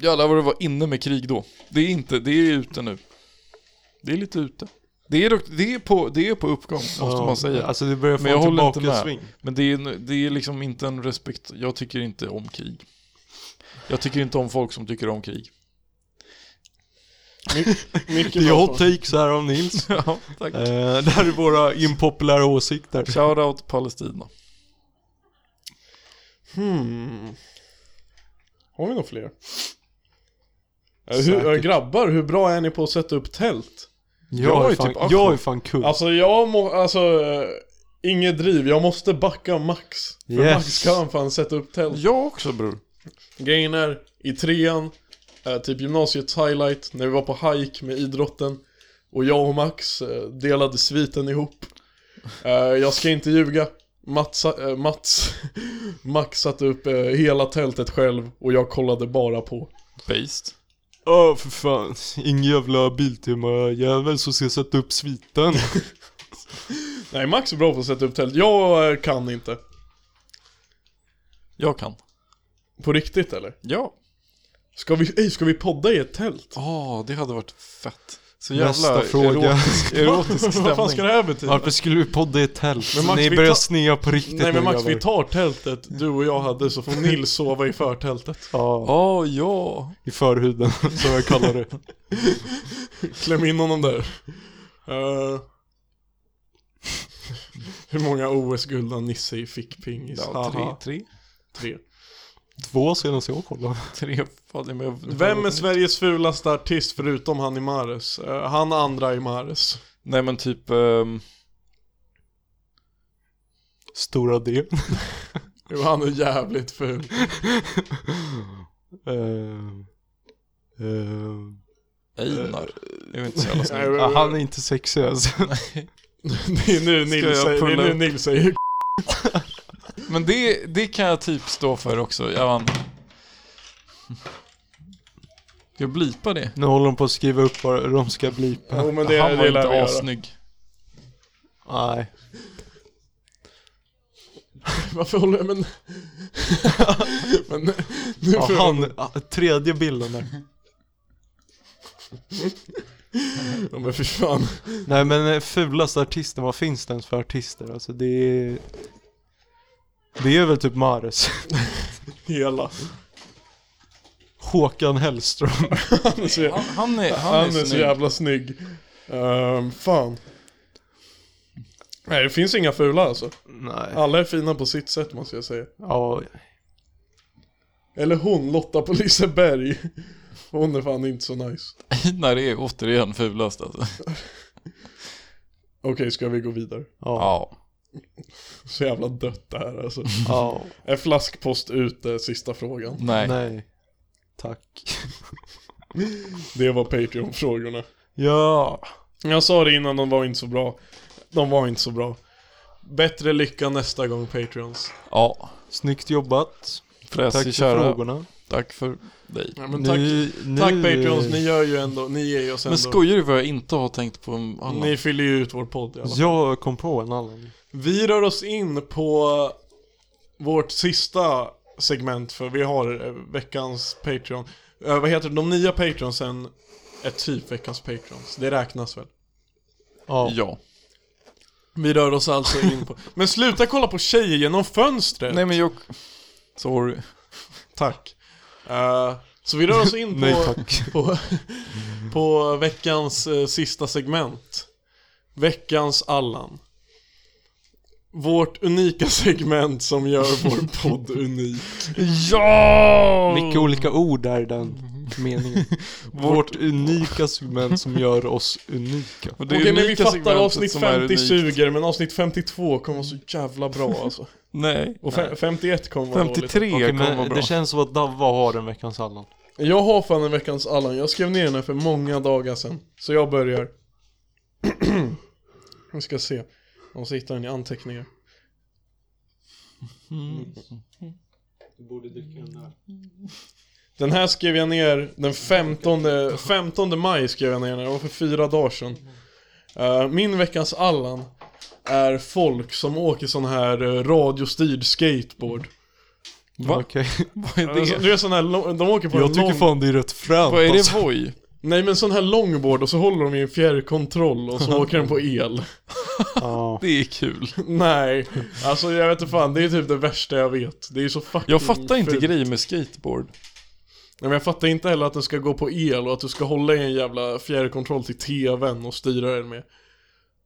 [SPEAKER 3] Jävlar vad det var inne med krig då. Det är inte, det är ute nu. Det är lite ute. Det är, dock, det är, på, det är på uppgång, måste
[SPEAKER 1] ja.
[SPEAKER 3] man säga.
[SPEAKER 1] Alltså det börjar få
[SPEAKER 3] Men jag
[SPEAKER 1] en
[SPEAKER 3] håller inte
[SPEAKER 1] tillbakasving
[SPEAKER 3] Men det är, en- det är liksom inte en respekt, jag tycker inte om krig. Jag tycker inte om folk som tycker om krig.
[SPEAKER 2] Mycket
[SPEAKER 1] Det är
[SPEAKER 2] bra
[SPEAKER 1] hot
[SPEAKER 2] svar.
[SPEAKER 1] takes här av Nils
[SPEAKER 3] Ja, tack.
[SPEAKER 1] Eh, det här är våra impopulära åsikter.
[SPEAKER 3] Shoutout Palestina.
[SPEAKER 2] Hmm. Har vi några fler? Eh, Hur,
[SPEAKER 1] Säkert.
[SPEAKER 2] eh, grabbar, hur bra är ni på att sätta upp tält?
[SPEAKER 1] Jag är fan,
[SPEAKER 3] typ-
[SPEAKER 1] jag är fan kung.
[SPEAKER 2] Alltså jag må, alltså eh, Inget driv, jag måste backa Max. För
[SPEAKER 1] Yes.
[SPEAKER 2] Max kan fan sätta upp tält.
[SPEAKER 3] Jag också bror.
[SPEAKER 2] Grejen är, i trean, eh, typ gymnasiets highlight, när vi var på hike med idrotten och jag och Max eh, delade sviten ihop. Eh, jag ska inte ljuga, Mats, eh, Mats Max satte upp eh, hela tältet själv och jag kollade bara på.
[SPEAKER 3] Based.
[SPEAKER 1] Åh för fan, ingen jävla Biltema-jävel som ska sätta upp sviten.
[SPEAKER 2] Nej, Max är bra på att sätta upp tält. Jag eh, kan inte.
[SPEAKER 3] Jag kan.
[SPEAKER 2] På riktigt eller?
[SPEAKER 3] Ja.
[SPEAKER 2] Ska vi, ey, ska vi podda i ett tält?
[SPEAKER 3] Ja, Ah, det hade varit fett. Så
[SPEAKER 1] Nästa fråga.
[SPEAKER 3] erotisk, erotisk
[SPEAKER 2] Vad fan ska
[SPEAKER 3] stämning.
[SPEAKER 2] det här betyda?
[SPEAKER 1] Varför skulle vi podda i ett tält?
[SPEAKER 2] Men Max,
[SPEAKER 1] Ni
[SPEAKER 2] vi
[SPEAKER 1] börjar
[SPEAKER 2] tar-
[SPEAKER 1] snea på riktigt
[SPEAKER 2] Nej men
[SPEAKER 1] nu,
[SPEAKER 2] Max, vi
[SPEAKER 1] grabbar.
[SPEAKER 2] tar tältet du och jag hade så får Nils sova i förtältet.
[SPEAKER 1] Ja,
[SPEAKER 3] Ja, Ah, ja.
[SPEAKER 1] i förhuden, som jag kallar det.
[SPEAKER 2] Kläm in honom där. Eh, hur många OS-guld har Nisse i fickpingis?
[SPEAKER 3] ja tre,
[SPEAKER 1] Aha.
[SPEAKER 3] tre,
[SPEAKER 2] Tre.
[SPEAKER 1] Två senast jag kollade.
[SPEAKER 3] tre. Fan, det är med,
[SPEAKER 2] Vem är Sveriges fulaste artist förutom han i Mares? Eh, han andra i Mares.
[SPEAKER 3] Nej men typ, ehm,
[SPEAKER 1] Stora D.
[SPEAKER 2] Jo, han är jävligt ful.
[SPEAKER 1] Eh, eh,
[SPEAKER 3] Einar. Det är inte så jävla snyggt.
[SPEAKER 2] Eh, Nej,
[SPEAKER 1] ah, han är inte sexig alltså.
[SPEAKER 2] Det är nu
[SPEAKER 3] jag
[SPEAKER 2] Nils säger, det är
[SPEAKER 3] pulla
[SPEAKER 2] nu
[SPEAKER 3] upp?
[SPEAKER 2] Nils säger
[SPEAKER 3] Men det, det kan jag typ stå för också. Jag vann. Jag blipar det.
[SPEAKER 1] Nu håller de på att skriva upp vad de ska blipa.
[SPEAKER 2] Jo men det,
[SPEAKER 3] Han var
[SPEAKER 2] det lär vi
[SPEAKER 3] inte
[SPEAKER 2] göra.
[SPEAKER 3] assnygg.
[SPEAKER 1] Nej.
[SPEAKER 2] Varför håller jag men... men nu
[SPEAKER 1] Ja,
[SPEAKER 2] får jag...
[SPEAKER 1] han, ja, tredje bilden där.
[SPEAKER 2] Ja, men fy fan.
[SPEAKER 1] Nej men eh, fulaste artisten, vad finns det ens för artister? Alltså det är... Det är väl typ Mares.
[SPEAKER 2] Hela.
[SPEAKER 1] Håkan Hellström.
[SPEAKER 2] Han är så, jä-
[SPEAKER 3] Han, han är, han
[SPEAKER 2] han
[SPEAKER 3] är
[SPEAKER 2] är så
[SPEAKER 3] snygg.
[SPEAKER 2] jävla snygg. Ehm, fan. Nej det finns inga fula alltså.
[SPEAKER 1] Nej.
[SPEAKER 2] Alla är fina på sitt sätt måste jag säga.
[SPEAKER 1] Ja,
[SPEAKER 2] Eller hon, Lotta på Liseberg. Hon är fan inte så nice.
[SPEAKER 3] När det är återigen fulast alltså.
[SPEAKER 2] Okej, ska vi gå vidare?
[SPEAKER 1] ja,
[SPEAKER 3] Ja.
[SPEAKER 2] Så jävla dött det här alltså.
[SPEAKER 1] ja.
[SPEAKER 2] Är flaskpost ute? Sista frågan.
[SPEAKER 3] Nej.
[SPEAKER 1] Nej. Tack.
[SPEAKER 2] Det var Patreon-frågorna.
[SPEAKER 1] Ja.
[SPEAKER 2] Jag sa det innan, de var inte så bra. De var inte så bra. Bättre lycka nästa gång Patreons.
[SPEAKER 3] Ja.
[SPEAKER 1] Snyggt jobbat. Tack för
[SPEAKER 3] Fräsig kära.
[SPEAKER 1] frågorna.
[SPEAKER 3] Tack för dig.
[SPEAKER 2] Ja, men tack, tack Patreons, ni gör ju ändå, ni ger ju oss ändå.
[SPEAKER 3] Men skojar du vad jag inte har tänkt på en annan?
[SPEAKER 2] Ni fyller ju ut vår podd i alla fall.
[SPEAKER 1] Jag kom på en annan.
[SPEAKER 2] Vi rör oss in på vårt sista segment för vi har eh, veckans Patreon. Eh, vad heter det? De nya Patreonsen är typ veckans Patreons. Det räknas väl?
[SPEAKER 1] Ja.
[SPEAKER 3] Ja.
[SPEAKER 2] Vi rör oss alltså in på... Men sluta kolla på tjejer genom fönstret!
[SPEAKER 3] Nej men jag... Sorry.
[SPEAKER 2] Tack. Eh, så vi rör oss in på,
[SPEAKER 1] Nej tack.
[SPEAKER 2] på, på veckans eh, sista segment. Veckans Allan. Vårt unika segment som gör vår podd unik.
[SPEAKER 3] Ja!
[SPEAKER 1] Mycket olika ord där i den meningen. Vårt unika segment som gör oss unika.
[SPEAKER 3] Och det
[SPEAKER 2] Okej men vi
[SPEAKER 3] unika
[SPEAKER 2] fattar
[SPEAKER 3] segmentet
[SPEAKER 2] avsnitt
[SPEAKER 3] som är
[SPEAKER 2] 50
[SPEAKER 3] unikt.
[SPEAKER 2] suger men avsnitt 52 kommer vara så jävla bra alltså.
[SPEAKER 3] Nej.
[SPEAKER 2] Och fe- 51 kommer vara dåligt.
[SPEAKER 3] 53
[SPEAKER 1] Okej,
[SPEAKER 3] kommer vara
[SPEAKER 1] men
[SPEAKER 3] bra.
[SPEAKER 1] det känns som att Davva har en veckans Allan.
[SPEAKER 2] Jag har fan en veckans Allan, jag skrev ner den här för många dagar sedan. Så jag börjar. Vi ska se. Om så hittar den i anteckningar. Den här skrev jag ner den 15, 15 maj skrev jag ner den, det var för fyra dagar sedan. Eh, min veckans Allan är folk som åker sån här eh, radiostyrd skateboard.
[SPEAKER 3] Va?
[SPEAKER 1] Okej.
[SPEAKER 3] Vad är
[SPEAKER 2] Alltså,
[SPEAKER 3] det?
[SPEAKER 2] du är sån här, lång- de åker på en
[SPEAKER 1] Jag tycker
[SPEAKER 2] lång...
[SPEAKER 1] fan det är rätt fränt
[SPEAKER 3] Vad är det
[SPEAKER 1] alltså.
[SPEAKER 3] voj?
[SPEAKER 2] Nej men sån här longboard och så håller de i en fjärrkontroll och så åker den på el.
[SPEAKER 1] Ja.
[SPEAKER 3] Det är kul.
[SPEAKER 2] Nej, alltså jag vet inte fan, det är typ det värsta jag vet. Det är så fucking
[SPEAKER 3] Jag fattar inte
[SPEAKER 2] fult.
[SPEAKER 3] grejer med skateboard.
[SPEAKER 2] Nej men jag fattar inte heller att den ska gå på el och att du ska hålla i en jävla fjärrkontroll till tvn och styra den med.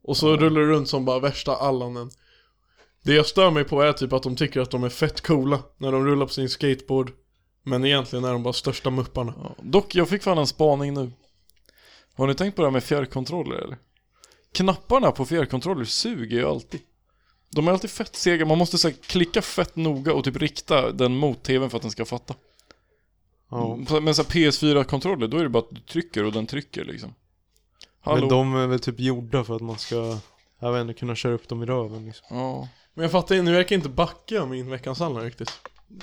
[SPEAKER 2] Och så rullar du runt som bara värsta allanen. Det jag stör mig på är typ att de tycker att de är fett coola när de rullar på sin skateboard. Men egentligen är de bara största mupparna.
[SPEAKER 3] Ja. Dock, jag fick fan en spaning nu. Har ni tänkt på det här med fjärrkontroller eller? Knapparna på fjärrkontroller suger ju alltid. De är alltid fett sega, man måste så här, klicka fett noga och typ rikta den mot tvn för att den ska fatta.
[SPEAKER 1] Ja.
[SPEAKER 3] Mm. Men så här, PS4-kontroller, då är det bara att du trycker och den trycker liksom. Hallå?
[SPEAKER 1] Men de är väl typ gjorda för att man ska, jag vet inte, kunna köra upp dem i röven liksom.
[SPEAKER 3] Ja.
[SPEAKER 2] Men jag fattar inte, nu verkar inte backa min veckans allan riktigt.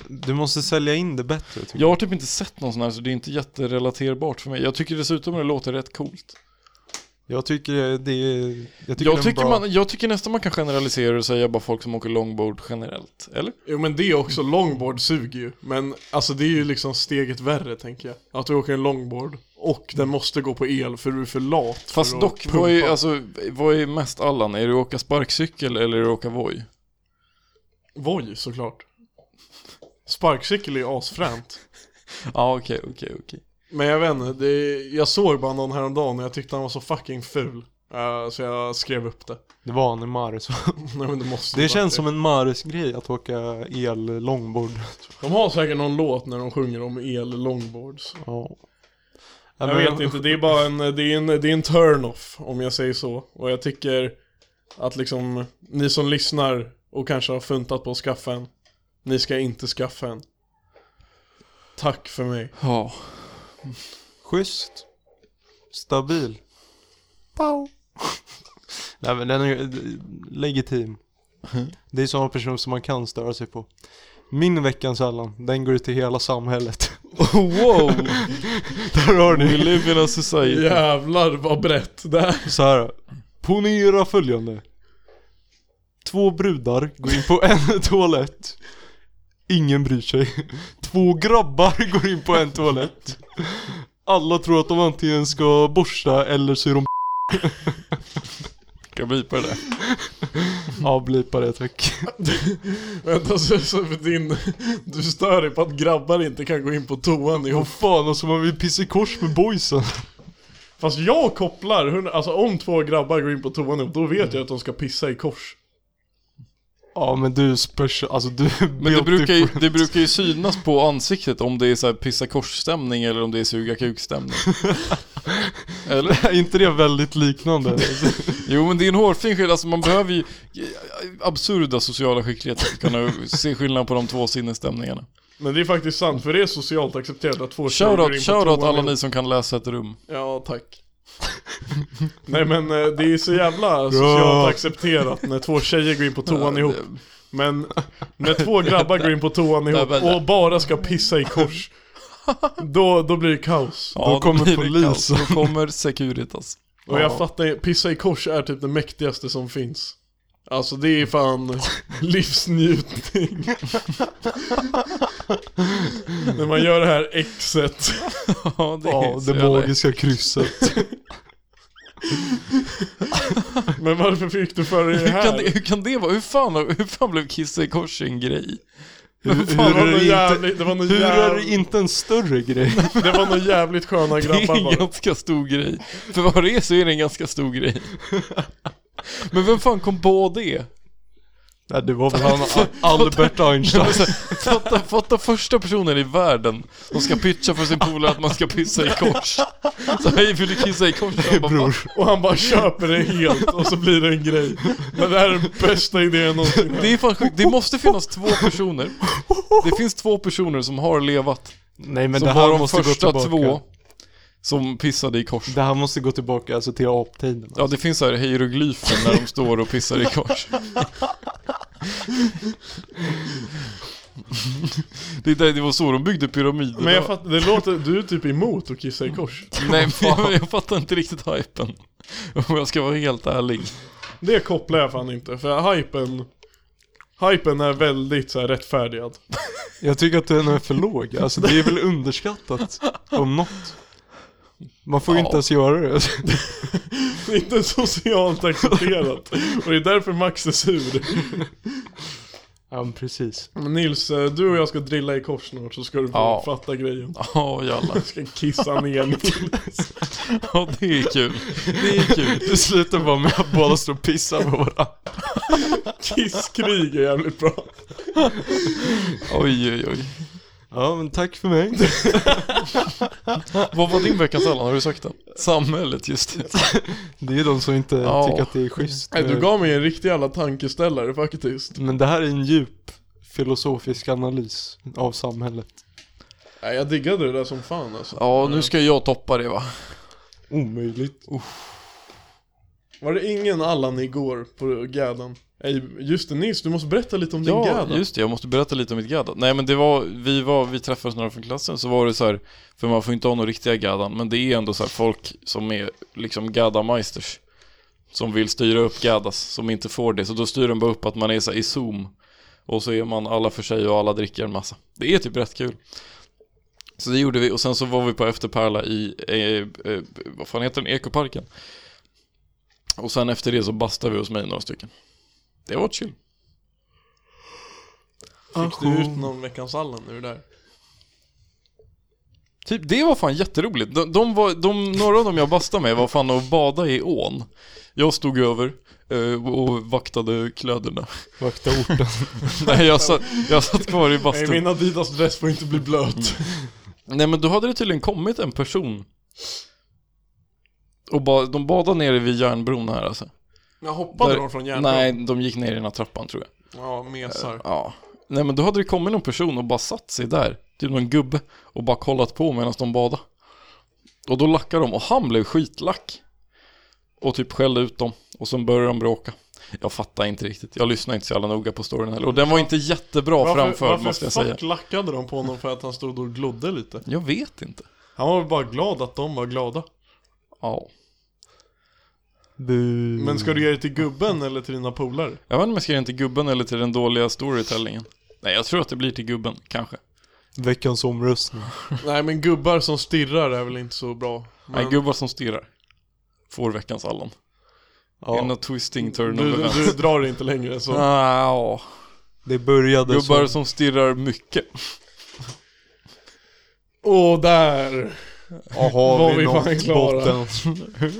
[SPEAKER 1] Du måste sälja in det bättre tycker jag.
[SPEAKER 3] Jag har typ inte sett någon sån här så det är inte jätterelaterbart för mig. Jag tycker dessutom det låter rätt coolt.
[SPEAKER 1] Jag tycker det är, jag tycker,
[SPEAKER 3] Jag
[SPEAKER 1] den är
[SPEAKER 3] tycker,
[SPEAKER 1] bra.
[SPEAKER 3] man, jag tycker nästan man kan generalisera och säga bara folk som åker longboard generellt, eller?
[SPEAKER 2] Jo men det är också, longboard suger ju. Men alltså det är ju liksom steget värre tänker jag. Att du åker en longboard och den måste gå på el för du är för lat. för
[SPEAKER 3] Fast
[SPEAKER 2] att
[SPEAKER 3] dock,
[SPEAKER 2] pumpa.
[SPEAKER 3] vad är, alltså, vad är mest Allan? Är det att åka sparkcykel eller är det att åka voj?
[SPEAKER 2] Voj såklart. Sparkcykel är ju asfränt.
[SPEAKER 3] Ja, okej, okej, okej.
[SPEAKER 2] Men jag vet inte, det, jag såg bara någon häromdagen och jag tyckte han var så fucking ful. Eh, så jag skrev upp det.
[SPEAKER 1] Det var han i Mares.
[SPEAKER 2] Nej men det måste ju
[SPEAKER 1] Det
[SPEAKER 2] vara
[SPEAKER 1] känns som en Mares-grej att åka el långbord.
[SPEAKER 2] De har säkert någon låt när de sjunger om el longboards.
[SPEAKER 1] Ja.
[SPEAKER 2] Jag
[SPEAKER 1] men
[SPEAKER 2] vet inte, det är bara en, det är en, det är en turn-off om jag säger så. Och jag tycker att liksom, ni som lyssnar och kanske har funtat på att skaffa en, ni ska inte skaffa en. Tack för mig.
[SPEAKER 3] Ja.
[SPEAKER 1] Schysst. Stabil. Pow. Nej men den är ju- legitim. Det är sådana personer som man kan störa sig på. Min veckans Allan, den går ut till hela samhället.
[SPEAKER 3] Wow!
[SPEAKER 1] Där har
[SPEAKER 3] We
[SPEAKER 1] ni.
[SPEAKER 3] live in a society.
[SPEAKER 2] Jävlar vad brett det här.
[SPEAKER 1] Så här. Ponera följande. Två brudar går in på en toalett. Ingen bryr sig. Två grabbar går in på en toalett. Alla tror att de antingen ska borsta eller så är de
[SPEAKER 3] Ska vi på det där?
[SPEAKER 1] Ja, blipa det tack.
[SPEAKER 2] Vänta så, så för din... Du stör dig på att grabbar inte kan gå in på toan ihop.
[SPEAKER 1] Åh fan, alltså man vill pissa i kors med boysen.
[SPEAKER 2] Fast jag kopplar, hur- alltså om två grabbar går in på toan ihop, då vet jag att de ska pissa i kors.
[SPEAKER 1] Ja men du special, alltså du
[SPEAKER 3] Men det
[SPEAKER 1] built
[SPEAKER 3] brukar, ju,
[SPEAKER 1] different.
[SPEAKER 3] det brukar ju synas på ansiktet om det är så här pissa korsstämning eller om det är suga kukstämning. Eller?
[SPEAKER 1] Är inte det väldigt liknande?
[SPEAKER 3] Jo men det är en hårfin skillnad, alltså man behöver ju absurda sociala skickligheter för att kunna se skillnad på de två sinnesstämningarna.
[SPEAKER 2] Men det är faktiskt sant, för det är socialt accepterat att två tjejer går in
[SPEAKER 3] Shoutout,
[SPEAKER 2] på
[SPEAKER 3] shoutout
[SPEAKER 2] toan
[SPEAKER 3] alla
[SPEAKER 2] ihop.
[SPEAKER 3] ni som kan läsa ett rum.
[SPEAKER 2] Ja, tack. Nej men eh, det är så jävla socialt accepterat när två tjejer går in på toan ihop. Men när två grabbar går in på toan ihop
[SPEAKER 3] Nej, men-
[SPEAKER 2] och bara ska pissa i kors, då, då blir det kaos.
[SPEAKER 3] Ja,
[SPEAKER 1] kommer
[SPEAKER 3] blir det kaos.
[SPEAKER 1] polisen.
[SPEAKER 3] Då kommer Securitas.
[SPEAKER 2] Och jag fattar ju, pissa i kors är typ det mäktigaste som finns. Alltså det är fan livsnjutning. När man gör det här exet.
[SPEAKER 3] Ja, det är
[SPEAKER 1] ja,
[SPEAKER 3] så
[SPEAKER 1] det
[SPEAKER 3] jävla-
[SPEAKER 1] magiska krysset.
[SPEAKER 2] Men varför fick du för dig det
[SPEAKER 3] Hur
[SPEAKER 2] här?
[SPEAKER 3] kan det, hur kan det vara? Hur fan, hur fan blev kissa i kors en grej?
[SPEAKER 1] Hur,
[SPEAKER 2] Fan, det,
[SPEAKER 1] hur,
[SPEAKER 2] var
[SPEAKER 1] är,
[SPEAKER 2] någon
[SPEAKER 1] det inte,
[SPEAKER 2] jävligt, det, var någon
[SPEAKER 1] hur är det
[SPEAKER 2] jävligt,
[SPEAKER 1] inte en större grej?
[SPEAKER 2] det var någon jävligt sköna
[SPEAKER 3] Det är
[SPEAKER 2] grabbar
[SPEAKER 3] en
[SPEAKER 2] bara.
[SPEAKER 3] ganska stor grej. För vad det är så är det en ganska stor grej. Men vem fan kom på det?
[SPEAKER 1] Nej det var väl han Albert Einstein.
[SPEAKER 3] Alltså, fatta, fatta första personen i världen som ska pitcha för sin polare att man ska pissa i kors. Så hej, vill du kissa i kors? Han bara,
[SPEAKER 1] Bror.
[SPEAKER 2] Och han bara köper det helt och så blir det en grej. Men det här är den bästa idén jag någonsin
[SPEAKER 3] Det är fan sjukt, det måste finnas två personer. Det finns två personer som har levat.
[SPEAKER 1] Nej men
[SPEAKER 3] Som
[SPEAKER 1] det
[SPEAKER 3] var
[SPEAKER 1] här
[SPEAKER 3] de
[SPEAKER 1] måste gå
[SPEAKER 3] första
[SPEAKER 1] tillbaka.
[SPEAKER 3] två som pissade i kors.
[SPEAKER 1] Det här måste gå tillbaka alltså till aptiden.
[SPEAKER 3] Ja, det finns så här hieroglyfer när de står och pissar i kors. Det, är där, det var så de byggde pyramider.
[SPEAKER 2] Men jag fattar, det låter, du är typ emot att kissa i kors.
[SPEAKER 3] Nej, men jag, jag fattar inte riktigt hypen. Om jag ska vara helt ärlig.
[SPEAKER 2] Det kopplar jag fan inte, för hypen Hypen är väldigt så här rättfärdigad.
[SPEAKER 1] Jag tycker att den är för låg. Alltså det är väl underskattat om något. Man får ju inte ens göra det.
[SPEAKER 2] Det är inte socialt accepterat. Och det är därför Max är sur.
[SPEAKER 1] Ja men precis.
[SPEAKER 2] Men Nils, eh, du och jag ska drilla i kors snart så ska du få
[SPEAKER 3] Ja.
[SPEAKER 2] fatta grejen.
[SPEAKER 3] Ja, jalla.
[SPEAKER 2] Jag ska kissa ner Nils.
[SPEAKER 3] Ja, det är kul. Det är kul.
[SPEAKER 1] Det slutar bara med att båda står och pissar på varandra.
[SPEAKER 2] Kisskrig är jävligt bra.
[SPEAKER 3] Oj, oj, oj.
[SPEAKER 1] Ja men tack för mig.
[SPEAKER 3] Vad var din veckans Allan? Har du sagt den? Samhället, just det.
[SPEAKER 1] Det är ju de som inte
[SPEAKER 3] Ja.
[SPEAKER 1] tycker att det är schysst.
[SPEAKER 2] Nej, du
[SPEAKER 1] med-
[SPEAKER 2] gav mig en riktig jävla tankeställare faktiskt.
[SPEAKER 1] Men det här är en djup filosofisk analys av samhället.
[SPEAKER 2] Nej, jag diggade det där som fan alltså.
[SPEAKER 3] Ja, nu ska jag toppa det va?
[SPEAKER 1] Omöjligt.
[SPEAKER 2] Var det ingen Allan igår på gädan? Nej, just det Nils, du måste berätta lite om din
[SPEAKER 3] Ja,
[SPEAKER 2] gädda.
[SPEAKER 3] just det. Jag måste berätta lite om mitt gadda. Nej, men det var, vi var, vi träffades några från klassen, så var det så här, för man får inte ha några riktiga gaddan, men det är ändå så här folk som är liksom gaddamaisters. Som vill styra upp gaddas, som inte får det. Så då styr de bara upp att man är så här i zoom. Och så är man alla för sig och alla dricker en massa. Det är typ rätt kul. Så det gjorde vi och sen så var vi på efterperla i, eh, eh, vad fan heter den, ekoparken. Och sen efter det så bastade vi hos mig några stycken. Det var chill.
[SPEAKER 2] Fick du ut någon veckans Allan nu där?
[SPEAKER 3] Typ, det var fan jätteroligt. De, de var, de, några av dem jag bastade med var fan och bada i ån. Jag stod över eh, och vaktade kläderna.
[SPEAKER 1] Vakta orten.
[SPEAKER 3] Nej, jag satt, jag satt kvar i
[SPEAKER 2] Nej,
[SPEAKER 3] bastun.
[SPEAKER 2] min Adidas-dress får inte bli blöt.
[SPEAKER 3] Mm. Nej, men då hade det tydligen kommit en person. Och ba, de badade nere vid järnbron här alltså.
[SPEAKER 2] Jag hoppade
[SPEAKER 3] Där-
[SPEAKER 2] då från järnbron.
[SPEAKER 3] Nej, de gick ner i den här trappan tror jag.
[SPEAKER 2] Ja, mesar.
[SPEAKER 3] Ja. Nej men då hade det kommit någon person och bara satt sig där, typ någon gubbe, och bara kollat på medan de badade. Och då lackade de och han blev skitlack. Och typ skällde ut dem och sen började de bråka. Jag fattar inte riktigt. Jag lyssnar inte så jävla noga på storyn heller. Och den var inte jättebra framförd
[SPEAKER 2] varför
[SPEAKER 3] måste jag
[SPEAKER 2] fuck
[SPEAKER 3] säga.
[SPEAKER 2] lackade de på honom för att han stod och glodde lite?
[SPEAKER 3] Jag vet inte.
[SPEAKER 2] Han var väl bara glad att de var glada.
[SPEAKER 3] Ja.
[SPEAKER 2] Men ska du ge det till gubben eller till dina polare?
[SPEAKER 3] Jag vet inte om jag ska ge den till gubben eller till den dåliga storytellingen. Nej, jag tror att det blir till gubben, kanske.
[SPEAKER 1] Veckans omröstning.
[SPEAKER 2] Nej men gubbar som stirrar är väl inte så bra. Men
[SPEAKER 3] Nej, gubbar som stirrar. Får veckans Allan. En
[SPEAKER 1] Ja,
[SPEAKER 3] av twisting turn of
[SPEAKER 2] du, du,
[SPEAKER 3] events.
[SPEAKER 2] du drar det inte längre än så.
[SPEAKER 3] Ah, ja.
[SPEAKER 1] det började
[SPEAKER 3] Gubbar
[SPEAKER 1] så.
[SPEAKER 3] som stirrar mycket.
[SPEAKER 2] Åh där!
[SPEAKER 1] Jaha,
[SPEAKER 2] var
[SPEAKER 1] vi,
[SPEAKER 2] vi
[SPEAKER 1] nått
[SPEAKER 2] fan klara.
[SPEAKER 1] botten.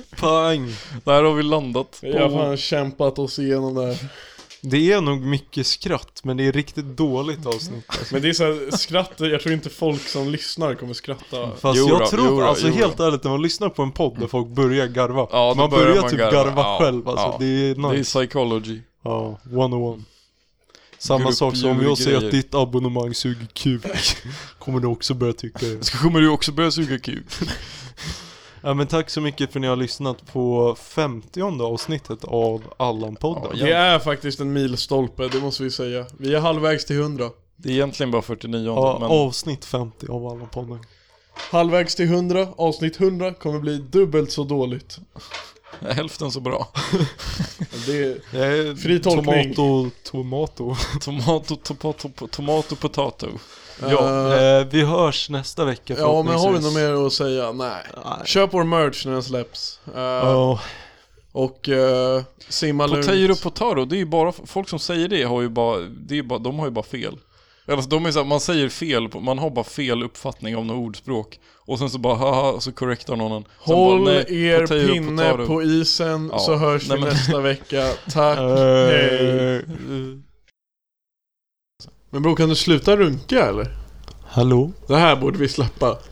[SPEAKER 1] Pang!
[SPEAKER 3] Där har vi landat.
[SPEAKER 2] Vi har
[SPEAKER 3] på-
[SPEAKER 2] fan kämpat oss igenom det här.
[SPEAKER 1] Det är nog mycket skratt, men det är riktigt dåligt avsnitt. Alltså.
[SPEAKER 2] Men det är så här, skratt, jag tror inte folk som lyssnar kommer skratta.
[SPEAKER 1] Fast
[SPEAKER 3] Jo då,
[SPEAKER 1] jag tror,
[SPEAKER 3] jo då,
[SPEAKER 1] alltså
[SPEAKER 3] jo då. Mm.
[SPEAKER 1] helt ärligt, när man lyssnar på en podd där folk börjar garva.
[SPEAKER 3] Ja, då
[SPEAKER 1] man
[SPEAKER 3] börjar
[SPEAKER 1] börjar,
[SPEAKER 3] man
[SPEAKER 1] typ
[SPEAKER 3] garva.
[SPEAKER 1] garva,
[SPEAKER 3] Ja,
[SPEAKER 1] själv alltså,
[SPEAKER 3] ja.
[SPEAKER 1] det är
[SPEAKER 3] Det är
[SPEAKER 1] nice.
[SPEAKER 3] psychology.
[SPEAKER 1] Ja, one on one. Samma
[SPEAKER 3] Grupp
[SPEAKER 1] sak som om jag säger
[SPEAKER 3] djurgrejer.
[SPEAKER 1] att ditt abonnemang suger kuk. Kommer du också börja tycka det.
[SPEAKER 3] Så kommer du också börja suga kuk.
[SPEAKER 1] Ja men tack så mycket för att ni har lyssnat på 50 avsnittet av Allan-podden.
[SPEAKER 3] Ja,
[SPEAKER 2] Det är faktiskt en milstolpe, det måste vi säga. Vi är halvvägs till 100.
[SPEAKER 3] Det är egentligen bara 49
[SPEAKER 1] Ja,
[SPEAKER 3] men
[SPEAKER 1] avsnitt 50 av Allan-podden.
[SPEAKER 2] Halvvägs till 100, avsnitt 100 kommer bli dubbelt så dåligt.
[SPEAKER 3] hälften så bra.
[SPEAKER 2] Det är...
[SPEAKER 1] Eh,
[SPEAKER 2] Fri tolkning.
[SPEAKER 1] Tomato, tomato.
[SPEAKER 3] Tomato, tomato, tomato, potato.
[SPEAKER 1] Ja,
[SPEAKER 2] Eh,
[SPEAKER 1] eh, vi hörs nästa vecka
[SPEAKER 2] ja men har vi
[SPEAKER 1] förhoppningsvis.
[SPEAKER 2] något mer att säga? Nej.
[SPEAKER 1] Nej.
[SPEAKER 2] Köp vår merch när den släpps. Eh,
[SPEAKER 1] Ja,
[SPEAKER 2] Och uh, simma
[SPEAKER 3] Potato,
[SPEAKER 2] lugnt.
[SPEAKER 3] potato, det är ju bara, folk som säger det har ju bara, det är bara de har ju bara fel. Eller så de är så här, man säger fel, på- man har bara fel uppfattning om något ordspråk. Och sen så bara haha, och så korrektar någon en. Sen
[SPEAKER 2] Håll
[SPEAKER 3] bara, nej,
[SPEAKER 2] er
[SPEAKER 3] potato,
[SPEAKER 2] pinne
[SPEAKER 3] potato.
[SPEAKER 2] på isen
[SPEAKER 3] Ja.
[SPEAKER 2] så hörs
[SPEAKER 3] Nej,
[SPEAKER 2] vi
[SPEAKER 3] men-
[SPEAKER 2] nästa vecka. Tack, hej.
[SPEAKER 1] eh,
[SPEAKER 2] Men bror kan du sluta runka eller?
[SPEAKER 1] hallå?
[SPEAKER 2] Det här borde vi släppa.